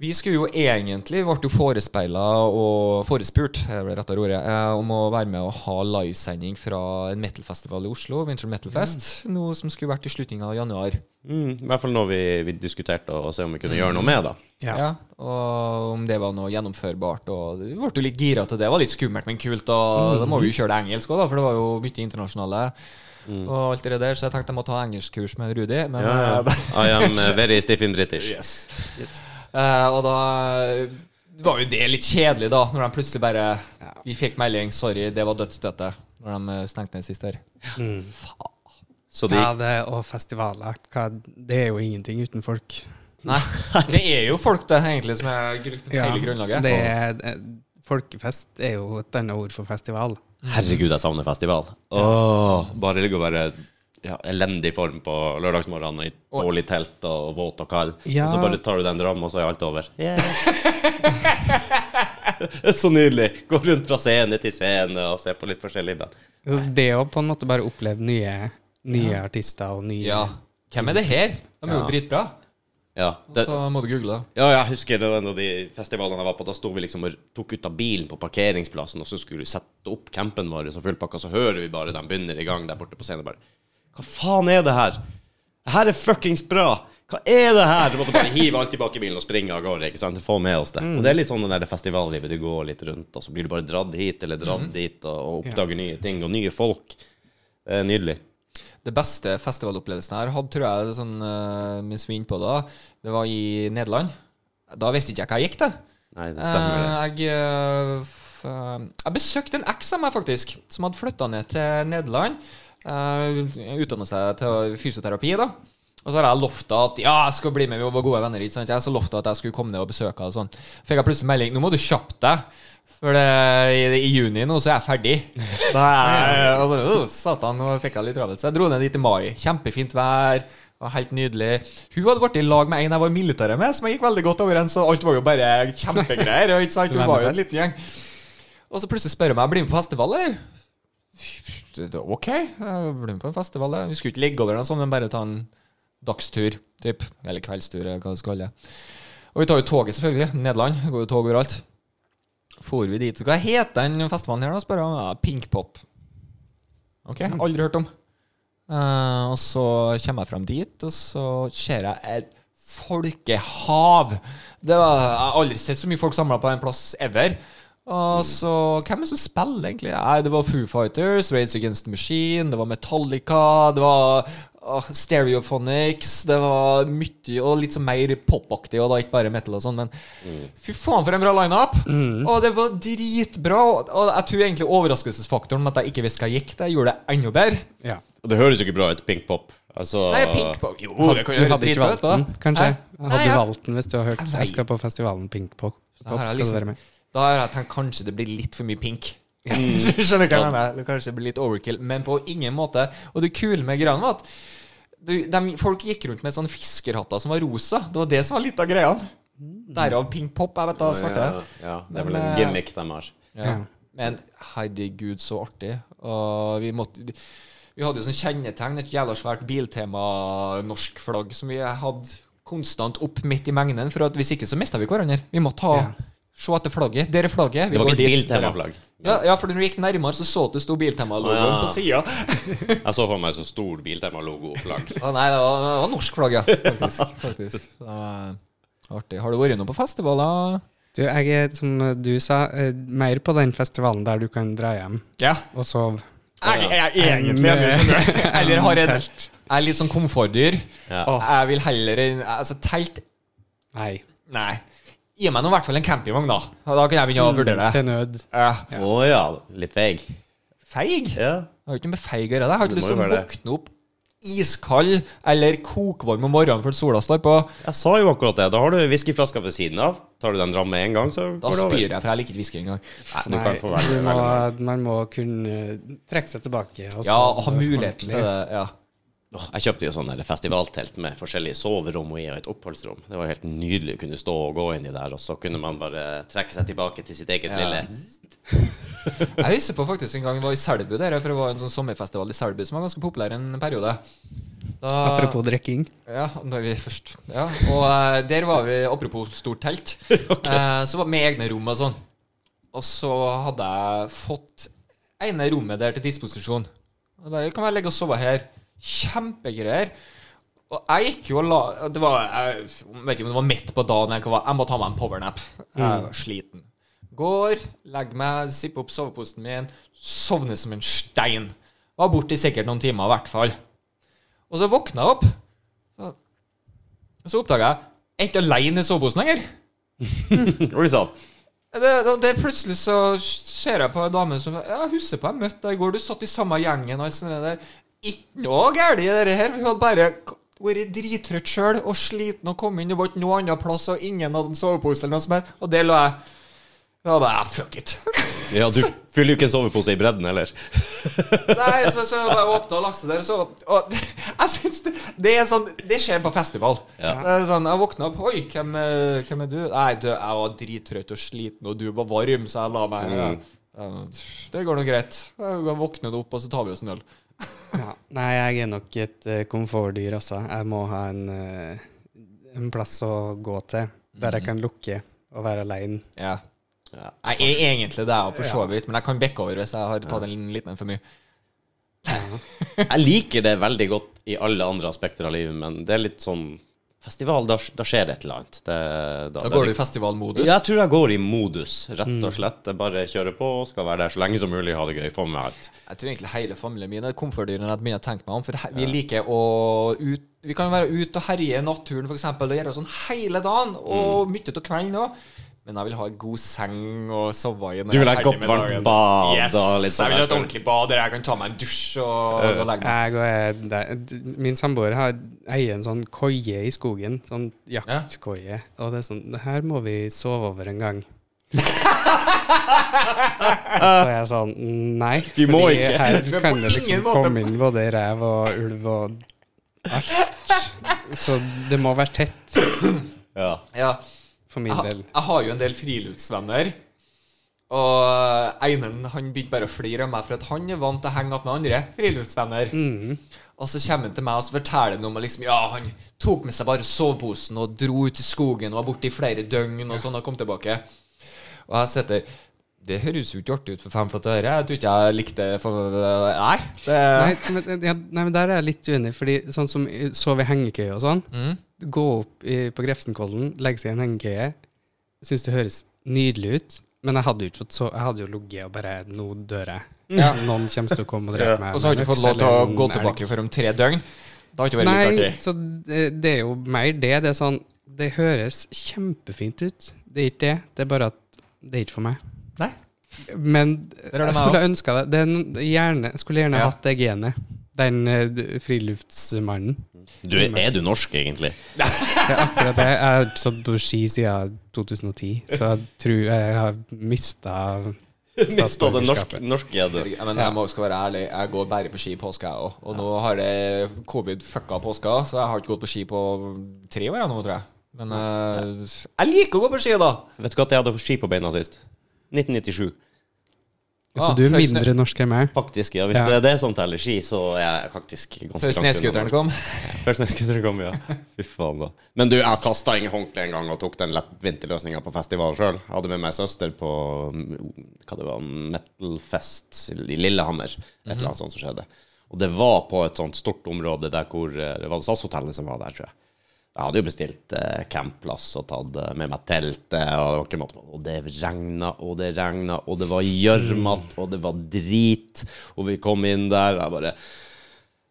Speaker 1: Vi skulle jo egentlig, vi ble jo forespeila og forespurt er vel rettere ordet, eh, om å være med og ha livesending fra en metalfestival i Oslo, Winter Metal Fest, noe som skulle vært i slutningen av januar.
Speaker 2: Mm, I hvert fall når vi, vi diskuterte å se om vi kunne gjøre noe med det.
Speaker 3: Ja.
Speaker 1: Ja, og om det var noe gjennomførbart. Og du ble jo litt gira til det. Det var litt skummelt, men kult.
Speaker 2: Mm.
Speaker 1: Og da må vi jo kjøre det engelsk òg, for det var jo mye internasjonale. Og alt det der, Så jeg tenkte jeg måtte ta engelskkurs med Rudi. Men
Speaker 2: Mm. Ja, ja.
Speaker 1: eh,
Speaker 2: I am eh, very stiff in British.
Speaker 1: Yes. Eh, og da var jo det litt kjedelig, da, når de plutselig bare
Speaker 3: Ja.
Speaker 1: Vi fikk melding 'sorry, det var dødsstøtte', når de eh, stengte ned
Speaker 2: *laughs*
Speaker 1: sist her.
Speaker 3: Mm.
Speaker 2: Så de
Speaker 3: ja det, og festivaler. Hva, det er jo ingenting uten folk.
Speaker 1: Nei, det er jo folk, det, egentlig, som er gru- hele grunnlaget.
Speaker 3: Det er, eh, folkefest er jo et annet ord for festival.
Speaker 2: Herregud, jeg savner festival. Åh, bare ligge og være ja, elendig form på lørdagsmorgenen og i dårlig telt og våt og kald.
Speaker 3: Ja.
Speaker 2: Og så bare tar du den drammen, og så er alt over. *laughs* så nydelig. Gå rundt fra scene til scene og se på litt forskjellige band.
Speaker 3: Jo, Det å på en måte bare oppleve nye, nye artister og nye
Speaker 1: Ja. Hvem er det her? De er jo
Speaker 2: Ja.
Speaker 1: dritbra.
Speaker 2: Ja, det,
Speaker 1: Så må du google det.
Speaker 2: ja, jeg husker det var en av de festivalene jeg var på. Da sto vi liksom og tok ut av bilen på parkeringsplassen, og så skulle vi sette opp campen vår som fullpakka, så hører vi bare de begynner i gang der borte på scenen. bare Hva faen er det her? Det her er fuckings bra! Hva er det her? Du måtte bare hive alt tilbake i bilen og springe av gårde. ikke sant? Få med oss det. Og det er litt sånn det der festivallivet. Du går litt rundt, og så blir du bare dratt hit eller
Speaker 1: Mhm.
Speaker 2: dratt dit, og, og oppdager nye ting og nye folk. Det er nydelig.
Speaker 1: Det beste festivalopplevelsen jeg har hatt, tror jeg, sånn, eh, mens vi er inne på det, det var i Nederland. Da visste ikke jeg hva jeg gikk til.
Speaker 2: Nei, det stemmer, det.
Speaker 1: Eh, Jeg, eh, f- eh, jeg besøkte en eks av meg, faktisk, som Eh, hadde flytta ned til Nederland. Uh, Utdanna seg til fysioterapi, da. Og så har jeg lovt at ja, jeg skal bli med, vi var gode venner. Ikke sant? Jeg har så lovt at jeg skulle komme ned og besøke henne. og sånn. Fikk jeg plutselig melding nå må du kjappe deg, for det, i, i juni nå så er jeg ferdig. Da er jeg,
Speaker 2: *laughs*
Speaker 1: og bare, «Åh, Satan, nå fikk jeg litt travelt. Så jeg dro ned dit i mai. Kjempefint vær. Det var helt nydelig. Hun hadde vært i lag med en jeg var i militæret med, som jeg gikk veldig godt overens. Og alt var jo bare kjempegreier. Ikke sant? Hun var jo en liten gjeng. Og så plutselig spør hun meg blir du med på festival, eller? Det- det- Ok, jeg blir med på en festival. jeg. Vi skulle ikke ligge over eller noe sånt, men bare ta en dagstur, typ. Eller kveldstur, eller hva du skal kalle det. Og vi tar jo toget, selvfølgelig. Nederland. Det Går jo tog overalt. For vi dit. Hva heter den festivalen her, da? spør jeg. Ja, Pinkpop. Ok, aldri hørt om. Eh, og så kommer jeg frem dit, og så ser jeg et folkehav. Det var, jeg har aldri sett så mye folk samla på en plass ever. Og så, Hvem er det som spiller, egentlig? Nei, det var Foo Fighters, Raids Against the Machine, det var Metallica, det var åh, Stereophonics Det var mye og litt sånn mer popaktig, og da ikke bare metal og sånn, men fy faen for en bra lineup! Og det var dritbra. Og, og jeg tror egentlig overraskelsesfaktoren med at jeg ikke visste hva jeg gikk til, gjorde det enda bedre.
Speaker 3: Ja.
Speaker 2: Det høres jo ikke bra ut, pink pop. Altså,
Speaker 1: Nei, Pinkpop Jo,
Speaker 3: Hadde-
Speaker 1: det kan
Speaker 3: du
Speaker 1: jo høres
Speaker 3: hadde ikke
Speaker 1: dritbra
Speaker 3: valgt
Speaker 1: ut på
Speaker 3: den,
Speaker 1: det.
Speaker 3: kanskje?
Speaker 1: Nei,
Speaker 3: Hadde
Speaker 1: jeg-
Speaker 3: du valgt den hvis du har hørt
Speaker 1: Jeg
Speaker 3: Jeg skal på festivalen Pinkpop.
Speaker 1: Da har
Speaker 3: Pop,
Speaker 1: jeg
Speaker 3: skal
Speaker 1: liksom-
Speaker 3: du være med?
Speaker 1: Da har jeg tenkt kanskje det blir litt for mye *laughs* pink. Skjønner Mm. du hva jeg mener? Det kanskje blir litt overkill, men på ingen måte. Og det kule med greia var at du, dem- folk gikk rundt med sånne fiskerhatter som var rosa. Det var det som var litt av greia.
Speaker 3: Mm.
Speaker 1: Derav pink pop. Jeg vet da, svarte.
Speaker 2: Ja, ja, det er vel
Speaker 1: Men,
Speaker 2: en
Speaker 1: eh,
Speaker 2: gimmick de har.
Speaker 1: Ja. Men herregud, så artig. Og vi måtte Vi hadde jo sånn kjennetegn, et jævla svært biltema-norsk flagg som vi hadde konstant opp midt i mengden, for at hvis ikke så mista vi hverandre. Vi måtte ha Se etter flagget. Der er flagget. Vi
Speaker 2: Det var
Speaker 1: går
Speaker 2: ikke et
Speaker 1: dit.
Speaker 2: biltemaflagg.
Speaker 1: Ja, ja, for når du gikk nærmere, så så du det sto Biltema-logoen
Speaker 2: Ah, ja.
Speaker 1: på sida.
Speaker 2: *laughs* Jeg så for meg så stor biltemalogo og flagg.
Speaker 1: Å, nei, det var, det var norsk flagg, ja. Faktisk. faktisk. Det var artig. Har du vært noe på festivaler?
Speaker 3: Du, jeg er, som du sa, eh, mer på den festivalen der du kan dra hjem
Speaker 1: Ja.
Speaker 3: og sove.
Speaker 1: Jeg, jeg, jeg er egentlig enig, skjønner du. *laughs* Eller har en Jeg er litt sånn komfortdyr.
Speaker 2: Ja.
Speaker 1: Jeg vil heller enn Altså, telt
Speaker 3: *laughs* Nei.
Speaker 1: Nei. Gi meg nå i hvert fall en campingvogn, da. Og Da kan jeg begynne å vurdere det.
Speaker 3: Til nød.
Speaker 1: *laughs* Ja.
Speaker 2: Å ja. Litt veig.
Speaker 1: Feig? Jeg
Speaker 2: Ja.
Speaker 1: har jo ikke noe med feig å gjøre. Jeg har
Speaker 2: Det
Speaker 1: ikke lyst
Speaker 2: må
Speaker 1: til
Speaker 2: jo
Speaker 1: å
Speaker 2: være det.
Speaker 1: våkne opp iskald eller kokvarm om morgenen før sola står på.
Speaker 2: Jeg sa jo akkurat det. Da har du whiskyflaska ved siden av. Tar du den dram med en gang, så
Speaker 1: Da
Speaker 2: går det
Speaker 1: spyr
Speaker 2: over.
Speaker 1: jeg, for jeg liker ikke whisky engang.
Speaker 2: Nei, du kan få velge.
Speaker 3: du må,
Speaker 2: velge.
Speaker 3: man må kunne trekke seg tilbake. Og
Speaker 1: Ja,
Speaker 3: sove
Speaker 1: og ha muligheten til
Speaker 3: ordentlig.
Speaker 1: det. Ja.
Speaker 2: Åh, Jeg kjøpte jo sånn der festivaltelt med forskjellige soverom og i og et oppholdsrom. Det var helt nydelig å kunne stå og gå inni der, og så kunne man bare trekke seg tilbake til sitt eget
Speaker 1: Ja.
Speaker 2: lille *laughs*
Speaker 1: Jeg husker på faktisk en gang vi var i Selbu, der, for det var en sånn sommerfestival i Selbu som var ganske populær en periode. Da,
Speaker 3: Apropos drikking.
Speaker 1: Ja, da er vi først. Ja, og eh, der var vi, apropos stort telt, eh, så var med egne rom og sånn. Og så hadde jeg fått ene rommet der til disposisjon. Og bare, kan jeg legge og sove her? Kjempegreier. Og jeg gikk jo og la Det var, jeg vet ikke om det var midt på dagen, jeg, jeg må ta meg en powernap. Jeg var sliten. Går, legger meg, zipper opp soveposen min, sovner som en stein. Var borte i sikkert noen timer, i hvert fall. Og så våkna jeg opp. Så oppdaga jeg jeg er ikke aleine i soveposen lenger.
Speaker 2: Oi sann!
Speaker 1: Det, det, det plutselig så ser jeg på ei dame som Jeg husker på jeg møtte deg i går. Du satt i samme gjengen og alt sånt der. Ikke noe galt i det her. Hun hadde bare k- vært drittrøtt sjøl og sliten og kommet inn. Det var ikke noe annet plass, og ingen hadde en sovepose eller noe som helst. Og der lå jeg. Da bare ah, Fuck it. *laughs*
Speaker 2: Ja, *laughs* du fyller jo ikke en sovepose i bredden heller.
Speaker 1: Nei, så, så jeg bare åpna og laksa der, og så og, *laughs* Jeg syns det, det er sånn Det skjer på festival.
Speaker 2: Ja.
Speaker 1: Det er sånn, Jeg våkna opp Oi, hvem, eh, hvem er du? Nei, du, jeg var drittrøtt og sliten, og du var varm, så jeg la meg her.
Speaker 2: Mm.
Speaker 1: jeg. Eh, Det går nå greit. Jeg våkner opp, og så tar vi oss en øl.
Speaker 3: Ja. Nei, jeg er nok et eh, komfortdyr, altså. Jeg må ha en, eh, en plass å gå til der
Speaker 1: Mhm.
Speaker 3: jeg kan lukke og være aleine.
Speaker 1: Ja.
Speaker 2: Ja.
Speaker 1: Jeg er egentlig det, for så vidt, men jeg kan bekke over hvis jeg har tatt en liten en for mye.
Speaker 2: Jeg liker det veldig godt i alle andre aspekter av livet, men det er litt sånn Festival, da, da skjer det et eller annet. Det,
Speaker 1: Da går du i festivalmodus.
Speaker 2: Ja, jeg tror jeg går i modus, rett og slett. Jeg bare kjører på, skal være der så lenge som mulig, ha det gøy, få med meg alt.
Speaker 1: Jeg tror egentlig hele familien min er komfortdyrene jeg begynner å tenke meg om. For he- vi liker å ut,
Speaker 2: Mm.
Speaker 1: Vi kan være ute og herje i naturen, f.eks., og gjøre sånn hele dagen, og mye av kvelden òg. Men jeg vil ha en god seng og sove i. når
Speaker 2: Du vil
Speaker 1: jeg
Speaker 2: ha
Speaker 1: er
Speaker 2: et
Speaker 1: ferdig
Speaker 2: godt,
Speaker 1: med
Speaker 2: varmt
Speaker 1: dagen.
Speaker 2: bad
Speaker 1: Yes!
Speaker 2: og litt sånn
Speaker 1: jeg vil ha et
Speaker 2: der.
Speaker 1: ordentlig bad der jeg kan ta meg en dusj og gå og legge meg.
Speaker 3: Jeg og jeg, det, min samboer har- eier en sånn koie i skogen, sånn jaktkoie. Og det er sånn det Her må vi sove over
Speaker 1: *laughs*
Speaker 3: en gang. Så jeg sa nei.
Speaker 2: Vi må
Speaker 3: fordi
Speaker 2: ikke.
Speaker 1: Men på
Speaker 3: Her kan det
Speaker 1: ingen
Speaker 3: liksom
Speaker 1: måte.
Speaker 3: komme inn både rev og ulv og alt. Så det må være tett,
Speaker 2: Ja.
Speaker 1: Ja.
Speaker 3: for min
Speaker 1: Jeg, ha-
Speaker 3: del.
Speaker 1: jeg har jo en del friluftsvenner. Og Einen han begynte bare å flire av meg, for at han er vant til å henge opp med andre friluftsvenner.
Speaker 3: Mm.
Speaker 1: Og så kommer han til meg og så forteller han om at liksom, ja, han tok med seg bare soveposen og dro ut i skogen og var borte i flere døgn og sånn og kom tilbake. Og jeg sitter Det høres jo ikke artig ut for fem flotte øre. Jeg tror ikke jeg likte det for Nei. Det,
Speaker 3: Nei, men, eh, ja, nei, men der er jeg litt uenig, fordi sånn som i- sove i hengekøye og sånn
Speaker 1: Mm.
Speaker 3: Gå opp i, på Grefsenkollen, legge seg i en hengekøye. Syns det høres nydelig ut, men jeg hadde jo ikke fått sove. Jeg hadde jo ligget og bare Nå dør jeg. Noen kommer til å komme og drepe meg.
Speaker 1: og så har du
Speaker 3: med
Speaker 1: ikke fått
Speaker 3: øks
Speaker 1: lov til
Speaker 3: eller
Speaker 1: å
Speaker 3: en
Speaker 1: gå
Speaker 3: elg.
Speaker 1: tilbake for om tre døgn. Det har ikke vært like
Speaker 3: Nei,
Speaker 1: artig.
Speaker 3: så det, det er jo mer det. Det er sånn Det høres kjempefint ut. Det er ikke det. Det er bare at det er ikke for meg.
Speaker 1: Nei.
Speaker 3: Men
Speaker 1: er det
Speaker 3: jeg
Speaker 1: meg
Speaker 3: skulle ønska det. Den, gjerne, jeg skulle gjerne
Speaker 1: Ja.
Speaker 3: hatt det genet. Den eh, d- friluftsmannen.
Speaker 2: Du, er, er du norsk, egentlig? *laughs*
Speaker 3: Det er akkurat det. Jeg har ikke stått på ski siden 2010, så jeg tror jeg har mista
Speaker 2: Mista det norsk,
Speaker 3: Statsborgerskapet.
Speaker 2: norske gjeddet.
Speaker 1: Ja, men jeg må også være ærlig, jeg går bare på ski i påska, jeg òg. Og nå har det covid fucka påska, så jeg har ikke gått på ski på tre år jeg nå, tror jeg. Men eh, jeg liker å gå på ski, da!
Speaker 2: Vet du hva jeg hadde ski på beina sist? 1997.
Speaker 3: Så
Speaker 1: Ah,
Speaker 3: du er
Speaker 1: før snø-
Speaker 3: mindre norsk enn meg.
Speaker 2: Faktisk, ja. Hvis
Speaker 3: Ja.
Speaker 2: det er det som teller ski, så er jeg faktisk ganske
Speaker 1: Så snøscooteren kom.
Speaker 2: Før snøscooteren kom, ja. *laughs* Fy faen, da. Men du, jeg kasta inn håndkle en gang og tok den lettvinte-løsninga på festival sjøl. Hadde med meg søster på mm, hva det var, metalfest i Lillehammer. Et eller annet sånt som skjedde. Og det var på et sånt stort område der hvor eh, Det var SAS-hotellet som var der, tror jeg. Jeg hadde jo bestilt eh, campplass og tatt eh, med meg teltet, og det var ikke måte på. Og det regna og det regna, og det var gjørmete, og det var drit. Og vi kom inn der, og jeg bare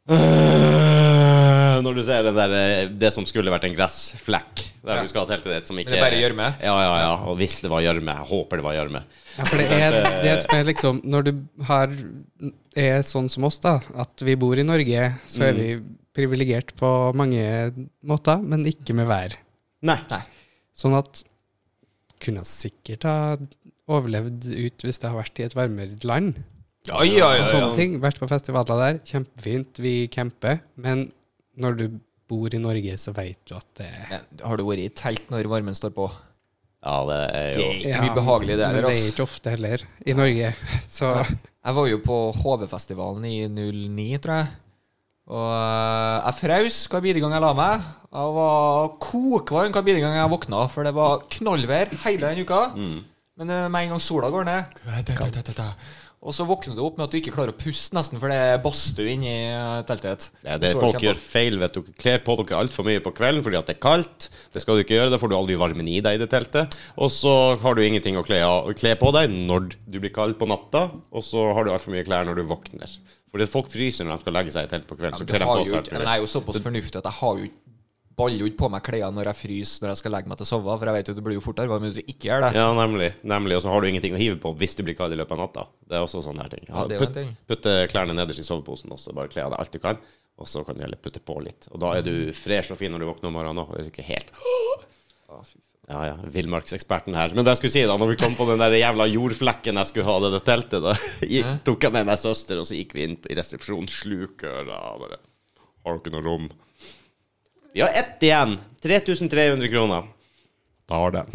Speaker 2: Øh, Når du ser den der, eh, det som skulle vært en gressflekk der
Speaker 1: Ja.
Speaker 2: du skal ha teltet ditt, som ikke
Speaker 1: det er bare gjørme.
Speaker 2: Ja, ja, ja. Og hvis det var gjørme. Jeg håper det var gjørme.
Speaker 3: Ja, for det er det som er liksom Når du har, er sånn som oss, da, at vi bor i Norge, så er vi privilegert på mange måter, men ikke med vær.
Speaker 2: Nei.
Speaker 1: Nei.
Speaker 3: Sånn at kunne sikkert ha overlevd ut hvis det har vært i et varmere land.
Speaker 1: Ja, ja, ja,
Speaker 3: Sånne
Speaker 1: ja.
Speaker 3: ting. Vært på festivaler der. Kjempefint. Vi camper. Men når du bor i Norge, så vet du at det er
Speaker 1: Men Har du vært i telt når varmen står på?
Speaker 2: Ja, det er
Speaker 1: Det
Speaker 2: jo
Speaker 1: er ikke mye behagelig, det
Speaker 3: men
Speaker 1: heller.
Speaker 3: Det er
Speaker 1: ass.
Speaker 3: ikke ofte heller i Norge. *laughs* Så
Speaker 1: Jeg var jo på HV-festivalen i 09, tror jeg. Og eh, jeg frøs hver bidige gang jeg la meg. Jeg var kokvarm hver bidige gang jeg våkna, for det var knallvær hele den uka.
Speaker 2: Mm.
Speaker 1: Men eh, med en gang sola går ned Og så våkner du opp med at du ikke klarer å puste, nesten, for det er badstue inni eh, teltet. ditt.
Speaker 2: Ja, det
Speaker 1: Sola
Speaker 2: folk
Speaker 1: kjemper.
Speaker 2: gjør feil, vet du. Kler på dere altfor mye på kvelden fordi at det er kaldt. Det skal du ikke gjøre, da får du aldri varmen i deg i det teltet. Og så har du ingenting å kle, av, kle på deg når du blir kald på natta, og så har du altfor mye klær når du våkner. Fordi at folk fryser når de skal legge seg i telt på kvelden.
Speaker 1: Ja,
Speaker 2: Så
Speaker 1: men
Speaker 2: kler
Speaker 1: du
Speaker 2: de
Speaker 1: har
Speaker 2: på
Speaker 1: jo
Speaker 2: seg
Speaker 1: ikke,
Speaker 2: altfor
Speaker 1: men
Speaker 2: mye.
Speaker 1: jeg er jo såpass fornuftig at jeg har jo ikke baller jo ikke på meg klærne når jeg fryser når jeg skal legge meg til å sove, for jeg vet jo at det blir jo fortere varmt hvis du ikke gjør det.
Speaker 2: Ja, nemlig. nemlig. Og så har du ingenting å hive på hvis du blir kald i løpet av natta. Det er også sånne her ting.
Speaker 1: Ja, det er jo en
Speaker 2: putt,
Speaker 1: ting.
Speaker 2: putte klærne nederst i soveposen, og så bare kle av deg alt du kan. Og så kan du heller putte på litt. Og da er du fresh og fin når du våkner om morgenen òg. Ikke helt
Speaker 1: Ah,
Speaker 2: Ja, ja. Villmarkseksperten her. Men det jeg skulle si da, når vi kom på den der jævla jordflekken jeg skulle ha det, det teltet, da *laughs* gikk, tok jeg med meg søster, og så gikk vi inn i resepsjonen, slukøra og bare Har dere noe rom? Vi har ett igjen. 3300 kroner. Tar den.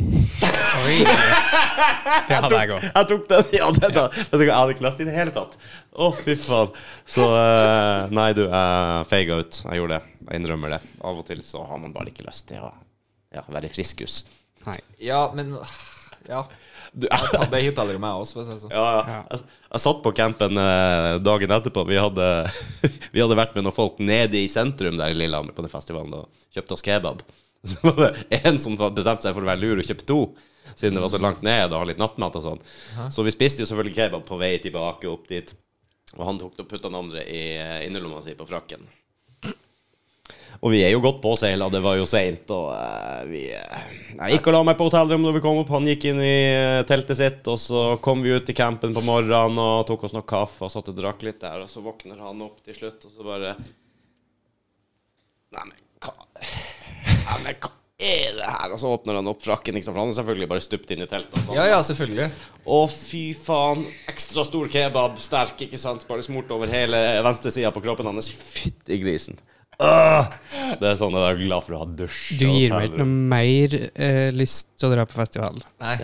Speaker 3: Oi. Det hadde jeg òg.
Speaker 2: *laughs* Jeg tok den. Ja, det da. Vet du hva, Jeg hadde ikke lest i det hele tatt. Å, fy faen. Så eh, Nei, du, jeg feiga ut. Jeg gjorde det. Jeg innrømmer det. Av og til så har man bare ikke lyst til å ja, være i friskus.
Speaker 3: Nei.
Speaker 1: Ja, men Ja.
Speaker 2: Du,
Speaker 1: Jeg hadde det hotellrommet, jeg også. for å si det sånn.
Speaker 2: Ja, ja. Jeg, jeg satt på campen eh, dagen etterpå. Vi hadde, *laughs* vi hadde vært med noen folk nede i sentrum der i Lillehammer på den festivalen og kjøpte oss kebab. *laughs* Så var det en som bestemte seg for å være lur og kjøpte to, siden det var så langt ned og litt nattmat og sånn. Så vi spiste jo selvfølgelig kebab på vei tilbake opp dit. Og han tok og putta den andre i eh, innerlomma si på frakken. Og vi er jo godt påseila, det var jo seint, og eh, vi eh, Jeg gikk og la meg på hotellrommet når vi kom opp. Han gikk inn i eh, teltet sitt, og så kom vi ut i campen på morgenen og tok oss noe kaffe og satt og drakk litt der, og så våkner han opp til slutt, og så bare Nei, men hva Nei, men hva er det her? Og så åpner han opp frakken, ikke sant, for han er selvfølgelig bare stupt inn i teltet. Og sånn.
Speaker 1: Ja, ja, selvfølgelig.
Speaker 2: Å, fy faen. Ekstra stor kebab, sterk, ikke sant? Bare smurt over hele venstresida på kroppen hans. Fytti grisen. Åh! Det er sånn at jeg er glad for å ha dusj.
Speaker 3: Du
Speaker 2: og
Speaker 3: gir meg ikke
Speaker 2: hotellrom.
Speaker 3: noe mer eh, lyst til å dra på festival
Speaker 1: Nei.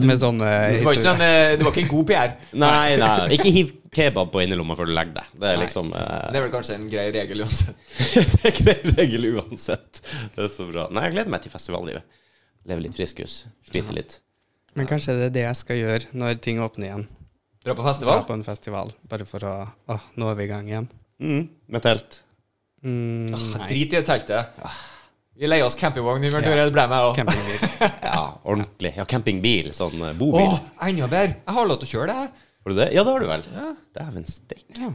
Speaker 3: med sånne
Speaker 1: Det var ikke, sånn,
Speaker 3: historier.
Speaker 1: eh, det var ikke en god PR.
Speaker 2: Nei, nei. Ikke hiv kebab på innerlomma før du legger deg. Det er liksom
Speaker 3: *laughs*
Speaker 2: eh,
Speaker 1: Det er vel kanskje en grei regel uansett.
Speaker 2: Det er grei regel uansett. Det er så bra. Nei, jeg gleder meg til festivallivet. Leve litt friskus. Slite litt.
Speaker 1: sånn-
Speaker 3: Men kanskje det er det jeg skal gjøre når ting åpner igjen.
Speaker 1: Dra på
Speaker 3: Dra
Speaker 1: festival?
Speaker 3: på en festival, bare for å Åh, nå er vi i gang igjen.
Speaker 2: Mm, med telt.
Speaker 3: Mm, nei.
Speaker 1: Ah, Drit i det teltet. Vi leier oss campingvogn i Ventura, det ble meg òg.
Speaker 3: Campingbil.
Speaker 2: Ja, ordentlig. Ja, campingbil. Sånn eh,
Speaker 1: Å,
Speaker 2: bobil.
Speaker 1: enda bedre! Jeg har lov til å kjøre det, jeg.
Speaker 2: Har du det? Ja, det har du vel. Dæven steike.
Speaker 3: Ja.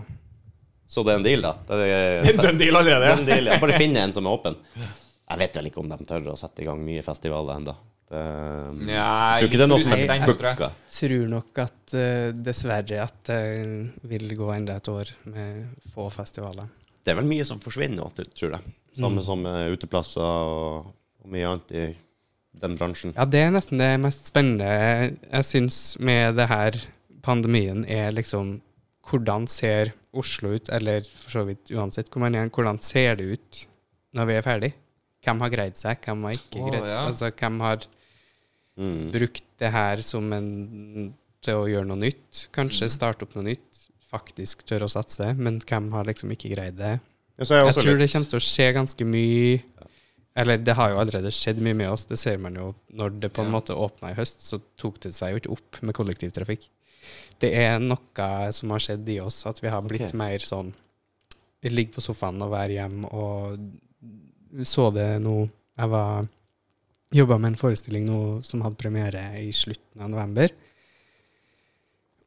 Speaker 2: Så det er en deal, da. Det er,
Speaker 1: Det er en dønn deal allerede.
Speaker 2: Den deal, ja. Bare finne en som er åpen. Jeg vet vel ikke om de tør å sette i gang nye festivaler ennå.
Speaker 1: Nei,
Speaker 2: Jeg tror ikke det er noe som
Speaker 1: jeg
Speaker 2: er
Speaker 1: tror jeg.
Speaker 2: booka.
Speaker 3: Tror nok at eh, dessverre at det vil gå enda et år med få festivaler.
Speaker 2: Det er vel mye som forsvinner nå, tr- tror jeg. Samme
Speaker 3: Mm.
Speaker 2: som eh, uteplasser og, og mye annet i den bransjen.
Speaker 3: Ja, det er nesten det mest spennende jeg syns med det her pandemien, er liksom hvordan ser Oslo ut, eller for så vidt uansett hvor man er, hvordan ser det ut når vi er ferdig? Hvem har greid seg, hvem har ikke
Speaker 1: Å,
Speaker 3: greid seg?
Speaker 1: ja.
Speaker 3: Altså, hvem har
Speaker 2: Mm.
Speaker 3: brukt det her som en til å gjøre noe nytt?
Speaker 1: Mm.
Speaker 3: Kanskje starte opp noe nytt? Faktisk tør å satse, men hvem har liksom ikke greid det?
Speaker 2: Ja, så er
Speaker 3: Jeg
Speaker 2: også
Speaker 3: tror det
Speaker 2: litt-
Speaker 3: kommer til å skje ganske mye. Eller det har jo allerede skjedd mye med oss, det ser man jo. Når det på en
Speaker 1: Ja.
Speaker 3: måte åpna i høst, så tok det seg jo ikke opp med kollektivtrafikk. Det er noe som har skjedd i oss, at vi har blitt
Speaker 2: Ok.
Speaker 3: mer sånn Vi ligger på sofaen og være hjemme og så det nå Jeg var jobba med en forestilling nå som hadde premiere i slutten av november.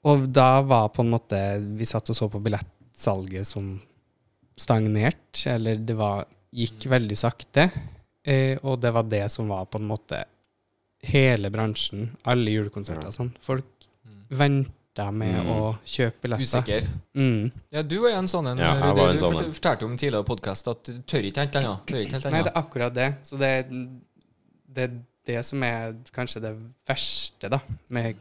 Speaker 3: Og da var på en måte Vi satt og så på billettsalget som stagnert, eller det var, gikk veldig sakte. Eh, og det var det som var på en måte hele bransjen, alle julekonserter og sånn. Folk venta med
Speaker 2: Mm.
Speaker 3: å kjøpe billetter.
Speaker 1: Usikker.
Speaker 3: Mm.
Speaker 1: Ja, du er en sånn en.
Speaker 2: Ja, jeg
Speaker 1: Rudi.
Speaker 2: var en
Speaker 1: du
Speaker 2: sånn
Speaker 1: fort-
Speaker 2: en.
Speaker 1: fortalte jo om tidligere podkast at du tør ikke helt ennå. Tør ikke helt
Speaker 3: Nei, det
Speaker 1: ennå.
Speaker 3: er akkurat det. Så det, det er det som er kanskje det verste da, med,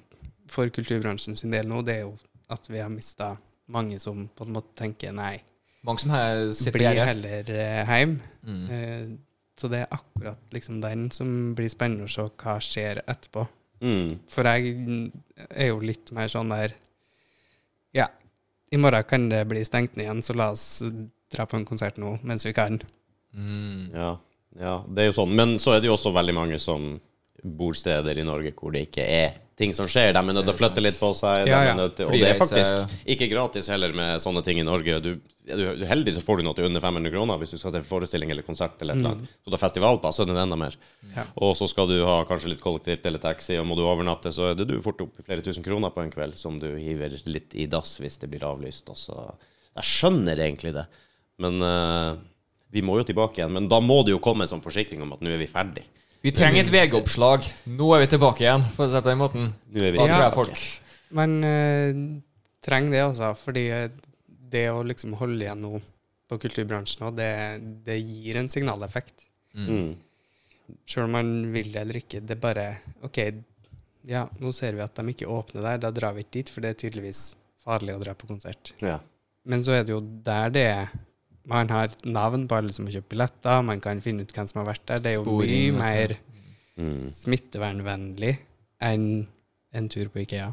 Speaker 3: for kulturbransjen sin del nå, det er jo at vi har mista mange som på en måte tenker nei,
Speaker 1: Mange som her sitter
Speaker 3: bli
Speaker 1: i gjerdet.
Speaker 3: heller eh, hjem.
Speaker 1: Mm.
Speaker 3: Eh, Så det er akkurat liksom den som blir spennende å se hva skjer etterpå.
Speaker 2: Mm.
Speaker 3: For jeg er jo litt mer sånn der Ja, i morgen kan det bli stengt ned igjen, så la oss dra på en konsert nå mens vi kan.
Speaker 1: Mm.
Speaker 2: Ja, ja, det er jo sånn. Men så er det jo også veldig mange som bor steder i Norge hvor det ikke er ting som skjer. De er nødt til å flytte litt på seg.
Speaker 3: Ja,
Speaker 2: de
Speaker 3: ja.
Speaker 2: er nødt til, og det er
Speaker 1: Flyreise.
Speaker 2: faktisk ikke gratis heller med sånne ting i Norge. Du, er du- er du heldig, så får du noe til under 500 kroner hvis du skal til forestilling eller konsert eller et eller annet. Så da festivalpass er det enda mer.
Speaker 3: Ja.
Speaker 2: Og så skal du ha kanskje litt kollektivt eller taxi, og må du overnatte, så er det du fort opp i flere tusen kroner på en kveld som du hiver litt i dass hvis det blir avlyst. Og så Jeg skjønner egentlig det, men eh, vi må jo tilbake igjen. Men da må det jo komme en sånn forsikring om at nå er vi ferdig.
Speaker 1: Vi trenger et VG-oppslag. Nå er vi tilbake igjen, for å si det på den måten.
Speaker 2: Nå er vi
Speaker 1: Da tror jeg
Speaker 2: tilbake.
Speaker 1: folk
Speaker 3: Man eh, trenger det, altså. Fordi det å liksom holde igjen nå på kulturbransjen, og det, det gir en signaleffekt.
Speaker 2: Mm.
Speaker 3: Sjøl om man vil det eller ikke. Det er bare OK, ja, nå ser vi at de ikke åpner der, da drar vi ikke dit, for det er tydeligvis farlig å dra på konsert.
Speaker 2: Ja.
Speaker 3: Men så er det jo der det er Man har navn på alle som har kjøpt billetter, man kan finne ut hvem som har vært der. Det er jo
Speaker 1: Sporing, vet
Speaker 3: mye mer
Speaker 1: du.
Speaker 2: Mm.
Speaker 3: smittevernvennlig enn en tur på Ikea.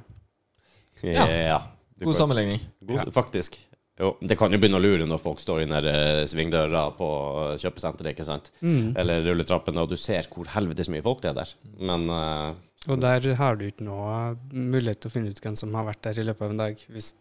Speaker 2: Ja. Du
Speaker 1: God
Speaker 2: kan-
Speaker 1: sammenligning.
Speaker 2: God, Faktisk. Jo, det kan jo begynne å lure når folk står i den der, eh, svingdøra på eh, kjøpesenteret, ikke sant?
Speaker 1: Mm.
Speaker 2: Eller rulletrappen, og du ser hvor helvetes mye folk det er der. Men eh,
Speaker 3: Og der har du ikke noe mulighet til å finne ut hvem som har vært der i løpet av en dag. Hvis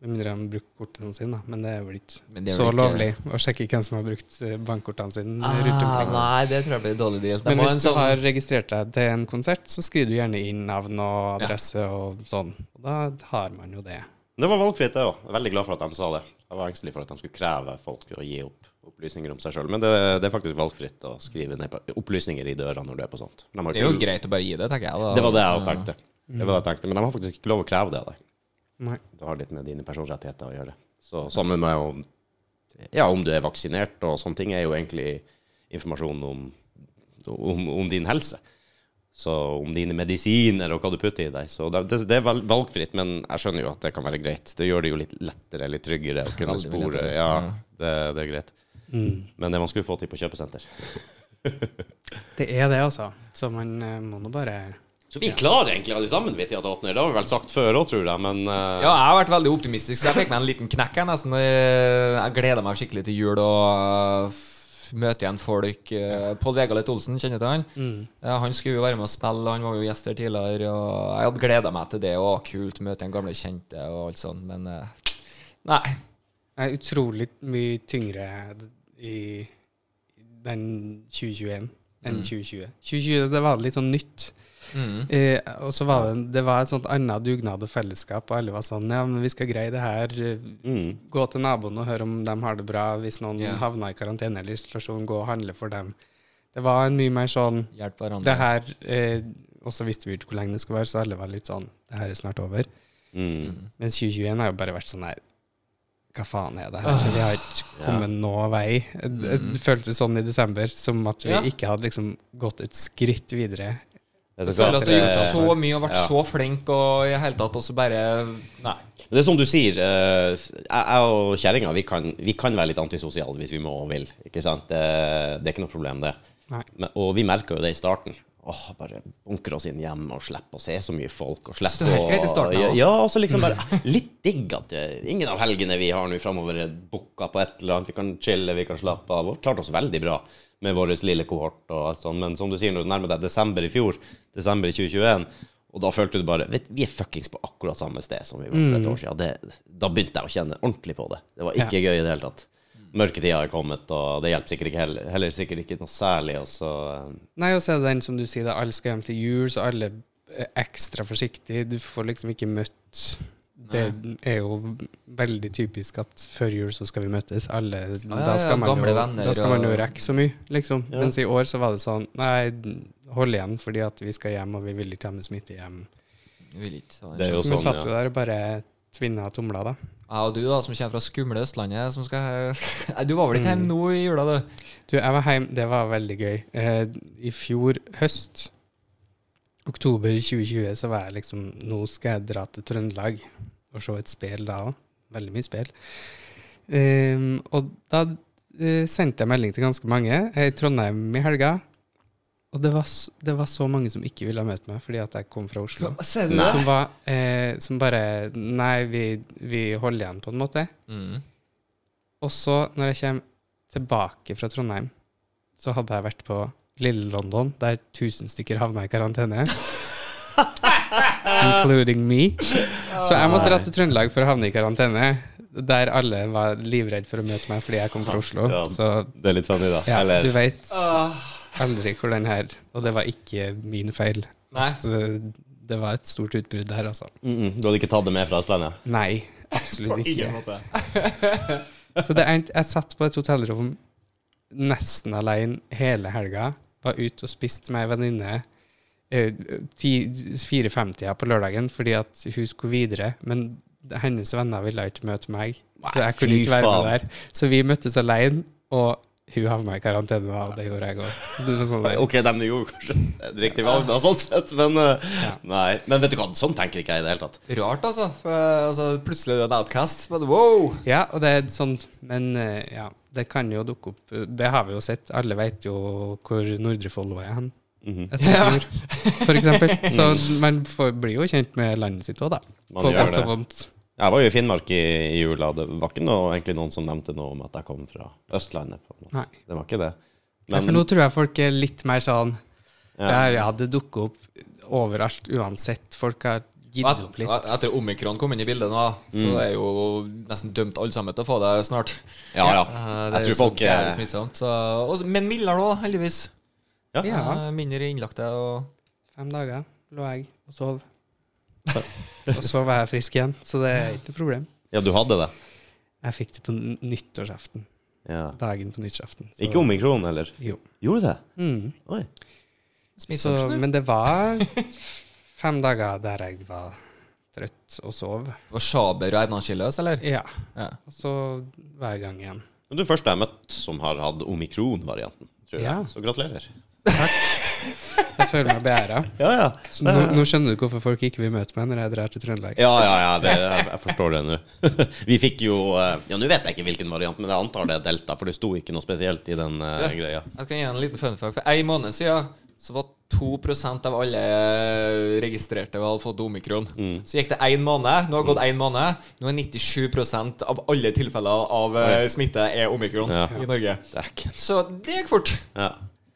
Speaker 3: med mindre de bruker kortene sine, da. Men det er vel ikke
Speaker 1: Men det er
Speaker 3: så
Speaker 1: vel
Speaker 3: lovlig
Speaker 1: ikke-
Speaker 3: å sjekke hvem som har brukt eh, bankkortene sine rundt
Speaker 1: Ah,
Speaker 3: omkring.
Speaker 1: nei, det tror jeg blir en dårlig deal. De
Speaker 3: Men
Speaker 1: må ha en
Speaker 3: hvis du
Speaker 1: sånn
Speaker 3: har registrert deg til en konsert, så skriver du gjerne inn navn og adresse og sånn. Og da har man jo det.
Speaker 2: det var valgfritt, det òg. Veldig glad for at de sa det. Jeg var engstelig for at de skulle kreve folk til å gi opp. opplysninger om seg sjøl. Men det, det er faktisk valgfritt å skrive ned på- opplysninger i døra når du er på sånt. De har
Speaker 1: Det er jo
Speaker 2: ikke-
Speaker 1: greit å bare gi det, tenker jeg. Da.
Speaker 2: Det var det jeg tenkte. Det var det jeg tenkte. Men de har faktisk ikke lov å kreve det av deg.
Speaker 3: Nei.
Speaker 2: Det har litt med dine personrettigheter å gjøre. Så sammen med om, ja, om du er vaksinert og sånne ting, er jo egentlig informasjon om, om, om din helse. Så om dine medisiner og hva du putter i deg. Så det, det, det er vel- valgfritt, men jeg skjønner jo at det kan være greit. Det gjør det jo litt lettere, litt tryggere å kunne
Speaker 1: Veldig mye
Speaker 2: spore.
Speaker 1: lettere.
Speaker 2: Ja,
Speaker 1: Ja.
Speaker 2: det, det er greit.
Speaker 3: Mm.
Speaker 2: Men det man skulle få til på kjøpesenter.
Speaker 3: Det er det, altså. Så man eh, må nå bare
Speaker 2: Så vi klarer egentlig alle sammen, vet jeg, at det åpner. Det har vi vel sagt før òg, tror jeg, men eh,
Speaker 1: Ja, jeg har vært veldig optimistisk, så jeg fikk meg en liten knekk her nesten. Jeg jeg gleder meg skikkelig til jul og eh, f- møte igjen folk. Eh, Pål Vegard Lett Olsen, kjenner du til han?
Speaker 3: Mm.
Speaker 1: Ja, han skulle jo være med og spille, han var jo gjest her tidligere. Og jeg hadde gleda meg til det. Å, kult, møte igjen gamle kjente og alt sånt. Men eh, nei.
Speaker 3: Det er utrolig mye tyngre i den 2021 enn 2020. 2020 det var litt sånn nytt.
Speaker 1: Mm.
Speaker 3: Eh, og så var det, det var et sånt annet dugnad og fellesskap, og alle var sånn Ja, men vi skal greie det her. eh,
Speaker 2: mm.
Speaker 3: Gå til naboen og høre om de har det bra. Hvis noen
Speaker 1: Ja.
Speaker 3: havna i karantene eller isolasjon, gå og handle for dem. Det var en mye mer sånn
Speaker 1: Hjelp hverandre.
Speaker 3: Det her eh, Og så visste vi ikke hvor lenge det skulle være, så alle var litt sånn Det her er snart over.
Speaker 2: Mm.
Speaker 3: Mens 2021 har jo bare vært sånn her Hva faen er det her? Vi har ikke kommet noen vei. Det det føltes sånn i desember, som at vi
Speaker 1: Mm. Ja.
Speaker 3: ikke hadde liksom gått et skritt videre.
Speaker 2: Jeg
Speaker 1: Jeg føler at du har gjort
Speaker 2: det-
Speaker 1: så mye og vært
Speaker 2: Ja.
Speaker 1: så flink og i hele tatt, og så bare Nei.
Speaker 2: Men Det er som du sier, eh, jeg jeg og kjerringa vi, kan- vi kan være litt antisosiale hvis vi må og vil. Ikke sant? Det, det er ikke noe problem, det.
Speaker 3: Nei.
Speaker 2: Men, og vi merka jo det i starten. Åh, bare bunker oss inn hjemme og slipper å se så mye folk. Og
Speaker 1: Så det er helt greit i starten,
Speaker 2: ja,
Speaker 1: ja.
Speaker 2: ja, og så liksom bare *laughs* litt digg at eh, ingen av helgene vi har nå framover, er booka på et eller annet. Vi kan chille, vi kan slappe av. Og klarte oss veldig bra med vår lille kohort og alt sånt. Men som du sier, når du nærmer deg desember i fjor, desember i 2021 og da følte du bare vet, Vi er fuckings på akkurat samme sted som vi var for et
Speaker 1: Mm.
Speaker 2: år siden. Det, da begynte jeg å kjenne ordentlig på det. Det var ikke gøy i det hele tatt. Mørketida er kommet, og det hjelper sikkert ikke heller, heller sikkert ikke noe særlig. Og så eh,
Speaker 3: Nei, og så er det den som du sier, da alle skal hjem til jul, så alle er ekstra forsiktige. Du får liksom ikke møtt Det er jo veldig typisk at før jul så skal vi møtes, alle.
Speaker 1: ja,
Speaker 3: da,
Speaker 1: ja,
Speaker 3: skal man
Speaker 1: gamle
Speaker 3: jo,
Speaker 1: venner
Speaker 3: da skal man jo
Speaker 1: og-
Speaker 3: rekke så mye, liksom.
Speaker 2: Ja.
Speaker 3: Mens i år så var det sånn Nei, hold igjen, fordi at vi skal hjem, og vi vil ikke ha med smitte hjem.
Speaker 1: Jeg vil ikke ta en
Speaker 2: Det er jo
Speaker 3: Så vi
Speaker 2: sånn,
Speaker 3: satt jo
Speaker 2: ja.
Speaker 3: der og bare tvinna tomla, da.
Speaker 1: Jeg og du, da, som kommer fra skumle Østlandet som skal... *laughs* Nei, Du var vel ikke hjemme nå i jula, du?
Speaker 3: Du, jeg var hjemme, det var veldig gøy. Eh, I fjor høst, oktober 2020, så var jeg liksom Nå skal jeg dra til Trøndelag og se et spel da òg. Veldig mye spel. Ehm, og da eh, sendte jeg melding til ganske mange. Jeg er i Trondheim i helga. Og det var, s- det var så mange som ikke ville møte meg fordi at jeg kom fra Oslo.
Speaker 1: Ser
Speaker 2: Nei.
Speaker 3: Som, var, eh, som bare Nei, vi, vi holder igjen, på en måte.
Speaker 1: Mm.
Speaker 3: Og så, når jeg kommer tilbake fra Trondheim, så hadde jeg vært på Lille London, der tusen stykker havna i karantene. Including me. Så jeg måtte dra til Trøndelag for å havne i karantene. Der alle var livredde for å møte meg fordi jeg kom fra Oslo.
Speaker 2: Ja.
Speaker 3: Så
Speaker 2: Det er litt funny, da.
Speaker 3: ja,
Speaker 2: Eller
Speaker 3: du veit aldri hvor den her Og det var ikke min feil.
Speaker 1: Nei.
Speaker 3: Så Det var et stort utbrudd der, altså.
Speaker 2: mm -mm, Du hadde ikke tatt det med fra Østlandet?
Speaker 3: Nei, absolutt ikke.
Speaker 1: måte.
Speaker 3: *laughs* Så det endte, jeg satt på et hotellrom nesten alene hele helga. Var ute og spiste med ei venninne eh, ti- 4.50 på lørdagen fordi at hun skulle videre. Men hennes venner ville ikke møte meg, så jeg kunne
Speaker 2: fy
Speaker 3: ikke være med
Speaker 2: faen.
Speaker 3: der. Så vi møttes alene, og hun havna i karantene, da, og det gjorde jeg òg. Så det var sånn der.
Speaker 2: Ok, de gjorde kanskje *laughs* et riktig valg, da, sånn sett, men eh, Nei. Men vet du hva, sånn tenker ikke jeg i det hele tatt.
Speaker 1: Rart, altså. For, eh, altså plutselig er du en outcast. Men wow!
Speaker 3: Ja, og det er sånn Men eh, ja, det kan jo dukke opp. eh, Det har vi jo sett. Alle vet jo hvor Nordre Follo er hen.
Speaker 2: Mhm.
Speaker 3: etter fjor, for eksempel. Så man får, blir jo kjent med landet sitt òg, da.
Speaker 2: Man
Speaker 3: På
Speaker 2: gjør
Speaker 3: godt
Speaker 2: det.
Speaker 3: og vondt.
Speaker 2: Jeg var jo i Finnmark i, i jula, det var ikke noe, egentlig noen som nevnte noe om at jeg kom fra Østlandet. På en måte.
Speaker 3: Nei.
Speaker 2: Det var ikke det.
Speaker 3: Ja, for nå tror jeg folk er litt mer sånn Ja,
Speaker 2: ja,
Speaker 3: ja, det dukker opp overalt uansett. Folk har gitt
Speaker 1: Et,
Speaker 3: opp litt.
Speaker 1: et- etter omikron kom inn i bildet nå, så er jo nesten dømt alle sammen til å få det snart.
Speaker 2: ja, ja.
Speaker 1: Eh,
Speaker 2: Jeg
Speaker 1: det er
Speaker 2: tror
Speaker 1: så
Speaker 2: folk
Speaker 1: jævlig
Speaker 2: eh,
Speaker 1: smittsomt. Så, og, men mildere nå, heldigvis.
Speaker 3: Ja,
Speaker 1: Eh, mindre innlagte og
Speaker 3: fem dager lå jeg og sov. Og så var jeg frisk igjen, så det er ikke noe problem.
Speaker 2: ja, du hadde det.
Speaker 3: Jeg fikk det på n- nyttårsaften.
Speaker 2: Ja.
Speaker 3: dagen på nyttårsaften. Så-
Speaker 2: Ikke omikron heller?
Speaker 3: Jo.
Speaker 2: Gjorde det?
Speaker 3: Mm.
Speaker 2: Oi.
Speaker 1: Smittsomt.
Speaker 3: Så,
Speaker 1: skjønner du.
Speaker 3: men det var fem dager der jeg var trøtt og sov.
Speaker 1: Var Sjaber og Erna Kildaas, eller?
Speaker 3: Ja.
Speaker 1: Ja.
Speaker 3: Og så var jeg i gang igjen.
Speaker 2: Men Du er den første jeg har møtt som har hatt omikron-varianten. tror jeg.
Speaker 3: Ja.
Speaker 2: Så gratulerer.
Speaker 3: Jeg føler meg beæra.
Speaker 2: Ja, ja.
Speaker 3: Så nå, nå skjønner du hvorfor folk ikke vil møte meg når jeg drar til Trøndelag.
Speaker 2: Ja, ja, ja, det, jeg, jeg forstår det nå. *laughs* Vi fikk jo eh, Ja, nå vet jeg ikke hvilken variant, men jeg antar det er delta, for det sto ikke noe spesielt i den eh, greia.
Speaker 1: Jeg kan gi en liten fun fact. For en måned siden så var 2 av alle registrerte og hadde fått omikron.
Speaker 2: Mm.
Speaker 1: Så gikk det én måned. Nå har det gått én måned. Nå er 97 av alle tilfeller av eh, smitte er omikron
Speaker 2: Ja.
Speaker 1: i Norge.
Speaker 2: Dæken.
Speaker 1: Så det gikk fort.
Speaker 2: Ja.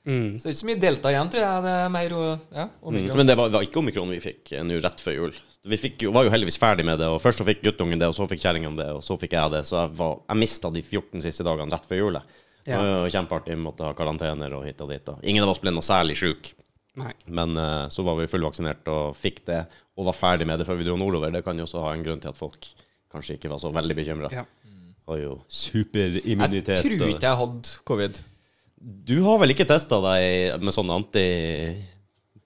Speaker 3: Mm.
Speaker 1: Så det er ikke så mye delta igjen, tror jeg. Det er mer o- ja,
Speaker 2: Mm.
Speaker 1: omikron.
Speaker 2: Men det var, var ikke omikron vi fikk eh, nå rett før jul. Vi fikk jo, var jo heldigvis ferdig med det, og først så fikk guttungen det, og så fikk kjerringen det, og så fikk jeg det. Så jeg, var- jeg mista de 14 siste dagene rett før jul. jeg. Det
Speaker 3: Ja.
Speaker 2: var jo Kjempeartig. Måtte ha karantener og hit og dit. Og. Ingen av oss ble noe særlig sjuk.
Speaker 3: Nei.
Speaker 2: Men eh, så var vi fullvaksinert og fikk det, og var ferdig med det før vi dro nordover. Det kan jo også ha en grunn til at folk kanskje ikke var så veldig bekymra.
Speaker 3: Ja.
Speaker 2: Har jo
Speaker 1: Jeg
Speaker 2: superimmunitet.
Speaker 1: tror
Speaker 2: og-
Speaker 1: ikke jeg hadde covid.
Speaker 2: Du har vel ikke testa deg med sånne anti...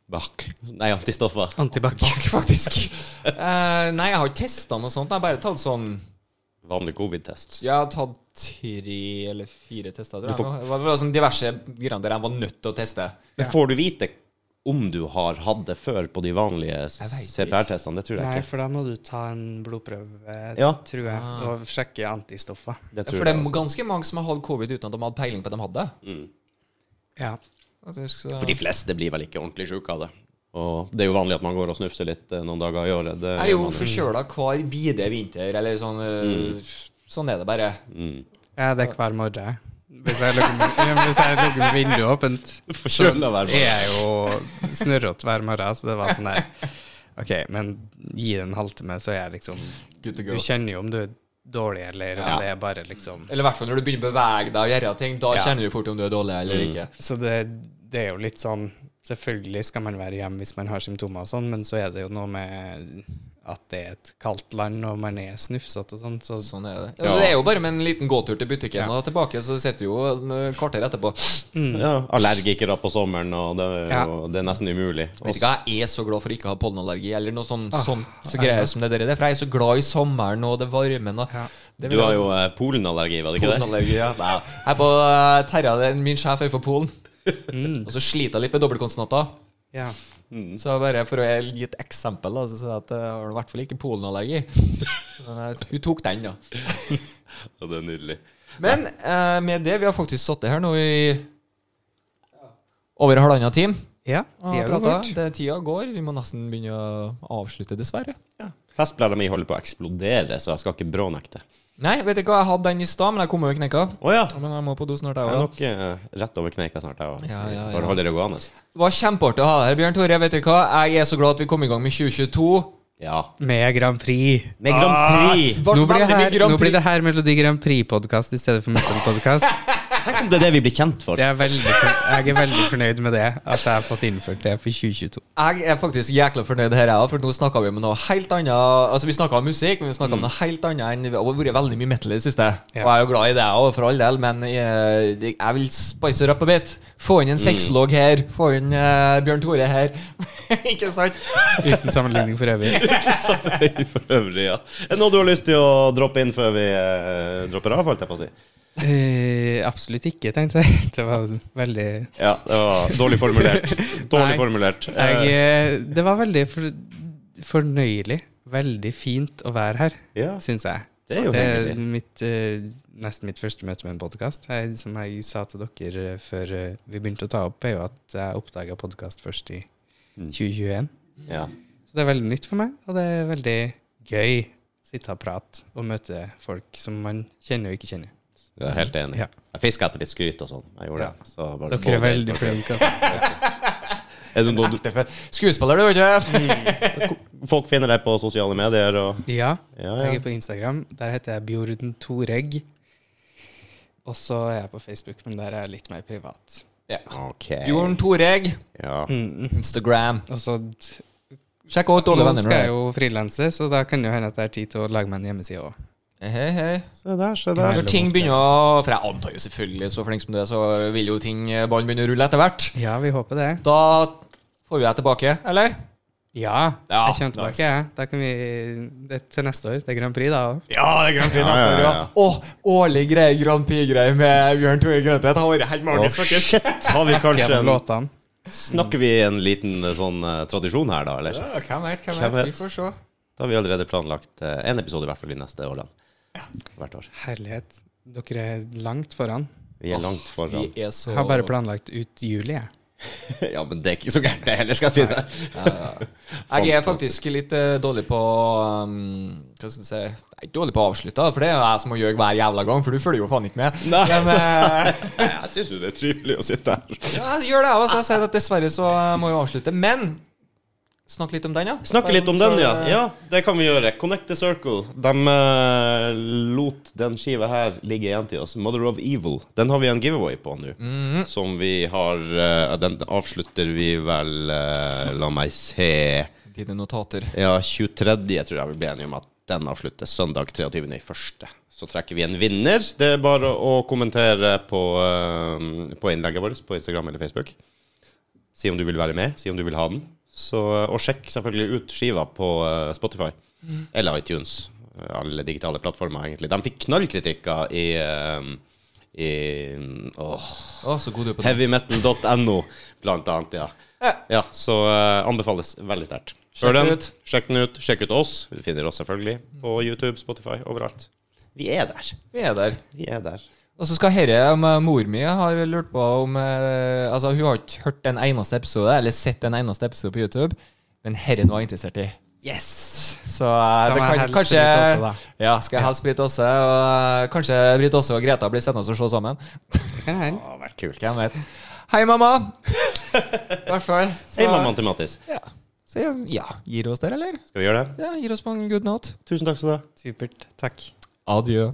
Speaker 2: Bak. Nei, antistoffer.
Speaker 3: Antibac.
Speaker 1: Fuck, faktisk.
Speaker 2: *laughs*
Speaker 1: Eh, nei, jeg har ikke testa noe sånt. Jeg har bare tatt sånn
Speaker 2: Vanlig covid-test.
Speaker 1: Jeg har tatt tre eller fire tester, tror
Speaker 2: Du
Speaker 1: jeg.
Speaker 2: får-
Speaker 1: nå. Det var bare sånn diverse greier der jeg var nødt til å teste.
Speaker 2: Men Får du vite om du har hatt det før på de vanlige
Speaker 1: Jeg vet ikke.
Speaker 2: CPR-testene? Det tror jeg
Speaker 3: Nei,
Speaker 2: ikke.
Speaker 3: for da må du ta en blodprøve,
Speaker 2: Ja.
Speaker 3: tror jeg, og sjekke antistoffer.
Speaker 2: Det Mm. tror
Speaker 1: For det er
Speaker 2: jeg, altså.
Speaker 1: ganske mange som har hatt covid uten at de hadde peiling på at de hadde det.
Speaker 3: Ja.
Speaker 1: Altså, så-
Speaker 2: For de fleste blir vel ikke ordentlig sjuke av det. Og det er jo vanlig at man går og snufser litt eh, noen dager i året. Det
Speaker 1: Jeg er jo
Speaker 2: gjør man
Speaker 1: forkjøla hver bide vinter, eller sånn eh, Sånn er det bare.
Speaker 2: Mm.
Speaker 3: ja, det er hver morgen. Hvis jeg lugger med, ja, hvis jeg lugger med vinduet åpent, så
Speaker 2: Forkjølet hver morgen.
Speaker 3: er jeg jo snørrete hver morgen. Så det var sånn der OK, men gi det en halvtime, så er jeg liksom Du kjenner jo om du er dårlig, eller om
Speaker 2: Ja.
Speaker 3: det er bare liksom
Speaker 1: Eller i hvert fall når du begynner å bevege deg og gjøre ting. Da
Speaker 3: Ja.
Speaker 1: kjenner du fort om du er dårlig
Speaker 2: Mm.
Speaker 1: eller ikke.
Speaker 3: Så det, det er jo litt sånn Selvfølgelig skal man være hjemme hvis man har symptomer og sånn, men så er det jo noe med at det er et kaldt land, og man er snufsete og sånn, så
Speaker 1: Sånn er det. Altså, det er jo bare med en liten gåtur til butikken og tilbake, så sitter du jo et kvarter etterpå. Mm.
Speaker 2: Ja, allergikere på sommeren, og det, er
Speaker 3: Ja.
Speaker 2: jo- det er nesten umulig. Og
Speaker 1: Vet ikke, hva, Jeg er så glad for ikke å ha pollenallergi eller noe sånn,
Speaker 3: Ah,
Speaker 1: sånt så
Speaker 3: ja.
Speaker 1: greier som det der er. For jeg er så glad i sommeren og det varmen. Og
Speaker 3: Ja.
Speaker 1: det
Speaker 2: du har jo eh, polenallergi, var det ikke det?
Speaker 1: pollenallergi. Ja. Nei. Her på eh, Terra, det er min sjef er fra Polen.
Speaker 3: Mm.
Speaker 1: Og så sliter jeg litt med dobbeltkonsonanter.
Speaker 3: ja.
Speaker 2: Mm.
Speaker 1: Så bare for å gi et eksempel, da, så sier jeg at jeg har i hvert fall ikke pollenallergi. Men eh, hun tok den, da.
Speaker 2: Ja, det er nydelig.
Speaker 1: Men eh, med det, vi har faktisk sittet her nå i over halvannen time
Speaker 3: Ja,
Speaker 1: og
Speaker 3: de er jo
Speaker 1: prata.
Speaker 3: vårt.
Speaker 1: Tida går. Vi må nesten begynne å avslutte, dessverre.
Speaker 2: Festblæra mi holder på å eksplodere, så jeg skal ikke brånekte.
Speaker 1: Nei, vet du hva, jeg hadde den i stad, men jeg kom over knekka.
Speaker 2: Å ja!
Speaker 1: Men jeg må på do snart,
Speaker 2: Jeg
Speaker 1: jeg
Speaker 2: er
Speaker 1: òg.
Speaker 2: nok eh, rett over kneika snart, jeg òg.
Speaker 1: Ja, ja, ja.
Speaker 2: Bare hold dere gående.
Speaker 1: Det var kjempeartig å ha deg her, Bjørn Tore. Vet du hva, jeg er så glad at vi kom i gang med 2022.
Speaker 2: Ja. Ah.
Speaker 3: Med Grand Prix.
Speaker 2: Med Grand Prix!
Speaker 1: Vart
Speaker 3: Nå blir, det
Speaker 1: veldig mye
Speaker 3: her,
Speaker 1: Grand
Speaker 3: nå
Speaker 1: Prix.
Speaker 3: blir det her Melodi Grand Prix-podkast i stedet for Metal-podkast.
Speaker 2: Tenk om det er det vi blir kjent for.
Speaker 3: Jeg
Speaker 2: *laughs*
Speaker 3: er veldig fornøyd med det, at jeg har fått innført det for 2022.
Speaker 1: Jeg er faktisk jækla fornøyd her, jeg òg, for nå snakka vi om noe helt annet. Altså, vi snakka om musikk, men vi
Speaker 3: Mm.
Speaker 1: snakka om noe helt annet enn Det har vært veldig mye metal i det siste. Og jeg er jo glad i det òg, for all del, men jeg, jeg vil spice it up a bit. Få inn en
Speaker 3: Mm.
Speaker 1: sexolog her. Få inn eh, Bjørn Tore her. *laughs* Ikke sant?
Speaker 3: Uten sammenligning for øvrig.
Speaker 2: Sorry for øvrig, ja. Er det noe du har lyst til å droppe inn før vi eh, dropper av, holdt jeg på å si?
Speaker 3: Eh, absolutt ikke, tenkte jeg. *laughs* Det var veldig
Speaker 2: Ja, det var dårlig
Speaker 1: *laughs*
Speaker 2: formulert.
Speaker 3: Nei.
Speaker 2: Dårlig formulert. Eh,
Speaker 3: jeg, eh, Det var veldig for, fornøyelig. Veldig fint å være her,
Speaker 2: ja,
Speaker 3: syns jeg.
Speaker 2: det er jo
Speaker 3: Det
Speaker 2: hyggelig.
Speaker 3: er mitt, eh, nesten mitt første møte med en podkast. Som jeg sa til dere eh, før eh, vi begynte å ta opp, er jo at jeg oppdaga podkast først i
Speaker 2: Mm.
Speaker 3: 2021.
Speaker 2: Ja.
Speaker 3: Så det er veldig nytt for meg, og det er veldig gøy å sitte og prate og møte folk som man kjenner og ikke kjenner.
Speaker 2: Jeg er helt enig.
Speaker 3: Ja.
Speaker 2: Jeg fiska etter litt skryt og sånn. Jeg gjorde det. Så bare
Speaker 3: Dere er
Speaker 2: både-
Speaker 3: veldig flinke, altså.
Speaker 2: Er det noe du,
Speaker 1: Ekte fett. Skuespiller, du, vet du.
Speaker 2: folk finner deg på sosiale medier og
Speaker 3: Ja,
Speaker 2: Ja, ja.
Speaker 3: jeg er på Instagram. Der heter jeg Bjorden Toregg. Og så er jeg på Facebook, men der er jeg litt mer privat.
Speaker 2: OK.
Speaker 1: Bjørn Toreg.
Speaker 2: Ja.
Speaker 3: Mm.
Speaker 1: Instagram.
Speaker 3: Og så
Speaker 1: Sjekk ut
Speaker 3: Nå
Speaker 1: dårlige venner.
Speaker 3: skal jeg jo frilanse, så da kan det jo hende at jeg har tid til å lage meg en hjemmeside òg.
Speaker 1: Hei, hei.
Speaker 2: Se der, se
Speaker 1: Når
Speaker 2: der.
Speaker 1: ting begynner å For jeg antar jo selvfølgelig, så flink som du er, så vil jo ting ballen begynne å rulle etter hvert.
Speaker 3: Ja, vi håper det.
Speaker 1: Da får jo jeg tilbake, eller?
Speaker 3: Ja,
Speaker 1: Ja,
Speaker 3: jeg kommer tilbake.
Speaker 1: nice.
Speaker 3: jeg. Da kan vi, det, er til neste år. Det er Grand Prix, da òg.
Speaker 1: Ja, det er Grand Prix
Speaker 2: Ja,
Speaker 1: neste år,
Speaker 2: ja,
Speaker 1: ja.
Speaker 2: ja.
Speaker 1: Åh, årlig greie, Grand Prix-greie med Bjørn Tore Grøntvedt har vært helt magisk, faktisk.
Speaker 2: Har vi kanskje
Speaker 3: Gjennom
Speaker 2: en,
Speaker 3: låtene.
Speaker 2: snakker vi en liten eh, sånn eh, tradisjon her, da? Eller?
Speaker 1: Ja, hvem vet, hvem
Speaker 2: Hvem
Speaker 1: vet. Vi
Speaker 2: vet?
Speaker 1: får se.
Speaker 2: Da har vi allerede planlagt én episode i hvert fall de neste årene. Hvert år.
Speaker 3: Herlighet. Dere er langt foran.
Speaker 2: Vi er langt foran.
Speaker 1: Vi er så
Speaker 3: Jeg har bare planlagt ut juli, jeg.
Speaker 2: *laughs* Ja, men det er ikke så gærent, det heller, skal jeg si det.
Speaker 1: Jeg er faktisk litt eh, dårlig på um, Hva skal jeg si Jeg er ikke dårlig på å avslutte, for det er jo jeg som må gjøre hver jævla gang, for du følger jo faen ikke med.
Speaker 2: Nei.
Speaker 1: Men eh,
Speaker 2: *laughs* Jeg syns jo det er trivelig å sitte her.
Speaker 1: ja, jeg gjør det, jeg også. Jeg sier at dessverre så eh, må jeg avslutte. Men snakk litt om den, ja.
Speaker 2: Snakke litt om
Speaker 1: Så,
Speaker 2: den, ja.
Speaker 1: eh,
Speaker 2: Ja, det kan vi gjøre. Connect the Circle. De eh, lot den skiva her ligge igjen til oss. Mother of Evil. Den har vi en giveaway på nå. Som vi har eh, Den avslutter vi vel eh, La meg se
Speaker 1: Dine notater.
Speaker 2: Ja, 23. Jeg tror jeg vi ble enige om at den avsluttes søndag 23. i første. Så trekker vi en vinner. Det er bare å kommentere på, eh, på innlegget vårt på Instagram eller Facebook. Si om du vil være med, si om du vil ha den. Så, eh, og sjekk selvfølgelig ut skiva på eh, Spotify eller iTunes. Alle digitale plattformer, egentlig. De fikk knallkritikker i, eh, i åh,
Speaker 1: Å, så god du er på det.
Speaker 2: Heavymetal.no, blant annet. Ja,
Speaker 1: Ja.
Speaker 2: ja så eh, anbefales veldig sterkt.
Speaker 1: Sjekk
Speaker 2: Hør den,
Speaker 1: ut. Mm.
Speaker 2: sjekk den ut. Sjekk ut oss. Du finner oss selvfølgelig på YouTube, Spotify, overalt. Vi er der.
Speaker 1: Vi er der.
Speaker 2: Vi er der.
Speaker 1: Og så skal herre om eh, mor mi har lurt på om eh, Altså, hun har ikke hørt en eneste episode, eller sett en eneste episode på YouTube, men herren var interessert i.
Speaker 3: Yes!
Speaker 1: Så eh, det
Speaker 3: Da må jeg
Speaker 1: kan
Speaker 3: helst
Speaker 1: kanskje
Speaker 3: Britt Åse, da.
Speaker 1: Ja, skal jeg helst Britt Åse, og eh, kanskje Britt Åse og Greta blir stående og se sammen. *laughs*
Speaker 3: Det kan hende.
Speaker 2: Å, vært kult.
Speaker 1: Hvem vet. Hei, mamma!
Speaker 3: *laughs*
Speaker 1: I hvert fall. Så,
Speaker 2: Hei, mammaen til Mattis.
Speaker 1: Ja. Så ja, gir oss der, eller?
Speaker 2: Skal vi gjøre det?
Speaker 1: Ja, gir oss på en good note.
Speaker 2: Tusen takk skal du ha.
Speaker 3: Supert. Takk.
Speaker 1: Adjø.